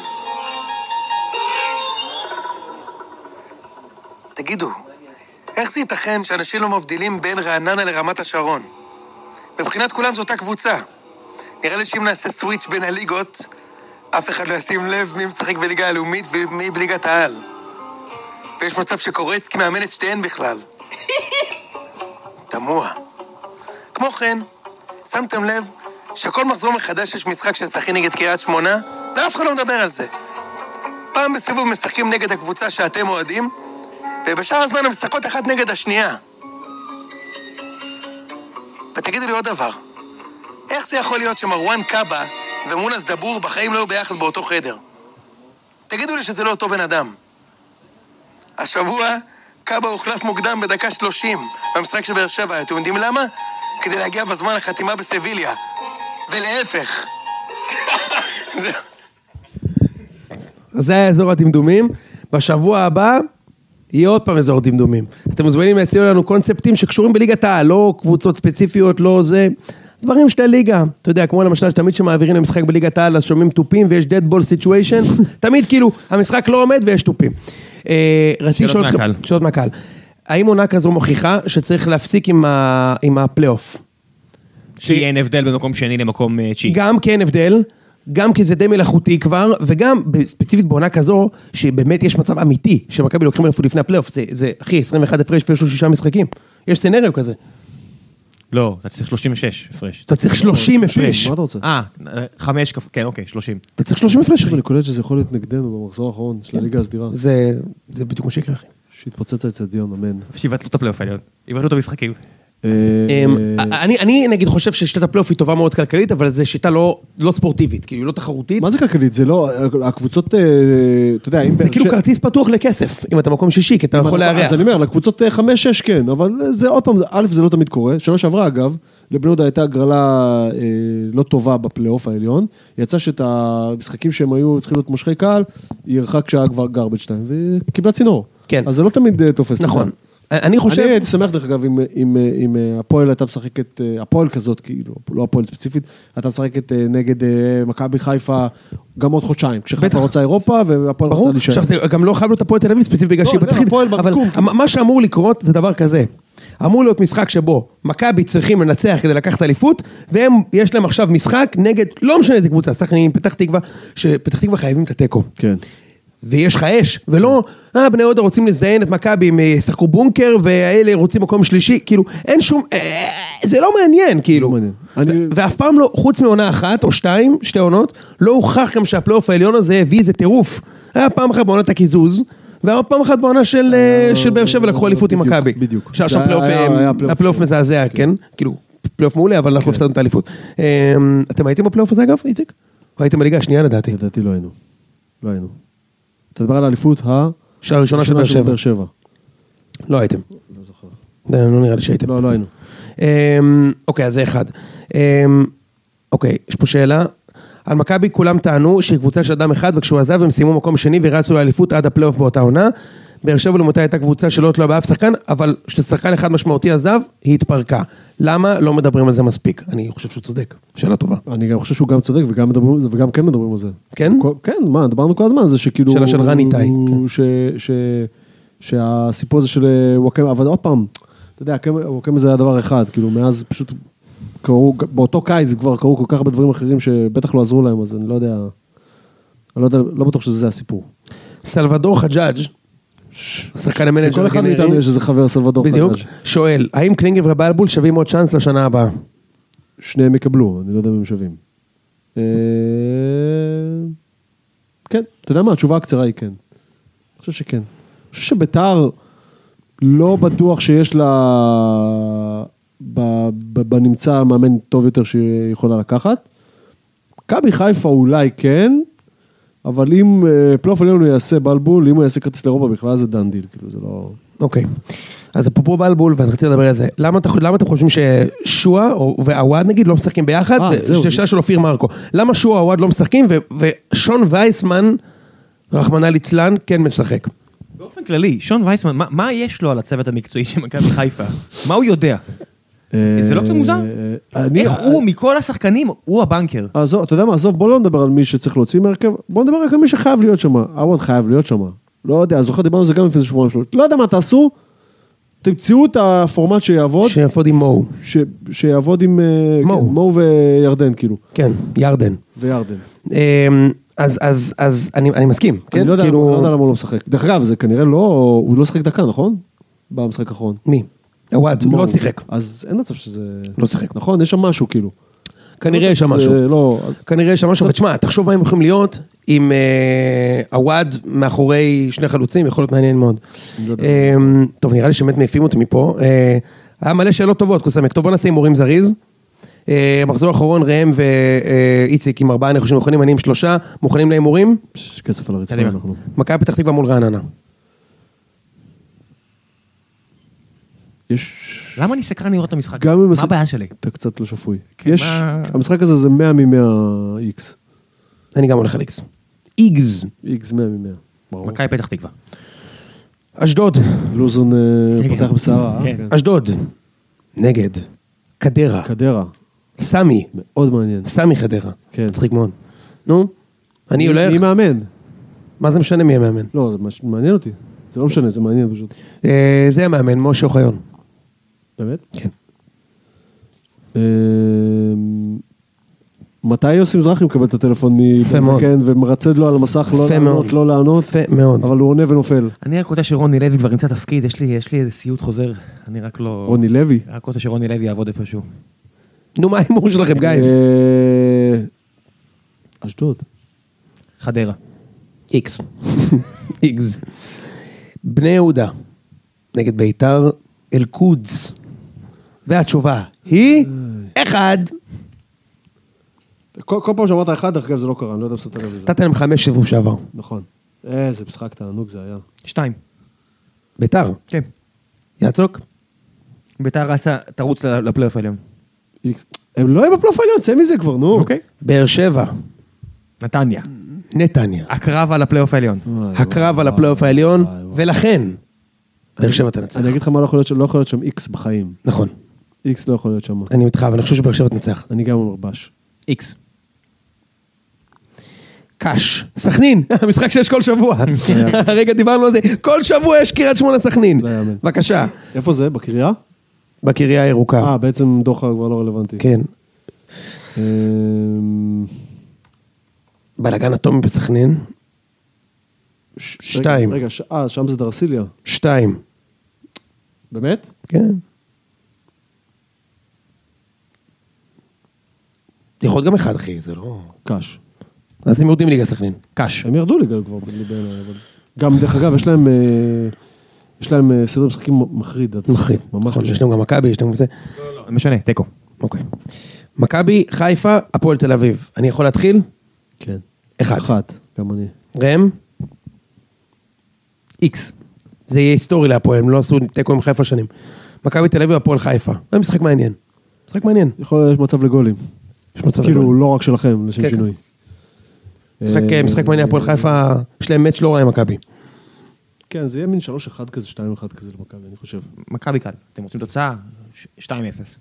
Speaker 4: תגידו, איך זה ייתכן שאנשים לא מבדילים בין רעננה לרמת השרון? מבחינת כולם זו אותה קבוצה. נראה לי שאם נעשה סוויץ' בין הליגות, אף אחד לא ישים לב מי משחק בליגה הלאומית ומי בליגת העל. ויש מצב שקורצקי מאמן את שתיהן בכלל. תמוה. כמו כן, שמתם לב שכל מחזור מחדש יש משחק של שחקנים נגד קריית שמונה? ואף אחד לא מדבר על זה. פעם בסיבוב משחקים נגד הקבוצה שאתם אוהדים, ובשאר הזמן הן משחקות אחת נגד השנייה. ותגידו לי עוד דבר, איך זה יכול להיות שמרואן קאבה ומונס דבור בחיים לא היו ביחד באותו חדר? תגידו לי שזה לא אותו בן אדם. השבוע קאבה הוחלף מוקדם בדקה 30 במשחק של באר שבע. אתם יודעים למה? כדי להגיע בזמן לחתימה בסביליה. ולהפך. *laughs* זהו.
Speaker 3: אז זה היה אזור הדמדומים. בשבוע הבא יהיה עוד פעם אזור דמדומים. אתם מוזמנים להציע לנו קונספטים שקשורים בליגת העל, לא קבוצות ספציפיות, לא זה. דברים של ליגה, אתה יודע, כמו למשל שתמיד כשמעבירים למשחק בליגת העל אז שומעים תופים ויש dead ball
Speaker 1: *laughs*
Speaker 3: situation, תמיד כאילו, המשחק לא עומד ויש תופים. אה, רציתי
Speaker 1: שאלות
Speaker 3: לשאול אתכם-
Speaker 1: מהקהל.
Speaker 3: שאלות מהקהל. האם עונה כזו מוכיחה שצריך להפסיק עם ה- עם הפלייאוף?
Speaker 1: כי אין הבדל בין מקום שני למקום אה, תשיעי.
Speaker 3: גם כי אין הבדל, גם כי זה די מלאכותי כבר, וגם ספציפית בעונה כזו, שבאמת יש מצב אמיתי, שמכבי לוקחים אליפות לפני הפלייאוף, זה, זה, אחי, 21 הפרש ויש לו שישה משחקים. יש סצנריו כזה.
Speaker 1: לא, אתה צריך 36 הפרש.
Speaker 3: אתה צריך 30 הפרש.
Speaker 2: לא, מה אתה רוצה?
Speaker 1: אה, חמש, כפ- כן, אוקיי, 30.
Speaker 3: אתה צריך 30 הפרש,
Speaker 2: אבל
Speaker 3: אחי.
Speaker 2: אני קולט שזה יכול להיות נגדנו במחזור האחרון של הליגה הסדירה.
Speaker 3: כן. זה, זה בדיוק מה שיקרה, אחי.
Speaker 2: שהתפוצץ האצטדיון, אמן.
Speaker 1: שיבטלו את הפלייאוף העליון. יבטלו את המשחקים.
Speaker 2: אה,
Speaker 3: אמ,
Speaker 2: אה,
Speaker 3: אני, אני נגיד חושב ששיטת הפלייאוף היא טובה מאוד כלכלית, אבל זו שיטה לא, לא ספורטיבית, כאילו לא תחרותית.
Speaker 2: מה זה כלכלית? זה לא... הקבוצות, אה, אתה יודע, אם...
Speaker 3: זה
Speaker 2: באר
Speaker 3: כאילו
Speaker 2: שבע-
Speaker 3: כרטיס פתוח לכסף, אם אתה מקום שישי, כי אתה יכול
Speaker 2: אז
Speaker 3: לארח.
Speaker 2: אני אומר, לקבוצות 5-6 כן, אבל זה עוד פעם, זה- א', זה לא תמיד קורה. שנה שעברה, אגב, לבני יהודה הייתה הגרלה אה, לא טובה בפלייאוף העליון. יצא שאת המשחקים שהם היו צריכים להיות מושכי קהל, היא הרחק שעה כבר גרבג' 2, וקיבלה צינור.
Speaker 3: כן.
Speaker 2: אז זה לא תמיד אה, תופס.
Speaker 3: נכון.
Speaker 2: אתה
Speaker 3: אני
Speaker 2: יודע.
Speaker 3: חושב...
Speaker 2: אני הייתי שמח, דרך אגב, אם- אם, אה, אם אה, הפועל הייתה משחקת, אה, הפועל כזאת, כאילו, לא הפועל ספציפית, הייתה משחקת אה, נגד אה, מכבי חיפה גם עוד חודשיים. כשחיפה
Speaker 3: בטח.
Speaker 2: רוצה אירופה, והפועל רוצה
Speaker 3: ברור.
Speaker 2: להישאר.
Speaker 3: עכשיו, זה גם לא חייב להיות הפועל תל אביב ספציפית בגלל
Speaker 2: לא,
Speaker 3: שהיא
Speaker 2: אני אומר,
Speaker 3: בתחתית,
Speaker 2: הפועל
Speaker 3: אבל
Speaker 2: במקום.
Speaker 3: המ- מה שאמור לקרות זה דבר כזה. אמור להיות משחק שבו מכבי צריכים לנצח כדי לקחת אליפות, והם, יש להם עכשיו משחק נגד, לא משנה איזה קבוצה, סכנין, פתח תקווה, שפתח תקווה חייבים את התיקו.
Speaker 2: כן.
Speaker 3: ויש לך אש, ולא, אה, בני יהודה רוצים לזיין את מכבי, הם אה, ישחקו בונקר, והאלה רוצים מקום שלישי, כאילו, אין שום, אה, זה לא מעניין, כאילו.
Speaker 2: לא מעניין. אני-
Speaker 3: ו- ואף פעם לא, חוץ מעונה אחת או שתיים, שתי עונות, לא הוכח גם שהפלייאוף העליון הזה הביא איזה טירוף. היה פעם אחת בעונת הקיזוז, והיה פעם אחת בעונה של, אה, של באר שבע לקחו אליפות עם
Speaker 2: בדיוק,
Speaker 3: מכבי.
Speaker 2: בדיוק.
Speaker 3: שהיה
Speaker 2: זה
Speaker 3: שם
Speaker 2: היה-
Speaker 3: פלייאוף,
Speaker 2: היה-
Speaker 3: אה,
Speaker 2: היה פלייאוף. כן.
Speaker 3: הפלייאוף מזעזע, כן? כאילו, פלייאוף מעולה, אבל אנחנו הפסדנו את האליפות. אה, אתם הייתם בפלייאוף הזה אגב, איציק? או הייתם בליגה השנייה לדעתי?
Speaker 2: לדעתי לא היינו. לא היינו. אתה מדבר על האליפות ה...
Speaker 3: שער ראשונה של באר
Speaker 2: הראשונה
Speaker 3: שבע. לא הייתם. לא זוכר. לא נראה לי שהייתם.
Speaker 2: לא, לא היינו.
Speaker 3: אמ, אוקיי, אז זה אחד. אמ, אוקיי, יש פה שאלה. על מכבי כולם טענו שהיא קבוצה של אדם אחד, וכשהוא עזב הם סיימו מקום שני ורצו לאליפות עד הפלייאוף באותה עונה. באר שבע לעומתה הייתה קבוצה שלא תלויה באף שחקן, אבל כששחקן אחד משמעותי עזב, היא התפרקה. למה לא מדברים על זה מספיק? אני חושב שהוא צודק. שאלה טובה.
Speaker 2: אני גם חושב שהוא גם צודק וגם, מדברים, על זה, וגם כן מדברים על זה.
Speaker 3: כן?
Speaker 2: כל, כן, מה, דיברנו כל הזמן על זה שכאילו...
Speaker 3: שאלה של רן איתי, כן.
Speaker 2: ש, ש, שהסיפור הזה של אה, וואקמה, אבל עוד פעם, אתה יודע, הקמא- וואקמה זה היה דבר אחד, כאילו מאז פשוט קרו, באותו קיץ כבר קרו כל כך הרבה דברים אחרים שבטח לא עזרו להם, אז אני לא יודע, אני לא יודע, לא בטוח שזה הסיפור.
Speaker 3: סלבדור חג'אג', שחקן המנג'ר
Speaker 2: לכל אחד
Speaker 3: הגנרי,
Speaker 2: מאיתנו יש איזה חבר סלבדור
Speaker 3: כן, בדיוק,
Speaker 2: חדש.
Speaker 3: שואל, האם קלינגר ובלבול שווים עוד צ'אנס לשנה הבאה?
Speaker 2: שניהם יקבלו, אני לא יודע אם הם שווים. אה, כן, אתה יודע מה, התשובה הקצרה היא כן. חושב שכן. אני חושב שביתר לא בטוח שיש לה ב- ב- בנמצא מאמן טוב יותר שהיא יכולה לקחת. מכבי חיפה אולי כן, אבל אם אה, פלייאוף עליון הוא יעשה בלבול, אם הוא יעשה כרטיס לאירופה בכלל זה דן דיל, כאילו זה לא...
Speaker 3: אוקיי. אז אפרופו בלבול, ואז רציתי לדבר על זה. למה אתה- למה אתם חושבים ששועה או- ועווד נגיד לא משחקים ביחד?
Speaker 2: אה,
Speaker 3: ו-
Speaker 2: זהו.
Speaker 3: זו שאלה של אופיר מרקו. למה שועה ועווד לא משחקים ו- ושון וייסמן, רחמנא ליצלן, כן משחק?
Speaker 1: באופן כללי, שון וייסמן, מה- מה יש לו על הצוות המקצועי של מכבי חיפה? מה הוא יודע? זה לא קצת מוזר?
Speaker 2: אה, אני-
Speaker 1: איך הוא, מכל השחקנים, הוא הבנקר.
Speaker 2: עזוב, אתה יודע מה, עזוב, בוא לא נדבר על מי שצריך להוציא מהרכב, בוא נדבר רק על מי שחייב להיות שם. עווד חייב להיות שם. לא יודע, זוכר, דיברנו על זה גם לפני איזה שבועיים שלוש. לא יודע מה תעשו, תמצאו את הפורמט שיעבוד,
Speaker 3: שיפוד עם מו.
Speaker 2: ש... שיעבוד עם אה,
Speaker 3: מו.
Speaker 2: כן, מו וירדן, כאילו,
Speaker 3: כן, ירדן.
Speaker 2: וירדן.
Speaker 3: אמ, אז, אז, אז אני, אני מסכים, כן?
Speaker 2: אני לא יודע,
Speaker 3: כאילו...
Speaker 2: אני לא יודע למה הוא לא משחק. דרך אגב, זה כנראה לא, הוא לא שחק דקה, נכון? במשחק האחרון.
Speaker 3: מי? עווד, הוא לא
Speaker 2: מו.
Speaker 3: שיחק.
Speaker 2: אז אין מצב שזה...
Speaker 3: לא שיחק.
Speaker 2: נכון, יש שם משהו, כאילו.
Speaker 3: כנראה יש שם
Speaker 2: זה
Speaker 3: משהו.
Speaker 2: לא, אז...
Speaker 3: כנראה יש שם משהו, ותשמע, תחשוב מה הם יכולים להיות עם אה, עווד מאחורי שני חלוצים, יכול להיות מעניין מאוד.
Speaker 2: אני לא יודע.
Speaker 3: אה, טוב, נראה לי שבאמת מעיפים אותי מפה. אה, היה מלא שאלות טובות, קוסמק. טוב, בוא נעשה הימורים זריז. אה, מחזור אחרון, ראם ואיציק עם ארבעה נחושים נכונים, אני עם שלושה, מוכנים להימורים?
Speaker 2: פש, כסף על הרצפה
Speaker 1: קדימה.
Speaker 2: אנחנו.
Speaker 3: מכבי פתח תקווה מול רעננה.
Speaker 2: יש...
Speaker 1: למה אני סקרן לראות את המשחק?
Speaker 2: גם אם...
Speaker 1: מה הבעיה שלי? כן,
Speaker 2: אתה קצת לא שפוי. יש...
Speaker 1: מה-
Speaker 2: המשחק הזה זה 100 מ-100 איקס.
Speaker 3: אני גם הולך על איקס. איגז.
Speaker 2: איקס 100 מ-100. ברור.
Speaker 1: מכבי פתח תקווה.
Speaker 3: אשדוד.
Speaker 2: לוזון אה,
Speaker 1: כן,
Speaker 2: פותח
Speaker 1: כן.
Speaker 2: בסערה. אה?
Speaker 1: כן.
Speaker 2: כן.
Speaker 3: אשדוד. נגד. חדרה.
Speaker 2: חדרה.
Speaker 3: סמי.
Speaker 2: מאוד מעניין.
Speaker 3: סמי חדרה.
Speaker 2: כן.
Speaker 3: מצחיק מאוד. נו, אני
Speaker 2: מי-
Speaker 3: הולך...
Speaker 2: מי מאמן?
Speaker 3: מה זה משנה מי המאמן?
Speaker 2: לא, זה מש- מעניין אותי. זה לא משנה, זה מעניין פשוט.
Speaker 3: אה, זה המאמן, משה אוחיון.
Speaker 2: באמת?
Speaker 3: כן.
Speaker 2: אמ, מתי יוסי מזרחי מקבל את הטלפון מבן
Speaker 3: מאוד.
Speaker 2: זקן ומרצד לו על המסך לא
Speaker 3: יפה
Speaker 2: לענות,
Speaker 3: מאוד.
Speaker 2: לא לענות,
Speaker 3: יפה מאוד.
Speaker 2: אבל הוא עונה ונופל.
Speaker 1: אני רק רוצה שרוני לוי כבר ימצא תפקיד, יש לי יש לי איזה סיוט חוזר, אני רק לא...
Speaker 2: רוני לוי.
Speaker 1: רק רוצה שרוני לוי יעבוד איפשהו.
Speaker 3: נו, מה ההימור שלכם, גייז?
Speaker 2: אה, אשדוד.
Speaker 1: חדרה.
Speaker 3: *laughs* איקס. איקס. בני יהודה, נגד ביתר, אל-קודס. והתשובה היא... אחד.
Speaker 2: כל כל פעם שאמרת אחד, דרך אגב, זה לא קרה, אני לא יודע אם שמת לב לזה.
Speaker 3: נתת להם חמש סיבוב שעבר.
Speaker 2: נכון. איזה משחק תענוג זה היה.
Speaker 1: שתיים.
Speaker 3: ביתר.
Speaker 1: כן.
Speaker 3: יעצוק.
Speaker 1: ביתר רצה, תרוץ ל- לפלייאוף העליון.
Speaker 2: איקס. הם לא יהיו בפלייאוף העליון, צא מזה כבר, נו.
Speaker 3: אוקיי. באר שבע.
Speaker 1: נתניה.
Speaker 3: נתניה.
Speaker 1: הקרב על הפלייאוף העליון.
Speaker 2: אה, וואי,
Speaker 3: הקרב על הפלייאוף העליון, ולכן, באר שבע תנצח.
Speaker 2: אני אגיד לך מה לא יכול להיות שם, לא יכול להיות שם איקס בחיים.
Speaker 3: נכון,
Speaker 2: איקס לא יכול להיות שם.
Speaker 3: אני איתך, אבל אני חושב שבאר שבע תנצח.
Speaker 2: אני גם אומר בש.
Speaker 1: איקס.
Speaker 3: קאש, סכנין, *laughs* המשחק שיש כל
Speaker 2: *laughs*
Speaker 3: שבוע. הרגע דיברנו על זה, כל שבוע יש קריית שמונה סכנין.
Speaker 2: לא יאמן.
Speaker 3: בבקשה,
Speaker 2: איפה זה? בקריה?
Speaker 3: בקריה הירוקה.
Speaker 2: אה, בעצם דוחה כבר לא רלוונטי.
Speaker 3: כן,
Speaker 2: אמ,
Speaker 3: בלאגן אטומי בסכנין.
Speaker 2: ש-
Speaker 3: שתיים.
Speaker 2: רגע, ש- אה, שם זה דרסיליה.
Speaker 3: שתיים.
Speaker 2: באמת?
Speaker 3: כן. יכול להיות גם אחד, אחי, זה לא...
Speaker 2: קאש.
Speaker 3: אז הם יורדים ליגה סכנין.
Speaker 1: קאש.
Speaker 2: הם ירדו ליגה כבר ב- בעיניי, אבל... גם, דרך אגב, יש להם... אה, יש להם אה, סדר משחקים מחריד. אתה צודק.
Speaker 3: מחריד.
Speaker 2: ממש
Speaker 3: נכון, יש
Speaker 2: מחריד.
Speaker 3: להם גם מכבי, יש להם גם זה.
Speaker 1: משנה, תיקו.
Speaker 3: אוקיי. מכבי, חיפה, הפועל תל אביב. אני יכול להתחיל?
Speaker 2: כן.
Speaker 3: אחד.
Speaker 2: אחת, גם אני.
Speaker 3: ראם?
Speaker 1: איקס.
Speaker 3: זה יהיה היסטורי להפועל, הם לא עשו תיקו עם חיפה שנים. מכבי תל אביב, הפועל חיפה. זה משחק מעניין. משחק מעניין.
Speaker 2: יכול להיות מצב לגולים.
Speaker 3: יש מצב
Speaker 2: כאילו,
Speaker 3: לגול.
Speaker 2: לא רק שלכם, לשם
Speaker 3: כן, כן.
Speaker 2: שינוי.
Speaker 3: משחק,
Speaker 2: אה,
Speaker 3: משחק מעניין, הפועל חיפה, יש להם מאץ' לא רע עם מכבי.
Speaker 2: כן, זה יהיה מין 3-1 כזה, 2-1 כזה למכבי, אני חושב.
Speaker 1: מכבי קל. אתם רוצים תוצאה? ש- 2-0.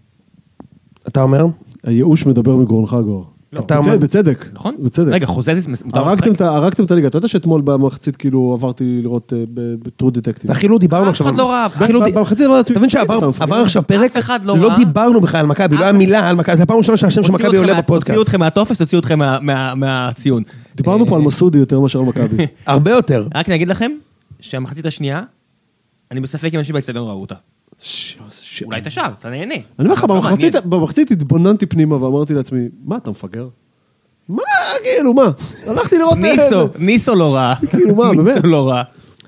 Speaker 3: אתה אומר?
Speaker 2: הייאוש מדבר מגרונך גור.
Speaker 3: לא. אתה
Speaker 2: בצדק,
Speaker 3: אומר-
Speaker 2: בצדק.
Speaker 1: נכון?
Speaker 2: בצדק.
Speaker 1: רגע, חוזז מותר
Speaker 2: הרגתם את ה- הרגתם את הליגה, אתה יודע שאתמול במחצית כאילו עברתי לראות בטרו דטקטיב.
Speaker 3: ואפילו לא דיברנו
Speaker 1: אף
Speaker 3: עכשיו...
Speaker 1: אחד
Speaker 3: על-
Speaker 1: לא ראה,
Speaker 3: אפילו לא ד-
Speaker 2: במחצית עברתי לעצמי,
Speaker 3: אתה מבין שעבר
Speaker 2: אתה מפגר?
Speaker 3: עבר עכשיו פרק,
Speaker 1: אף אחד לא
Speaker 3: לא
Speaker 1: ראה.
Speaker 3: דיברנו בכלל על מכבי, לא היה מילה על מכבי, זו הפעם הראשונה שהשם של
Speaker 1: הוציאו
Speaker 3: מכבי
Speaker 1: אתכם
Speaker 3: עולה
Speaker 1: מה-
Speaker 3: בפודקאסט.
Speaker 1: הוציאו אתכם מהטופס, הוציאו אתכם מה- מה- מהציון.
Speaker 2: דיברנו פה על מסעודי יותר מאשר על מכבי.
Speaker 3: *laughs* הרבה יותר.
Speaker 1: רק אני אגיד לכם, שהמחצית השנייה, אני בספק אם אנשים באצטדיון ראו אותה.
Speaker 2: ש- איזה ש-
Speaker 1: אולי אתה שר, אתה נהנה.
Speaker 2: אני אומר לך,
Speaker 1: לא
Speaker 2: במחצית-
Speaker 1: מעניין.
Speaker 2: במחצית התבוננתי פנימה ואמרתי לעצמי, מה אתה מפגר? מה, כאילו, מה? הלכתי לראות...
Speaker 1: ניסו, ניסו לא רע.
Speaker 2: *laughs* כאילו, מה, באמת?
Speaker 1: ניסו לא רע.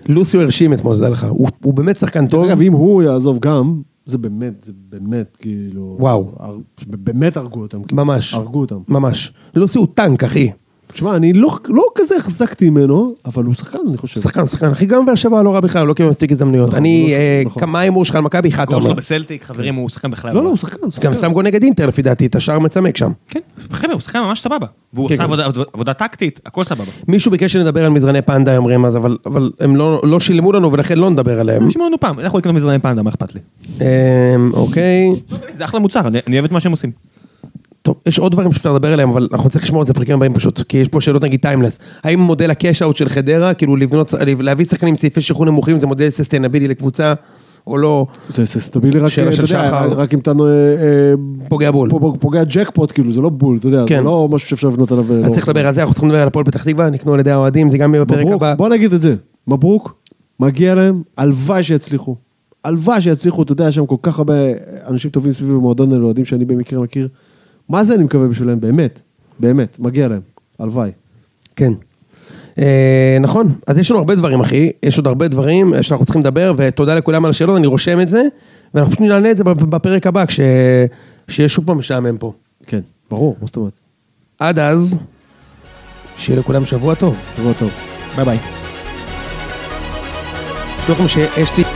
Speaker 3: לוסיו הרשים אתמול, זה לך. הוא הוא באמת שחקן טוב.
Speaker 2: אגב, אם הוא יעזוב גם, זה באמת, זה באמת, כאילו...
Speaker 3: וואו.
Speaker 2: הר- באמת הרגו אותם. כאילו.
Speaker 3: ממש.
Speaker 2: הרגו אותם.
Speaker 3: ממש. לוסי הוא טנק, אחי.
Speaker 2: תשמע, אני לא, לא כזה החזקתי ממנו, אבל הוא שחקן, אני חושב.
Speaker 3: שחקן, שחקן. אחי, גם באר שבע לא רע בכלל, הוא לא קיבל מספיק הזדמנויות.
Speaker 2: נכון, הוא
Speaker 3: אני,
Speaker 2: לא
Speaker 3: אה,
Speaker 2: נכון.
Speaker 3: כמה הימור שלך על מכבי, אחד אתה
Speaker 1: גול
Speaker 3: אומר.
Speaker 1: שלו לא, בסלטיק, חברים, הוא שחקן בכלל.
Speaker 2: לא, לא, הוא שחקן. הוא שחקן.
Speaker 3: גם שם גול נגד אינטר, לפי דעתי, את השער מצמק שם.
Speaker 1: כן, חבר'ה, הוא שחקן ממש סבבה. והוא
Speaker 3: כן,
Speaker 1: עושה
Speaker 3: כן.
Speaker 1: עבודה- עבודה- עבודה טקטית, הכל סבבה.
Speaker 3: מישהו ביקש שנדבר על מזרני פנדה, הם אומרים אז, אבל- אבל הם לא לא שילמו לנו ולכן לא נדבר עליהם.
Speaker 1: תשמעו לנו פעם, אנחנו לא לקנות מזרני פנדה, מה
Speaker 2: *laughs*
Speaker 1: אכפת לי?
Speaker 3: אה, אוקיי.
Speaker 1: זה אחלה מוצר, אני אני אוהב את מה שהם עושים.
Speaker 3: טוב, יש עוד דברים שאפשר לדבר עליהם, אבל אנחנו צריכים לשמור את זה בפרקים הבאים פשוט, כי יש פה שאלות נגיד טיימלס. האם מודל הקאש-אאוט של חדרה, כאילו לבנות, להביא שחקנים עם סעיפי שחרור נמוכים, זה מודל ססטיינבילי לקבוצה, או לא,
Speaker 2: זה זה סטבילי רק,
Speaker 3: שאלה של
Speaker 2: אתה יודע,
Speaker 3: שחר.
Speaker 2: רק אם אתה נו- אה, אה,
Speaker 3: פוגע בול.
Speaker 2: פה- פה- פוגע ג'קפוט, כאילו, זה לא בול, אתה יודע,
Speaker 3: כן.
Speaker 2: זה לא משהו שאפשר לבנות עליו.
Speaker 3: אז צריך לדבר על זה, אנחנו צריכים לדבר על הפועל פתח תקווה, נקנו על ידי האוהדים, זה גם יהיה בפרק
Speaker 2: מברוק,
Speaker 3: הבא.
Speaker 2: בוא נגיד את זה, מברוק, מגיע להם, הלוואי שיצליחו. הלוואי שיצליחו, אתה יודע, יש שם כל כך הרבה אנשים טובים סביב המועדון האלה, אוהדים שאני במקרה מכיר. מה זה אני מקווה בשבילם, באמת, באמת, מגיע להם, הלוואי.
Speaker 3: כן. אה, נכון, אז יש לנו הרבה דברים, אחי, יש עוד הרבה דברים אה, שאנחנו צריכים לדבר, ותודה לכולם על השאלות, אני רושם את זה, ואנחנו פשוט נעלה את זה בפ- בפרק הבא, כש... שיהיה שוב פעם משעמם פה.
Speaker 2: כן, ברור, מה זאת אומרת?
Speaker 3: עד אז, שיהיה לכולם שבוע טוב.
Speaker 2: שבוע טוב.
Speaker 1: ביי ביי.
Speaker 3: תשמעו לכם שיש לי...